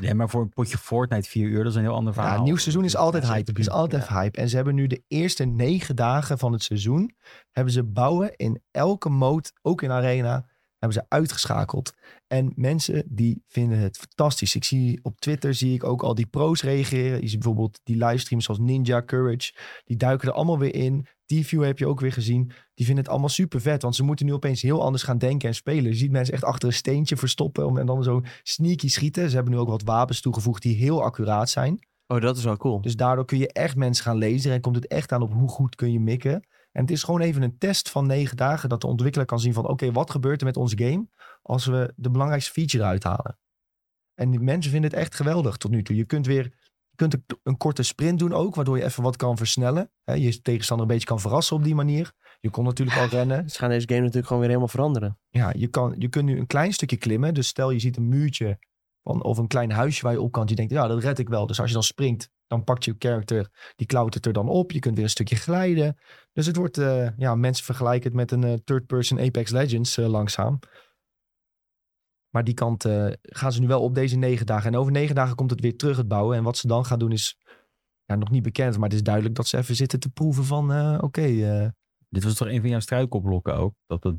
C: Nee, maar voor een potje Fortnite 4 uur, dat is een heel ander verhaal.
A: Ja, het nieuw seizoen is altijd
C: Ja,
A: hype. Het is altijd hype. En ze hebben nu de eerste negen dagen van het seizoen... hebben ze bouwen in elke mode, ook in Arena... hebben ze uitgeschakeld. En mensen die vinden het fantastisch. Ik zie op Twitter zie ik ook al die pro's reageren. Je ziet bijvoorbeeld die livestreams zoals Ninja Courage. Die duiken er allemaal weer in. T-View heb je ook weer gezien. Die vinden het allemaal super vet. Want ze moeten nu opeens heel anders gaan denken en spelen. Je ziet mensen echt achter een steentje verstoppen. om- En dan zo sneaky schieten. Ze hebben nu ook wat wapens toegevoegd die heel accuraat zijn.
B: Oh, dat is wel cool.
A: Dus daardoor kun je echt mensen gaan lezen en komt het echt aan op hoe goed kun je mikken. En het is gewoon even een test van negen dagen dat de ontwikkelaar kan zien van oké, wat gebeurt er met onze game als we de belangrijkste feature eruit halen. En die mensen vinden het echt geweldig tot nu toe. Je kunt weer je kunt een, een korte sprint doen ook, waardoor je even wat kan versnellen. Hè, je tegenstander een beetje kan verrassen op die manier. Je kon natuurlijk al rennen.
B: Dus Ze gaan deze game natuurlijk gewoon weer helemaal veranderen.
A: Ja, je, kan, je kunt nu een klein stukje klimmen. Dus stel je ziet een muurtje van, of een klein huisje waar je op kan. Je denkt, ja, dat red ik wel. Dus als je dan springt, dan pakt je character, die klautert er dan op. Je kunt weer een stukje glijden. Dus het wordt, eh, ja, mensen vergelijken het met een eh, third-person Apex Legends eh, langzaam. Maar die kant eh, gaan ze nu wel op deze negen dagen. En over negen dagen komt het weer terug, het bouwen. En wat ze dan gaan doen is, ja, nog niet bekend. Maar het is duidelijk dat ze even zitten te proeven van, eh, oké, eh,
C: Dit was toch een van jouw struikelblokken ook? Dat het,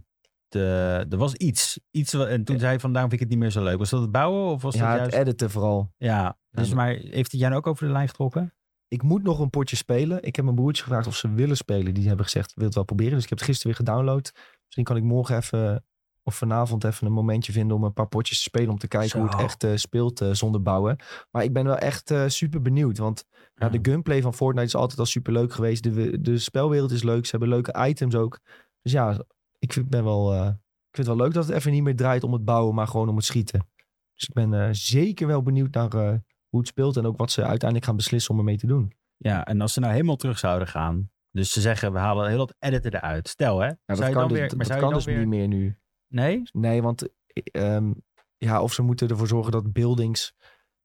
C: eh, er was iets. iets wa- en toen zei hij van, daarom vind ik het niet meer zo leuk. Was dat het bouwen of was
A: ja,
C: dat
A: het
C: juist...
A: editen vooral.
C: ja, dus
A: Ja,
C: maar heeft hij jou nou ook over de lijn getrokken?
A: ik moet nog een potje spelen. Ik heb mijn broertje gevraagd of ze willen spelen. Die hebben gezegd, wil het wel proberen. Dus ik heb het gisteren weer gedownload. Misschien kan ik morgen even, of vanavond even een momentje vinden om een paar potjes te spelen. Om te kijken hoe het
C: Zo.
A: echt eh, speelt eh, zonder bouwen. Maar ik ben wel echt eh, super benieuwd. Want ja, de gunplay van Fortnite is altijd al super leuk geweest. De, we- de spelwereld is leuk. Ze hebben leuke items ook. Dus ja, ik vind, ben wel, eh, ik vind het wel leuk dat het even niet meer draait om het bouwen, maar gewoon om het schieten. Dus ik ben eh, zeker wel benieuwd naar eh, hoe het speelt en ook wat ze uiteindelijk gaan beslissen om ermee te doen.
C: Ja, en als ze nou helemaal terug zouden gaan. Dus ze zeggen, we halen heel dat editen eruit. Stel hè.
A: Ja, dat
C: zou je
A: kan
C: dan
A: dus,
C: weer, maar
A: dat
C: zou
A: kan
C: je dan
A: dus
C: weer...
A: niet meer nu.
C: Nee?
A: Nee, want eh, ehm, ja, of ze moeten ervoor zorgen dat buildings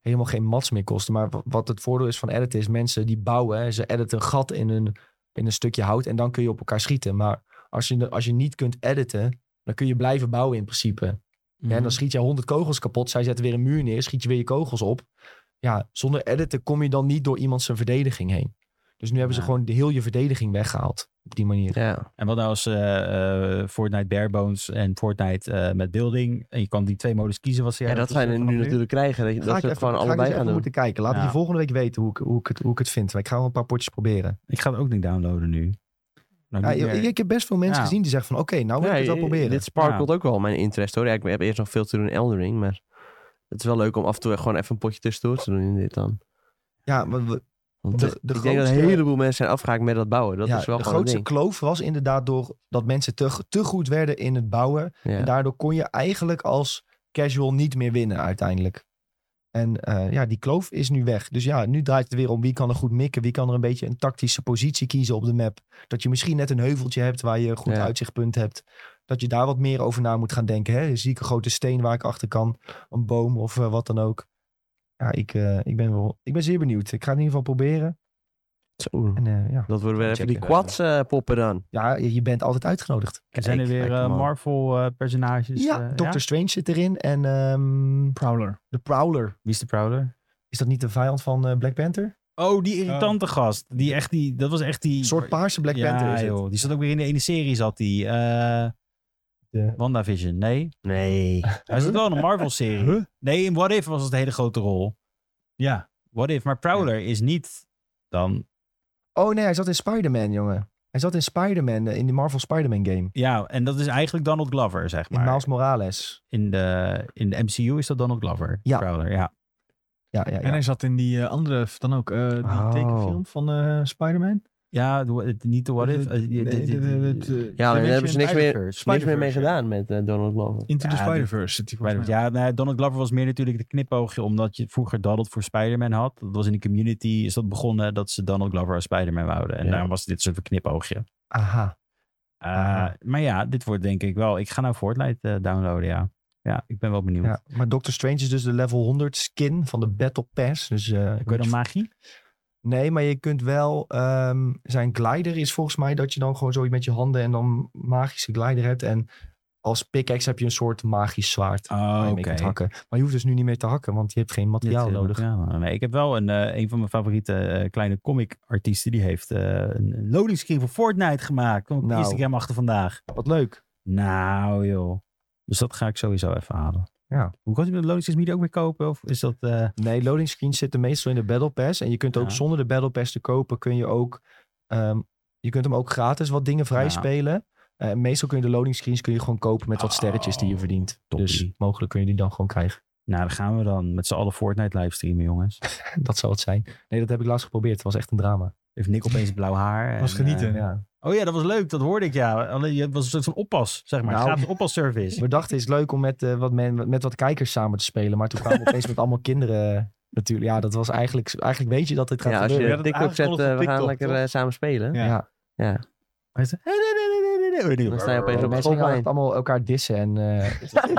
A: helemaal geen mats meer kosten. Maar wa- wat het voordeel is van editen is mensen die bouwen. hè, Ze editen een gat in een, in een stukje hout en dan kun je op elkaar schieten. Maar als je, als je niet kunt editen, dan kun je blijven bouwen in principe. Ja,
C: Mhm.
A: en dan schiet je 100 kogels kapot. Zij zetten weer een muur neer, schiet je weer je kogels op. Ja, zonder editen kom je dan niet door iemand zijn verdediging heen. Dus nu hebben ze
C: Ja.
A: gewoon de heel je verdediging weggehaald. Op die manier.
B: Ja.
C: En wat nou als eh, eh, Fortnite Barebones en Fortnite eh, met Building. En je kan die twee modus kiezen wat ze
B: ja, dat
C: zijn
B: wij nu natuurlijk krijgen. Dat, je-
A: ik
B: dat we het
A: even-
B: gewoon
A: ga ik eens
B: allebei
A: even
B: gaan doen.
A: moeten kijken. Laat
C: Ja.
A: me je volgende week weten hoe ik, hoe, ik het, hoe ik het vind. Ik ga wel een paar potjes proberen.
C: Ik ga het ook niet downloaden nu. Nou,
A: Ja,
C: niet meer.
A: ik, ik heb best veel mensen
C: Ja.
A: gezien die zeggen van... Oké, nou wil
B: Ja,
A: ik het wel proberen.
B: Dit sparkelt ook wel mijn interesse hoor. Ja, ik heb eerst nog veel te doen in Eldering, maar het is wel leuk om af en toe gewoon even een potje tussendoor te doen in dit dan.
A: Ja, maar we-
B: Want
A: De-
B: eh,
A: de
B: ik denk dat
A: grootste-
B: een heleboel mensen zijn afgehaakt met dat bouwen. Dat
A: ja,
B: is wel
A: de
B: gewoon een
A: grootste kloof was inderdaad door dat mensen te, te goed werden in het bouwen.
B: ding. Ja.
A: En daardoor kon je eigenlijk als casual niet meer winnen uiteindelijk. En eh, ja, die kloof is nu weg. Dus ja, nu draait het weer om wie kan er goed mikken. Wie kan er een beetje een tactische positie kiezen op de map. Dat je misschien net een heuveltje hebt waar je een goed
B: Ja.
A: uitzichtpunt hebt. Dat je daar wat meer over na moet gaan denken. Hè? Zie ik een grote steen waar ik achter kan? Een boom of eh, wat dan ook. Ja, ik, eh, ik, ben wel, ik ben zeer benieuwd. Ik ga het in ieder geval proberen.
B: Zo.
A: En eh, ja.
B: Dat worden weer even die
A: Checken, eh.
B: quads eh, poppen dan.
A: ja, je je bent altijd uitgenodigd.
C: zijn er
B: Kijk,
C: weer
B: kijk,
C: eh,
B: man.
C: Marvel eh, personages?
A: ja,
C: eh,
A: Doctor Strange zit erin. En ehm,
D: Prowler.
A: de Prowler.
C: Wie is de Prowler?
A: Is dat niet de vijand van eh, Black Panther?
C: Oh, die irritante gast. Die echt die, dat was echt die...
A: Een soort paarse Black
C: ja,
A: Panther is het.
C: joh. Die zat ook weer in de ene serie, zat die. eh
A: De-
C: WandaVision, nee.
B: Nee.
C: Hij zat wel in een Marvel-serie.
D: Huh?
C: Nee, in What If was het een hele grote rol.
D: Ja.
C: What If, maar Prowler is niet dan...
A: Oh nee, hij zat in Spider-Man, jongen. Hij zat in Spider-Man, eh, in die Marvel Spider-Man game.
C: Ja, en dat is eigenlijk Donald Glover, zeg
A: In
C: maar.
A: Miles Morales.
C: in, de, in de MCU is dat Donald Glover.
A: Ja.
C: Prowler, ja.
A: Ja, ja, ja.
D: En hij zat in die eh, andere, dan ook, eh, die
A: Oh.
D: tekenfilm van eh Spider-man.
C: Ja, de- het- niet de What If. eh, die- die- die- die-
B: Ja, maar daar hebben ze niks meer,
C: Spider-Verse,
B: niks meer mee
D: ja.
B: gedaan met eh, Donald Glover.
D: Into
C: Ja,
D: the
C: die-
D: Spider-Verse zit die volgens mij.
C: Ja, nou ja, Donald Glover was meer natuurlijk de knipoogje, omdat je vroeger Donald voor Spider-Man had. Dat was in de community, is dat begonnen dat ze Donald Glover als Spider-Man wouden. En
A: Ja.
C: daarom was dit soort van knipoogje.
A: Aha.
C: Eh,
A: Ah.
C: Maar ja, dit wordt denk ik wel. Ik ga nou Fortnite eh, downloaden, ja. Ja, ik ben wel benieuwd.
A: Ja. Maar Doctor Strange is dus de level 100 skin van de Battle Pass. Dus, eh,
C: Kun je dan magie?
A: nee, maar je kunt wel... ehm, zijn glider is volgens mij dat je dan gewoon zo met je handen en dan magische glider hebt. En als pickaxe heb je een soort magisch zwaard.
C: Oh, eh,
A: waar je mee kunt hakken. Maar je hoeft dus nu niet meer te hakken, want je hebt geen materiaal nodig.
C: Ja, nee, ik heb wel een, eh, een van mijn favoriete eh, kleine comic-artiesten. Die heeft eh, een een loading screen voor Fortnite gemaakt. Kom op
A: Nou.
C: Instagram achter vandaag.
A: Wat leuk.
C: Nou joh. Dus dat ga ik sowieso even halen.
A: Ja.
C: Hoe kan je met loading screen ook weer kopen? Of is dat... eh,
A: Nee, loading screens zitten meestal in de Battle Pass. En je kunt ook
C: Ja.
A: zonder de Battle Pass te kopen, kun je ook. ehm, je kunt hem ook gratis wat dingen vrij
C: Ja.
A: spelen. Eh, meestal kun je de loading screens kun je gewoon kopen met wat sterretjes die je verdient.
C: toppie.
A: Dus mogelijk kun je die dan gewoon krijgen.
C: Nou, dan gaan we dan met z'n allen Fortnite livestreamen, jongens.
A: dat zou het zijn. Nee, dat heb ik laatst geprobeerd. Het was echt een drama.
C: Heeft Nick opeens blauw haar.
D: Was
C: en,
D: genieten.
C: eh,
A: Ja.
C: oh ja, dat was leuk. Dat hoorde ik, ja. Alleen, het was een soort van oppas, zeg maar.
A: Nou.
C: Gratis oppasservice.
A: We dachten, is leuk om met, eh, wat men, met wat kijkers samen te spelen. Maar toen kwamen we opeens met allemaal kinderen. eh, Natuurlijk, ja, dat was eigenlijk. Eigenlijk weet je dat dit gaat
B: Ja, als
A: gebeuren.
B: je
D: werd
B: TikTok
D: het
B: zet,
D: aangekondigd
B: eh,
D: op
B: we gaan
D: TikTok,
B: lekker
D: toch?
B: eh, samen spelen.
D: Ja.
A: Ja.
C: Hij zei, "Hey, nee, nee, nee, nee, nee, nee, nee."
B: Dan sta je opeens
A: De
B: op het
A: mensen gaan
B: schoolplein.
A: allemaal elkaar dissen. En, eh,
D: Dat is echt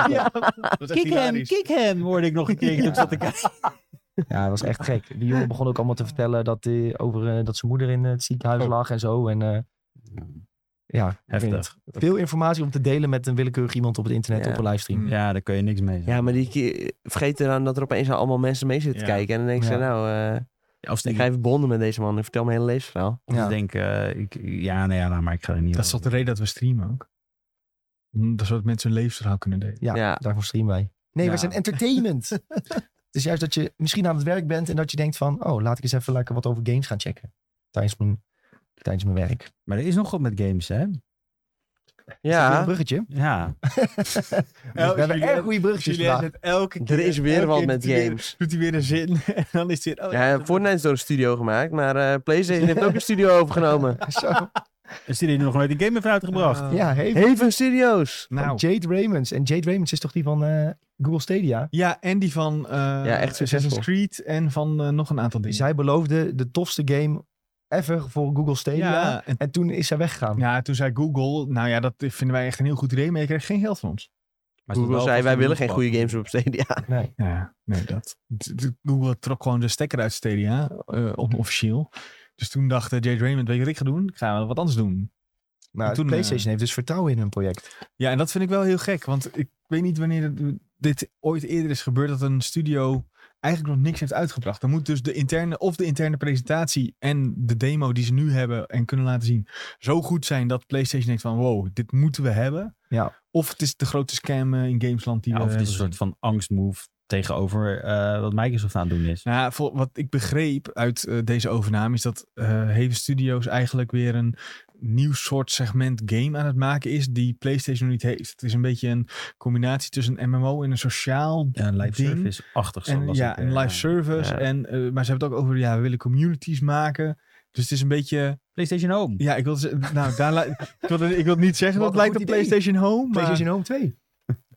C: Kick hem,
D: hilarisch.
C: kick hem, hoorde ik nog een keer. toen ik zat te kijken.
A: Ja, dat was echt gek. Die jongen begon ook allemaal te vertellen dat, eh, over, eh, dat zijn moeder in het ziekenhuis lag en zo. En, eh, ja, ik weet
C: Heftig.
A: niet. Veel informatie om te delen met een willekeurig iemand op het internet
B: Ja. Mm.
A: op een livestream.
D: Ja.
C: Ja, daar kun je niks mee.
B: Ja, maar die ki- vergeet er dan dat er opeens allemaal mensen mee zitten te
D: Ja.
B: kijken. En dan denk je,
A: Ja.
B: nou, eh,
C: Of ze
B: ik ga
C: denken,
B: even bonden met deze man. Ik vertel mijn hele levensverhaal.
C: of ze
A: Ja.
C: denken, eh, ik, ja, nee, ja, nou, maar ik ga er niet
D: Dat
C: over.
D: is toch de reden dat we streamen ook? Om- Dat zodat mensen hun levensverhaal kunnen delen.
A: Ja,
B: Ja.
A: daarvoor streamen wij. Nee,
C: Ja.
A: wij zijn entertainment. Het is juist dat je misschien aan het werk bent en dat je denkt van... oh, laat ik eens even lekker wat over games gaan checken. Tijdens mijn, tijdens mijn werk. Is
C: Maar er is nog wat met games, hè?
A: dat weer
B: Ja,
A: een bruggetje.
C: Ja.
B: dus
A: we hebben
D: Julien-
A: echt goede bruggetjes vandaag.
D: elke
B: er is weer wat met games.
D: Doet hij weer een zin en dan is oh, dit...
B: Ja, Fortnite is door een studio gemaakt, maar eh, PlayStation heeft ook een studio overgenomen.
A: Zo.
C: Een studie die nog nooit een game heeft uitgebracht.
A: Ja, hey.
B: Haven Studios.
A: Van
D: Nou,
A: Jade Raymonds. En Jade Raymonds is toch die van eh, Google Stadia?
D: ja, en die van eh
B: Ja, echt
D: Assassin's
B: succesvol.
D: Creed en van eh, nog een aantal dingen.
A: Zij beloofde de tofste game ever voor Google Stadia.
D: ja, en
A: En toen is zij weggegaan.
D: ja, toen zei Google, nou ja, dat vinden wij echt een heel goed idee, maar je krijgt geen geld van ons.
C: Maar
B: Google
C: wel
B: zei,
C: vast
B: wij
C: een
B: willen geen goede
C: nieuwspad.
B: games op Stadia.
A: Nee.
D: Ja, nee, dat. d- d- Google trok gewoon de stekker uit Stadia, eh
B: Mhm.
D: onofficieel. Dus toen dacht eh, Jade Raymond, weet je wat ik ga doen? Ik ga wel wat anders doen.
A: Maar
D: toen,
A: PlayStation heeft dus vertrouwen in hun project.
D: Ja, en dat vind ik wel heel gek. Want ik weet niet wanneer het- dit ooit eerder is gebeurd. Dat een studio eigenlijk nog niks heeft uitgebracht. Dan moet dus de interne of de interne presentatie en de demo die ze nu hebben en kunnen laten zien zo goed zijn dat PlayStation denkt van wow, dit moeten we hebben.
A: Ja.
D: Of het is de grote scam eh, in Gamesland die
C: Ja,
D: we
C: of het is een
D: hebben
C: soort van angstmove tegenover eh, wat Microsoft aan het doen is.
D: Nou, ja, vol- wat ik begreep uit eh, deze overname is dat eh Haven Studios eigenlijk weer een nieuw soort segment game aan het maken is die PlayStation nog niet heeft. Het is een beetje een combinatie tussen een MMO en een sociaal
C: Ja, een live
D: ding.
C: service-achtig. zo
D: En,
C: las
D: ja,
C: ik, eh,
D: en live service.
B: Ja.
D: En, eh, maar ze hebben het ook over, ja, we willen communities maken. Dus het is een beetje,
C: PlayStation Home.
D: ja, ik wil, ze- nou, daar, li- ik, wil, ik wil niet zeggen
A: Wat
D: dat het
A: een
D: lijkt op
A: goed idee.
D: PlayStation Home. Maar,
A: PlayStation Home 2.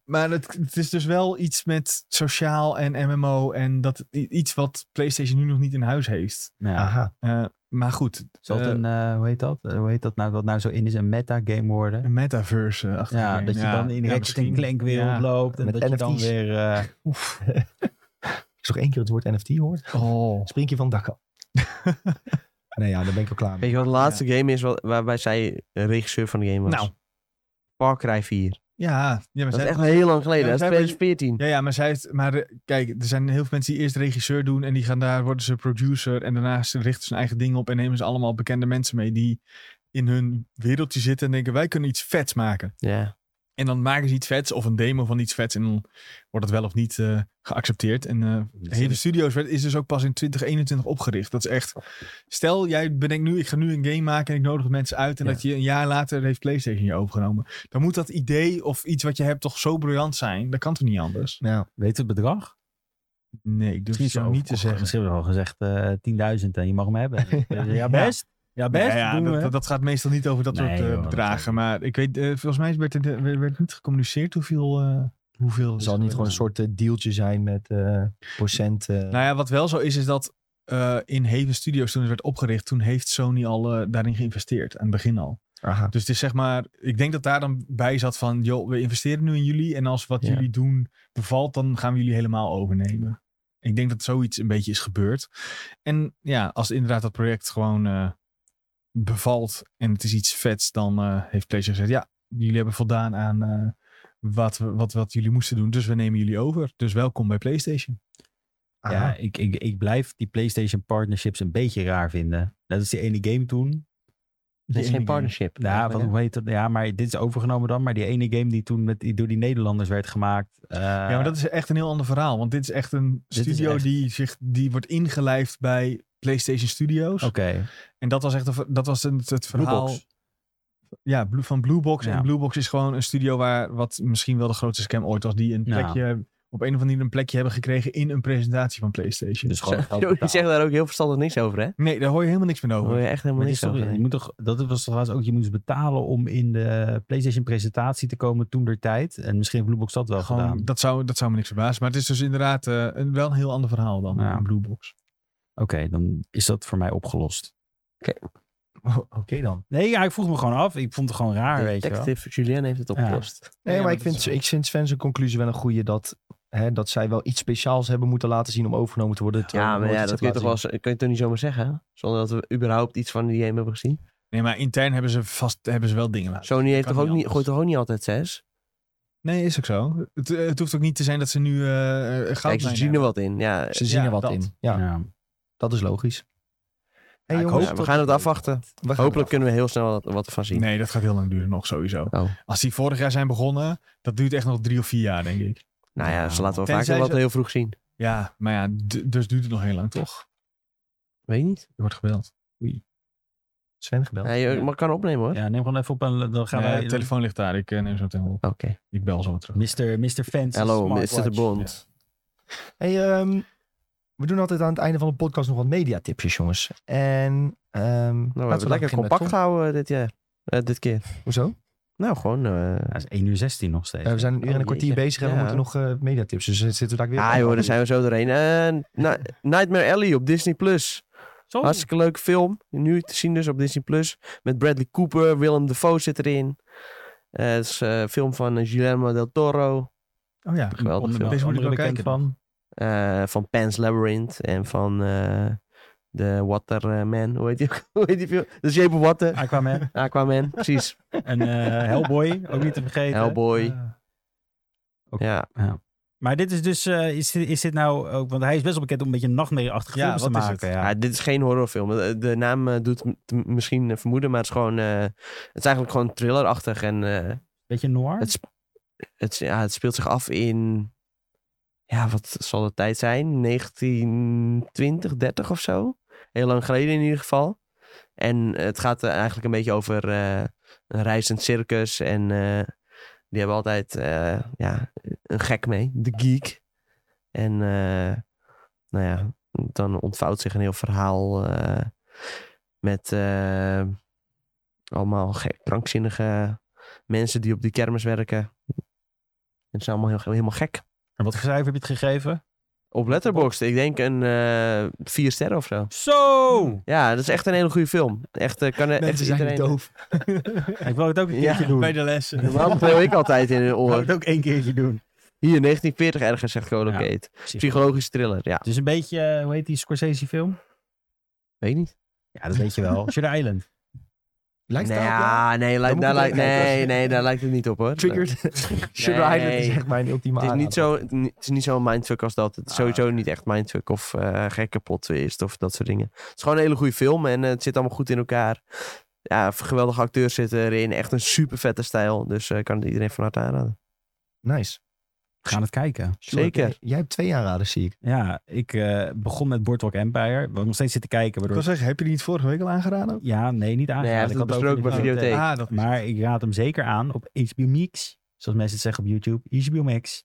D: maar het, het is dus wel iets met sociaal en MMO. En dat i- iets wat PlayStation nu nog niet in huis heeft.
C: Nou,
A: Aha.
D: Eh, maar goed,
C: zal het
D: eh,
C: een, eh, hoe heet dat? Eh, hoe heet dat nou, wat nou zo in is, een meta-game worden?
D: een metaverse eh, achter
C: Ja, dat je dan in de Ratchet en Clank wereld loopt. En
A: Met
C: dat je dan
A: NFT's.
C: weer... eh,
A: Oef. Als je nog één keer het woord NFT hoort,
D: Oh.
A: spring je van het dak af. nee, ja, daar ben ik al klaar mee.
B: Weet je wat de laatste game is wa- waarbij zij regisseur van de game was?
D: Nou.
B: Far Cry 4.
D: Ja, ja, maar
B: Dat is
D: zij,
B: echt heel lang geleden.
D: Ja,
B: dat is
D: zij hebben-
B: 2014.
D: ja, ja, maar zij heeft, maar eh, kijk, er zijn heel veel mensen die eerst regisseur doen en die gaan daar, worden ze producer en daarna ze richten ze hun eigen ding op en nemen ze allemaal bekende mensen mee die in hun wereldje zitten en denken wij kunnen iets vets maken.
B: Ja.
D: En dan maken ze iets vets of een demo van iets vets en dan wordt het wel of niet eh, geaccepteerd. En eh, De hele studio's werd, is dus ook pas in 2021 opgericht. Dat is echt. Stel, jij bedenkt nu, ik ga nu een game maken en ik nodig mensen uit. En
B: Ja.
D: dat je een jaar later heeft PlayStation je overgenomen. Dan moet dat idee of iets wat je hebt toch zo briljant zijn. Dat kan toch niet anders?
A: Nou,
C: Weet het bedrag?
D: Nee, ik durf het zo
C: zo
D: niet te zeggen.
C: Misschien hebben we al gezegd eh 10.000 en je mag hem hebben. ja, best. Ja, best.
D: Nou ja,
C: doen we.
D: dat, dat, dat gaat meestal niet over dat
C: Nee,
D: soort eh,
C: joh, dat
D: bedragen. Maar ik weet, eh, volgens mij werd, het, werd werd niet gecommuniceerd hoeveel. eh hoeveel het
A: het
D: is
A: zal niet gewoon een
D: geweest.
A: soort eh, dealtje zijn met eh, procent. eh,
D: Nou ja, wat wel zo is, is dat eh, in Haven Studios toen het werd opgericht, toen heeft Sony al eh, daarin geïnvesteerd. Aan het begin al.
A: aha.
D: Dus het is zeg maar, ik denk dat daar dan bij zat van, joh, we investeren nu in jullie en als wat
B: Ja.
D: jullie doen bevalt, dan gaan we jullie helemaal overnemen. Ik denk dat zoiets een beetje is gebeurd. En ja, als inderdaad dat project gewoon eh, bevalt en het is iets vets, dan eh, heeft PlayStation gezegd, ja, jullie hebben voldaan aan eh, wat, we- wat, wat jullie moesten doen, dus we nemen jullie over. Dus welkom bij PlayStation.
A: aha.
C: Ja, ik, ik, ik blijf die PlayStation partnerships een beetje raar vinden. Net als die ene game toen.
B: Dat is
D: Die
B: geen
D: ene game.
B: partnership.
C: Ja, wat, hoe heet dat? Ja, maar dit is overgenomen dan. Maar die ene game die toen met, die, door die Nederlanders werd gemaakt. eh,
D: Ja, maar dat is echt een heel ander verhaal. Want dit is echt een
C: Dit is
D: studio
C: echt-
D: Die, zich, die wordt ingelijfd bij PlayStation Studios.
C: Oké.
D: En dat was echt een- dat was het, het verhaal
C: Bluebox.
D: Ja, Blue- van Bluebox.
C: Ja.
D: En Bluebox is gewoon een studio waar, wat misschien wel de grootste scam ooit was, die een
C: Ja.
D: plekje, op een of andere manier een plekje hebben gekregen in een presentatie van PlayStation.
C: Dus gewoon geld
B: Die
C: betaald.
B: zeggen daar ook heel verstandig niks over, hè?
D: Nee, daar hoor je helemaal niks meer
B: Daar
D: over.
B: hoor je echt helemaal
C: Maar die
B: niks
C: is toch-
B: over.
C: je moet toch, dat was toch laatst ook, je moest betalen om in de PlayStation presentatie te komen toen der tijd. En misschien heeft Bluebox dat wel gedaan.
D: Gewoon, dat, zou, dat zou me niks verbazen. Maar het is dus inderdaad eh, een, wel een heel ander verhaal dan eh,
C: Ja.
D: een Bluebox.
C: Oké, dan is dat voor mij opgelost.
A: Oh, Oké dan.
C: Nee, ja, ik vroeg me gewoon af. Ik vond het gewoon raar, weet je wel.
B: Detective Julien heeft het opgelost.
A: Nee,
D: Ja,
A: maar
D: maar
A: ik
D: dat
A: vind,
D: is-
A: ik vind Sven zijn conclusie wel een goede dat, hè, dat zij wel iets speciaals hebben moeten laten zien om overgenomen te worden.
B: Ja,
A: terwijl
B: maar
A: nooit
B: ja,
A: iets
B: dat kun je,
A: hebben
B: toch wel,
A: laten
B: z- kun je toch niet zomaar zeggen? Zonder dat we überhaupt iets van die game hebben gezien.
D: Nee, maar intern hebben ze vast hebben ze wel dingen laten.
B: Sony heeft
D: kan
B: toch ook
D: niet
B: niet,
D: anders.
B: gooit toch ook niet altijd zes?
D: Nee, is ook zo. Het, eh, het hoeft ook niet te zijn dat ze nu eh eh, goud
B: Kijk, ze zien er wat in. Ja,
A: zien. Ze zien
D: Ja,
A: er wat
D: dat.
A: in. Ja,
C: Ja.
A: dat is logisch. Hey,
B: Ja, ik
A: jongens,
B: hoop- we gaan het afwachten.
A: we gaan
B: Hopelijk kunnen we heel snel wat, wat ervan zien.
D: Nee, dat gaat heel lang duren nog sowieso.
B: Oh.
D: Als die vorig jaar zijn begonnen, dat duurt echt nog drie of vier jaar, denk ik.
B: Nou ja, ze laten wel
D: Tenzij
B: vaker wat
D: ze-
B: heel vroeg zien.
D: Ja, maar ja, d- dus duurt het nog heel lang, toch?
B: Weet je niet.
D: Je wordt gebeld.
A: Sven gebeld.
B: Ja, je maar kan opnemen hoor.
C: Ja, neem gewoon even op en dan gaan
D: Nee,
C: wij...
D: de telefoon ligt daar. Ik eh, neem zo meteen wel op.
B: Oké.
D: Ik bel zo weer terug.
C: Mr. Mr. Fans.
B: Hallo, Mr.
C: smartwatch.
B: de Bond. Nou,
A: Hey, ehm, we doen altijd aan het einde van de podcast nog wat mediatipjes, jongens. En ehm,
B: Nou,
A: laten
B: we hebben het
A: dan beginnen
B: lekker
A: met
B: compact
A: Tom.
B: gehouden dit jaar. Eh, dit keer.
A: Hoezo?
B: Nou, gewoon... eh
C: Ja, het is 1 uur 16 nog steeds.
A: Eh, we zijn een uur en een
B: Oh,
A: kwartier
B: jeetje.
A: bezig en we
B: Ja.
A: moeten nog eh, mediatips. Dus eh, zitten we daar weer
B: ah joh, daar zijn we zo doorheen. Eh, Na- Nightmare Alley op Disney+. Plus.
C: Zo.
B: Hartstikke leuke film. Nu te zien dus op Disney+. Plus Met Bradley Cooper, Willem Dafoe zit erin. Eh, het is eh, een film van eh, Guillermo del Toro.
D: Oh ja.
B: Geweldig
C: Onder-
B: film.
D: Deze moet ik
C: andere
D: wel
C: bekend
D: kijken.
C: van.
B: Eh, van Pan's Labyrinth en van eh, de Waterman. Hoe heet die, ook? Hoe heet die film? The Shape of
C: Ah,
B: Water.
C: Aquaman.
B: Aquaman, precies.
C: en eh, Hellboy, ook niet te vergeten.
B: Hellboy.
D: Eh,
B: Ja.
C: Ja. Maar dit is dus, eh, is, dit- is dit nou ook, want hij is best wel bekend om een beetje nachtmerrieachtige
D: Ja,
C: films te
D: wat is het?
C: maken. Ja.
B: Ja, Ah, dit is geen horrorfilm. De, de naam eh, doet m- t- misschien eh, vermoeden, maar het is gewoon. eh, het is eigenlijk gewoon thrillerachtig. En eh,
C: Beetje noir.
B: het, sp- het, is- ja, het speelt zich af in. Ja, wat zal de tijd zijn? 1920, 30 of zo. Heel lang geleden in ieder geval. En het gaat eh, eigenlijk een beetje over eh, een reizend circus. En eh, die hebben altijd eh, ja, een gek mee, de geek. En eh, nou ja, dan ontvouwt zich een heel verhaal eh, met eh, allemaal gek, krankzinnige mensen die op die kermis werken. Het is allemaal heel, helemaal gek.
C: En wat voor cijfer heb je het gegeven?
B: Op Letterboxd, ik denk een eh, vier sterren of zo.
C: Zo!
B: Ja, dat is echt een hele goede film. Echt, eh, kan, eh, echt
A: Mensen zijn niet
B: iedereen...
A: doof.
C: Ik wil het ook een
B: Ja,
C: keertje doen.
D: Bij de lessen.
B: Normaal speel ik altijd in de
C: Ik wil
B: oor.
C: het ook één keertje doen.
B: Hier, 1940 ergens, zegt Colocate. Psychologische thriller, ja.
C: Het is een beetje, eh, hoe heet die Scorsese film?
B: Weet ik niet.
C: Ja, dat weet je wel. Shutter Island.
A: Lijkt
B: Nee,
A: het daarop, ja?
B: Nou ja, nee,
A: Dan
B: lijkt,
A: moet
B: daar
A: ik
B: lijkt,
A: ook kijken.
B: nee, nee, daar lijkt het niet op hoor.
A: Triggered. Sugar
B: Nee.
A: Island is echt mijn ultieme
B: Het is, niet
A: aanrader.
B: zo, het is niet zo'n mindfuck als dat. Het is
C: Ah,
B: sowieso niet echt mindfuck of eh gekke plotwist of dat soort dingen. Het is gewoon een hele goede film en eh, het zit allemaal goed in elkaar. Ja, geweldige acteurs zitten erin. Echt een super vette stijl. Dus eh kan het iedereen van harte aanraden.
A: Nice.
C: We gaan het kijken.
A: Sjoerd,
B: Zeker.
A: eh, Jij hebt twee aanraders, zie ik.
C: Ja, ik eh, begon met Boardwalk Empire. Wat ik nog steeds zitten kijken.
D: Ik wil
C: Waardoor...
D: zeggen, heb je die niet vorige week al aangeraden? ook?
C: Ja, nee, niet aangeraden.
B: hij heeft
C: Ik
B: het
C: had ook
B: besproken
C: in de
B: bij Videotheek.
C: videotheek.
D: Ah, dat is-
C: Maar ik raad hem zeker aan op HBO Mix. Zoals mensen het zeggen op YouTube. HBO Max.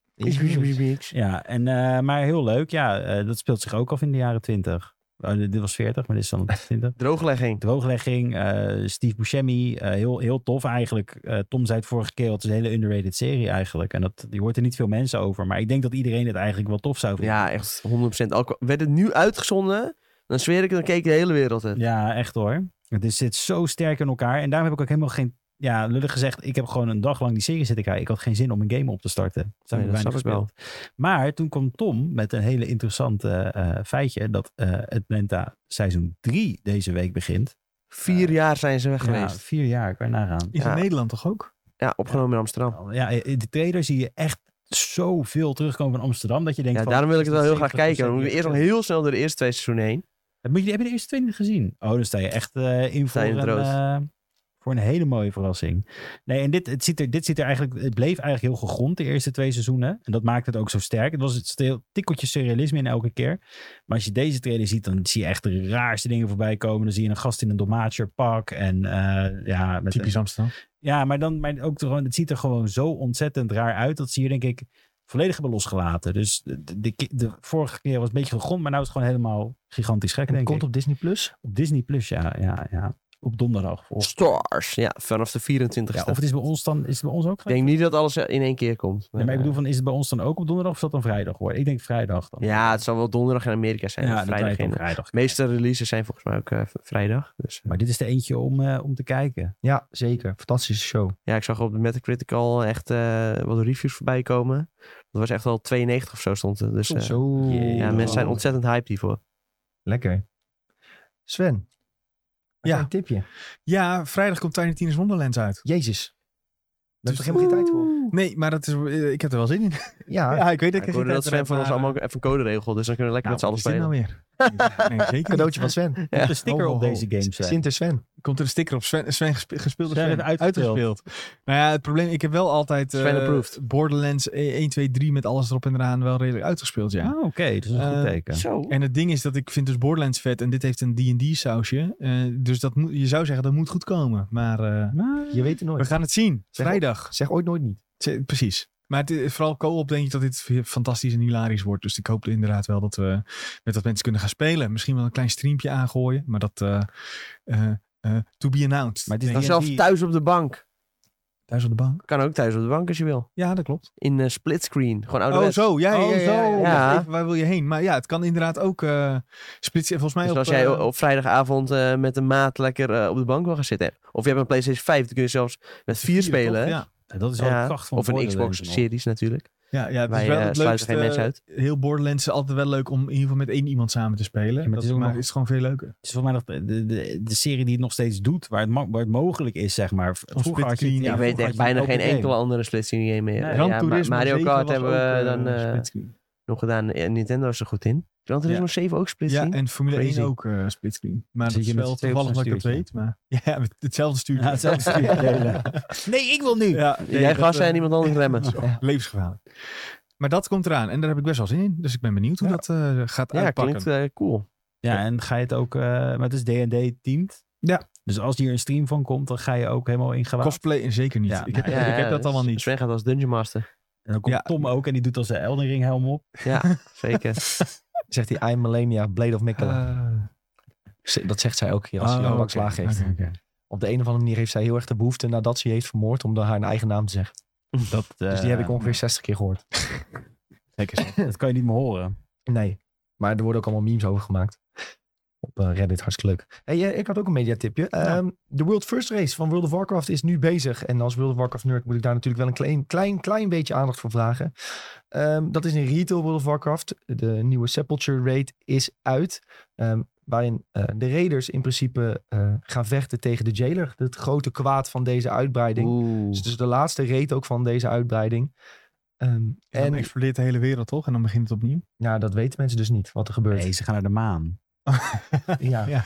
C: Ja, en, eh, maar heel leuk. Ja, eh, dat speelt zich ook af in de jaren 20. Oh, dit dit was 40, maar dit is dan 20.
B: Drooglegging.
C: Drooglegging, eh, Steve Buscemi. eh, heel, heel tof eigenlijk. Eh, Tom zei het vorige keer, al, het is een hele underrated serie eigenlijk. En dat, die hoort er niet veel mensen over. Maar ik denk dat iedereen het eigenlijk wel tof zou vinden.
B: Ja, echt 100%. Ook werd het nu uitgezonden, dan zweer ik, dan keek de hele wereld het.
C: Ja, echt hoor. Het is, zit zo sterk in elkaar. En daarom heb ik ook helemaal geen... Ja, lullig gezegd, ik heb gewoon een dag lang die serie zitten kijken. Ik had geen zin om een game op te starten. Zijn
B: Nee,
C: we
B: dat
C: weinig
B: snap ik wel.
C: gespeeld. Maar toen kwam Tom met een hele interessante eh, feitje. Dat eh, het Lenta seizoen 3 deze week begint.
B: Vier jaar zijn ze weg
C: Ja,
B: geweest.
C: vier jaar, kan je nagaan.
D: Is
B: Ja.
D: in Nederland toch ook?
B: Ja, opgenomen in Amsterdam.
C: Ja, in de trailer zie je echt zoveel terugkomen van Amsterdam. Dat je denkt
B: Ja,
C: van,
B: daarom wil ik het wel heel graag
C: 70%
B: kijken. Dan moeten we eerst nog heel snel door de eerste twee seizoenen heen.
C: Heb je, heb je de eerste twintig gezien? Oh, dan sta je echt eh in voor
B: je in het
C: een,
B: rood.
C: eh, voor een hele mooie verrassing. Nee, en dit, het ziet er, dit ziet er eigenlijk, het bleef eigenlijk heel gegrond de eerste twee seizoenen. En dat maakt het ook zo sterk. Het was het stil- tikkeltje surrealisme in elke keer. Maar als je deze trailer ziet, dan zie je echt de raarste dingen voorbij komen. Dan zie je een gast in een domaatjerpak. En eh, ja, met
D: Typisch Amsterdam.
C: ja, maar, dan, maar ook gewoon, het ziet er gewoon zo ontzettend raar uit. Dat ze hier denk ik volledig hebben losgelaten. Dus de, de, de- de vorige keer was een beetje gegrond, maar nu is het gewoon helemaal gigantisch gek.
A: En die
C: Denk
A: komt
C: ik.
A: op Disney+. Plus.
C: Op Disney Plus, ja, ja, ja. Op donderdag. Of,
B: Stars. Ja, vanaf de 24
C: ja, of het is bij ons dan, is het bij ons ook
B: Ik
C: gelijk?
B: denk niet dat alles in één keer komt.
C: Nee, maar ik bedoel van, is het bij ons dan ook op donderdag of is dat dan vrijdag hoor? Ik denk vrijdag dan.
B: Ja, het zal wel donderdag in Amerika zijn. of
C: dan draai je
B: vrijdag
C: het
B: in.
C: op
B: De
C: vrijdag.
B: meeste releases zijn volgens mij ook eh, v- vrijdag. Dus, eh,
C: Maar dit is de eentje om, eh, om te kijken.
A: Ja, zeker. Fantastische show.
B: ja, ik zag op de Metacritic al echt eh, wat reviews voorbij komen. Dat was echt al 92 of zo stond het. Dus eh,
A: Zo.
C: jee.
B: ja, mensen zijn ontzettend hyped hiervoor.
A: Lekker. Sven.
D: Ja.
A: Ja. Een tipje.
D: Ja, vrijdag komt Tiny Tina's Wonderland uit.
A: Jezus. Daar heb
D: Dus-
A: ik helemaal geen tijd voor.
D: Nee, maar dat is, eh, ik heb er wel zin in.
A: Ja,
D: Ja, ik weet dat
B: Ah. Ik hoorde dat Sven van ons allemaal even een code regel. Dus dan kunnen we lekker
D: Nou,
B: met z'n
D: wat
B: allen spelen.
D: is dit nou weer? Nee, zeker niet.
A: cadeautje van Sven.
C: Er komt een sticker
D: Ho,
B: oh,
D: ho,
C: op
D: ho.
C: deze games. eh. hè.
A: Sinter Sven.
D: Komt er een sticker op Sven, Sven gespe- gespeelde
C: Sven
D: Sven,
C: heeft uitgespeeld.
D: Nou ja, het probleem, ik heb wel altijd eh,
B: Sven approved.
D: Borderlands e- 1, 2, 3 met alles erop en eraan wel redelijk uitgespeeld, ja.
C: Ah, Oké, dat is een goed
D: Eh,
C: teken.
B: Zo.
D: En het ding is dat ik vind dus Borderlands vet en dit heeft een D&D sausje. Eh, dus dat moet, je zou zeggen dat moet goed komen. Maar eh,
C: Maar-
A: Je weet het
D: we
A: nooit.
D: gaan het zien.
A: Zeg op.
D: Vrijdag.
A: Zeg ooit nooit niet.
D: Ze- Precies. Maar het is- vooral co-op denk ik dat dit fantastisch en hilarisch wordt. Dus ik hoop inderdaad wel dat we met dat mensen kunnen gaan spelen. Misschien wel een klein streampje aangooien. Maar dat eh, eh, eh, to be announced.
C: Maar het is
D: Denk
B: Dan
D: ik.
B: zelfs
C: die-
B: thuis op de bank.
D: thuis op de bank.
B: Kan ook thuis op de bank als je wil.
D: Ja, dat klopt.
B: In split splitscreen. Gewoon
D: Oh,
B: ouderwets.
D: zo. Ja, ja,
A: Oh,
D: ja, ja,
A: zo.
D: ja. Ik dacht
B: Ja.
D: even, waar wil je heen? Maar ja, het kan inderdaad ook eh splitsen. Volgens mij
B: Dus
D: op...
B: als jij
D: eh,
B: op vrijdagavond eh, met een maat lekker eh, op de bank wil gaan zitten. Of je hebt een PlayStation 5, dan kun je zelfs met vier
D: vier, toch?
B: spelen.
D: Ja.
C: eh, Dat is wel
B: Ja,
C: de kracht van dus
B: Of een
C: Borderlands
B: Xbox
C: en al.
B: Series natuurlijk.
D: Ja, ja het
B: Wij,
D: is wel
B: eh,
D: het
B: sluiten
D: leukste. eh,
B: geen mensen uit.
D: Heel Borderlands is altijd wel leuk om in ieder geval met één iemand samen te spelen.
C: Ja, maar
D: maar
C: het
D: dat
C: is ook
D: maakt-
C: nog-
D: is gewoon veel leuker.
C: Het is volgens mij nog de, de, de serie die het nog steeds doet, waar het, ma- waar het mogelijk is, zeg maar. V- Vroeger had je,
D: splitscreen.
C: ja,
D: Ik
B: ik
C: vroeger
B: weet echt
C: had je
B: bijna
C: een
B: geen
C: open game.
B: enkele andere splitscreen game meer.
C: Nee.
B: Ja,
D: Gran
B: Ma-
D: Turismo
B: Mario
D: 7
B: Kart
D: was
B: hebben
D: ook,
B: we
D: eh,
B: dan eh,
D: splitscreen.
B: nog gedaan. Ja, Nintendo is er goed in. Gran Turismo 7 ook
D: Ja,
B: splitscreen?
D: en Formule
B: Crazy.
D: 1 ook eh splitscreen. Maar
C: Zit
D: dat is
C: je met
D: wel
C: twee op
D: toevallig
C: zo'n
D: dat ik dat weet.
C: stuurtje?
D: Maar ja, met hetzelfde stuurtje.
C: Ja, hetzelfde stuurtje. Nee, ik wil nu!
D: Ja, nee,
B: Jij
D: dat,
B: gassen
D: eh,
B: en iemand anders remmen.
D: dat is ook Levensgevaarlijk. Maar dat komt eraan. En daar heb ik best wel zin in. Dus ik ben benieuwd hoe
C: Ja.
D: dat eh, gaat
B: Ja,
D: uitpakken.
B: klinkt eh, cool.
C: Ja, en ga je het ook... eh, maar het is D&D teamed.
D: Ja.
C: Dus als hier een stream van komt, dan ga je ook helemaal in gewaad.
D: Cosplay en zeker niet.
C: Ja,
D: ik heb,
C: nou
B: Ja,
D: ik heb
B: ja,
D: dat allemaal niet.
B: Sven gaat als Dungeon Master.
C: En dan komt
D: Ja.
C: Tom ook en die doet als de Elden Ring helm op.
B: Ja, zeker.
A: Zegt hij, I'm Melania, Blade of Mikkelen. Ze- Dat zegt zij elke keer als ze
D: Oh,
A: Jan
D: oké.
A: Bakslaag heeft.
D: Oké, oké.
A: Op de een of andere manier heeft zij heel erg de behoefte nadat ze je heeft vermoord om dan haar eigen naam te zeggen.
C: Dat,
A: Dus die
C: eh,
A: heb ik ongeveer 60 keer gehoord.
C: Lekker zo. Dat kan je niet meer horen.
A: Nee, maar er worden ook allemaal memes over gemaakt. Op eh, Reddit, hartstikke leuk. Hey, eh, ik had ook een mediatipje. Ehm, de World First Race van World of Warcraft is nu bezig. En als World of Warcraft nerd moet ik daar natuurlijk wel een klein, klein, klein beetje aandacht voor vragen. Ehm, dat is in retail World of Warcraft. De nieuwe Sepulture Raid is uit. Ehm, waarin eh, de raiders in principe eh, gaan vechten tegen de jailer. Het grote kwaad van deze uitbreiding.
B: Oeh.
A: Dus het is de laatste raid ook van deze uitbreiding. Ehm,
D: En dan
A: en
D: explodeert de hele wereld toch? En dan begint het opnieuw.
A: nou, dat weten mensen dus niet wat er gebeurt.
C: Nee, ze gaan naar de maan.
A: Ja.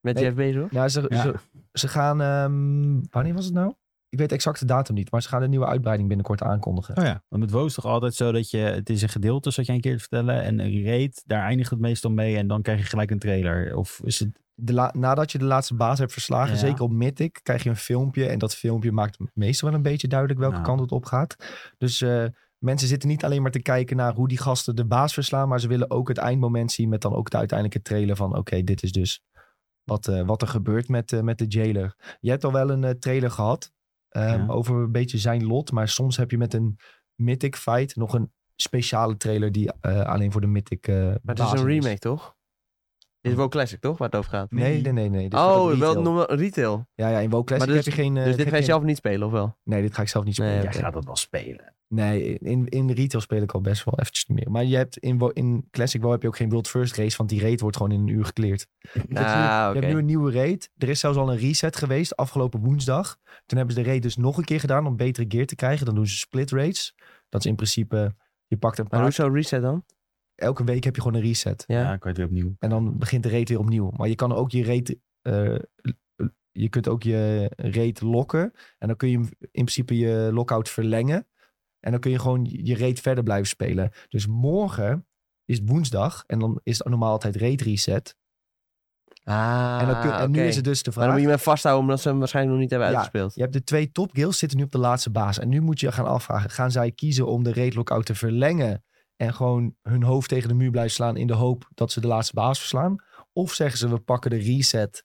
B: Met
A: Nee.
B: Jeff Bezos?
A: Nou, ze,
C: Ja.
A: ze, ze gaan. ehm, wanneer was het nou? Ik weet de exacte datum niet, maar ze gaan een nieuwe uitbreiding binnenkort aankondigen.
D: Oh ja.
C: Want met WoW is toch altijd zo dat je... Het is een gedeelte, zat jij een keer te vertellen. En een raid, daar eindigt het meestal mee. En dan krijg je gelijk een trailer. Of is het...
A: De la- nadat je de laatste baas hebt verslagen,
C: Ja.
A: zeker op Mythic, krijg je een filmpje. En dat filmpje maakt meestal wel een beetje duidelijk welke
C: Nou.
A: kant het op gaat. Dus eh, mensen zitten niet alleen maar te kijken naar hoe die gasten de baas verslaan, maar ze willen ook het eindmoment zien met dan ook de uiteindelijke trailer van: oké, dit is dus wat, eh, wat er gebeurt met, eh, met de jailer. Je hebt al wel een eh, trailer gehad ehm,
C: Ja.
A: over een beetje zijn lot, maar soms heb je met een Mythic fight nog een speciale trailer die eh, alleen voor de Mythic. eh,
B: Maar het is
A: bazen
B: een remake, toch? Dit
D: Hm.
B: is wel classic, toch? Waar het over gaat.
A: Nee, nee, nee. nee. Dit wordt op
B: Oh,
A: retail.
B: wel noem wel retail.
A: Ja, ja, in WoW Classic
B: Maar
A: heb je geen... eh,
B: Dus dit
A: heb
B: ga je
A: Eh, geen-
B: zelf niet spelen, of wel?
A: Nee, dit ga ik zelf niet spelen.
B: Nee,
A: Nee,
B: oké.
C: gaat dat wel spelen.
A: in, in retail speel ik al best wel eventjes niet meer. Maar je hebt in, wo- in Classic WoW heb je ook geen World First Race, want die raid wordt gewoon in een uur gekleerd. Je hebt nu-
B: Ah,
A: Je
B: oké.
A: hebt nu een nieuwe raid. Er is zelfs al een reset geweest afgelopen woensdag. Toen hebben ze de raid dus nog een keer gedaan om betere gear te krijgen. Dan doen ze split raids. Dat is in principe, je pakt een
B: Maar
A: paar...
B: hoezo reset dan?
A: Elke week heb je gewoon een reset.
B: Ja.
C: Ja, ik weet weer opnieuw.
A: En dan begint de rate weer opnieuw. Maar je kan ook je rate. eh, je kunt ook je rate lokken. En dan kun je hem in principe je lockout verlengen. En dan kun je gewoon je rate verder blijven spelen. Dus morgen is het woensdag. En dan is het normaal altijd rate reset.
B: Ah,
A: en dan kun, en nu
B: oké.
A: is het dus de
B: Maar dan
A: vraag.
B: moet
A: Je...
B: je hem vasthouden, omdat ze hem waarschijnlijk nog niet hebben
A: Ja.
B: uitgespeeld.
A: hebt de twee top guilds zitten nu op de laatste baas. En nu moet je gaan afvragen. Gaan zij kiezen om de rate lockout te verlengen? En gewoon hun hoofd tegen de muur blijven slaan in de hoop dat ze de laatste baas verslaan? Of zeggen ze, we pakken de reset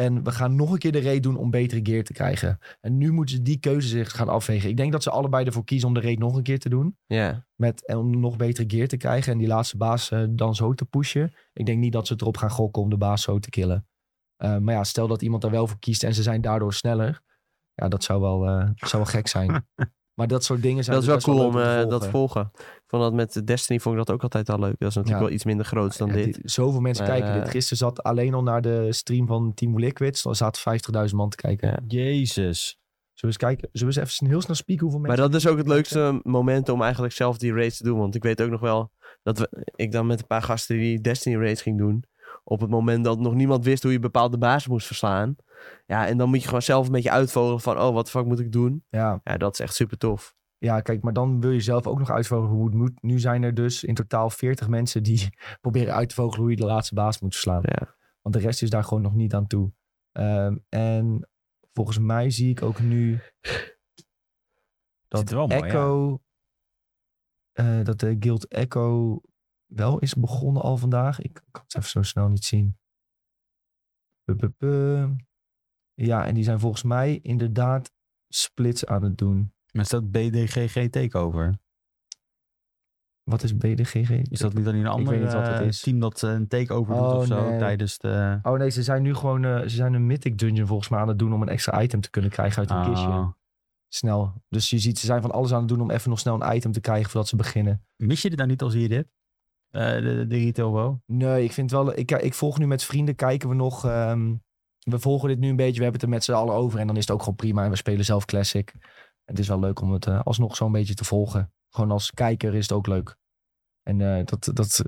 A: en we gaan nog een keer de raid doen om betere gear te krijgen. En nu moeten ze die keuze zich gaan afwegen. Ik denk dat ze allebei ervoor kiezen om de raid nog een keer te doen.
B: Ja.
A: Met, en om nog betere gear te krijgen en die laatste baas eh, dan zo te pushen. Ik denk niet dat ze het erop gaan gokken om de baas zo te killen. Eh, maar ja, stel dat iemand daar wel voor kiest en ze zijn daardoor sneller. Ja, dat zou wel, eh, zou wel gek zijn. maar dat soort dingen zijn
B: Dat is
A: dus
B: wel
A: best
B: cool om
A: leuk te
B: eh, dat te
A: volgen.
B: volgen. Ik vond dat met Destiny vond ik dat ook altijd al leuk. Dat is natuurlijk
A: Ja.
B: wel iets minder groots dan
A: Ja,
B: dit.
A: die- zoveel mensen
B: Maar,
A: kijken
B: eh,
A: dit. Gisteren zat alleen al naar de stream van Team Liquids. Er zaten 50.000 man te kijken.
B: Ja.
C: Jezus.
A: Zullen we eens kijken? Zullen we eens even heel snel spieken hoeveel
B: Maar
A: mensen...
B: dat is ook het leukste moment om eigenlijk zelf die race te doen. Want ik weet ook nog wel dat we, ik dan met een paar gasten die Destiny race ging doen. Op het moment dat nog niemand wist hoe je bepaalde baas moest verslaan. Ja, en dan moet je gewoon zelf een beetje uitvogelen van, oh, wat de fuck moet ik doen?
A: Ja,
B: Ja, dat is echt super tof.
A: ja, kijk, maar dan wil je zelf ook nog uitvogelen hoe het moet. Nu zijn er dus in totaal 40 mensen die proberen uit te vogelen hoe je de laatste baas moet verslaan.
B: Ja.
A: Want de rest is daar gewoon nog niet aan toe. Ehm, en volgens mij zie ik ook nu
C: Dat
A: dat
C: is wel mooi,
A: Echo, eh, dat de Guild Echo wel is begonnen al vandaag. Ik kan het even zo snel niet zien. Puh, puh, puh. Ja, en die zijn volgens mij inderdaad splits aan het doen.
C: Maar staat BDGG takeover?
A: Wat is BDGG?
C: Is dat niet dan in een
A: weet
C: ander
A: niet wat het
C: eh,
A: is.
C: team dat eh, een takeover doet
A: Oh,
C: of zo?
A: nee.
C: Tijdens de...
A: Oh nee, ze zijn nu gewoon eh, ze zijn een Mythic Dungeon volgens mij aan het doen om een extra item te kunnen krijgen uit een
C: Ah.
A: kistje. snel. Dus je ziet, ze zijn van alles aan het doen om even nog snel een item te krijgen voordat ze beginnen.
C: Mis je dit nou niet als je dit? Eh, de, de retail wow.
A: Nee, ik vind wel. Ik, ik volg nu met vrienden, kijken we nog. ehm, we volgen dit nu een beetje. We hebben het er met z'n allen over. En dan is het ook gewoon prima. En we spelen zelf Classic. Het is wel leuk om het eh, alsnog zo'n beetje te volgen. Gewoon als kijker is het ook leuk. En eh, dat, dat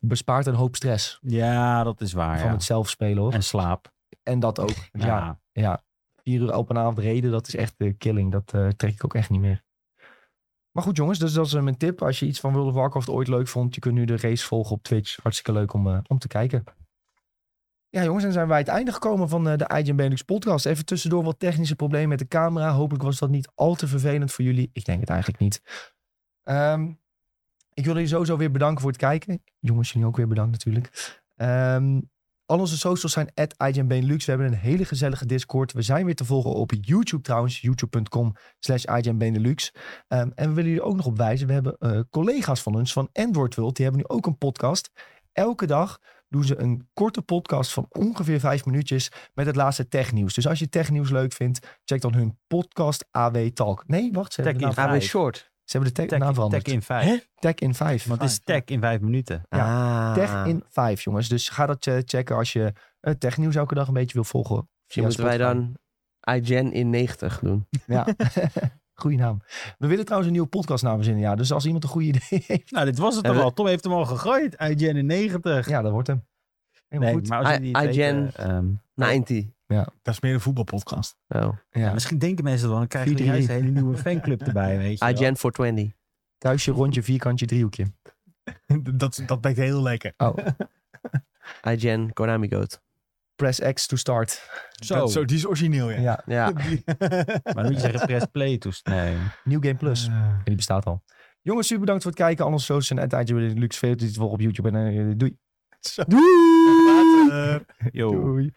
A: bespaart een hoop stress
C: Ja, dat is waar.
A: van
C: Ah, ja.
A: het zelf spelen hoor. En,
C: En slaap.
A: dat ook.
C: Ja.
A: Ja, ja. Vier uur op een avond reden, dat is echt eh, killing. Dat eh, trek ik ook echt niet meer. Maar goed jongens, dus dat is eh, mijn tip. Als je iets van World of Warcraft ooit leuk vond, je kunt nu de race volgen op Twitch. Hartstikke leuk om, eh, om te kijken. Ja jongens, dan zijn wij het einde gekomen van eh, de IGN Benelux podcast. Even tussendoor wat technische problemen met de camera. Hopelijk was dat niet al te vervelend voor jullie. Ik denk het eigenlijk niet. Ehm, ik wil jullie sowieso weer bedanken voor het kijken. Jongens, jullie ook weer bedankt natuurlijk. Ehm, al onze socials zijn at IGNBenelux. We hebben een hele gezellige Discord. We zijn weer te volgen op YouTube trouwens. YouTube.com slash IGNBenelux. Ehm, en we willen jullie ook nog op wijzen. We hebben eh, collega's van ons van Android World. Die hebben nu ook een podcast. Elke dag doen ze een korte podcast van ongeveer vijf minuutjes met het laatste technieuws. Dus als je technieuws leuk vindt, check dan hun podcast AW Talk. Nee, wacht. Ze hebben de
C: Tech
A: naam,
C: in
A: ver-
B: AB Short.
A: ze hebben de tech-
C: Tech,
A: naam
C: in,
A: veranderd.
C: tech in vijf.
B: Hè?
A: Tech in 5.
C: Want het is tech in vijf minuten.
B: Ah.
A: Tech in 5, jongens. Dus ga dat eh, checken als je het technieuws elke dag een beetje wil volgen.
B: Misschien moeten wij dan iGen in 90 doen.
A: Ja. Goeie naam. We willen trouwens een nieuwe podcastnaam verzinnen. Ja, dus als iemand een goed idee heeft.
C: Nou, dit was het
B: Ja,
C: toch
B: we-
C: al. Tom heeft hem al gegooid. IGN in 90.
A: Ja, dat wordt hem. Helemaal
C: nee,
A: goed.
C: maar als
B: I-
C: jullie het
B: IGN.
C: weten, ehm,
B: 90.
D: Dat is meer een voetbalpodcast.
B: Oh.
A: Ja.
C: misschien denken mensen wel, dan krijgen jullie juist een hele nieuwe fanclub erbij, weet je wel.
B: iGen 420.
A: Kruisje, rondje, vierkantje, driehoekje.
D: dat, dat denkt heel lekker.
A: Oh,
B: iGen Konami Goat.
A: press X to start.
C: Zo.
D: Dat, zo die is origineel, ja.
A: Ja,
B: Ja.
C: Maar dan moet je zeggen press play toest. Nee.
A: New Game Plus.
D: Eh,
A: En die bestaat al. Jongens, super bedankt voor het kijken. Anders socials en het eindje Lux. Veel te volgen op YouTube. En eh, doei.
D: Doei!
C: Yo.
A: Doei.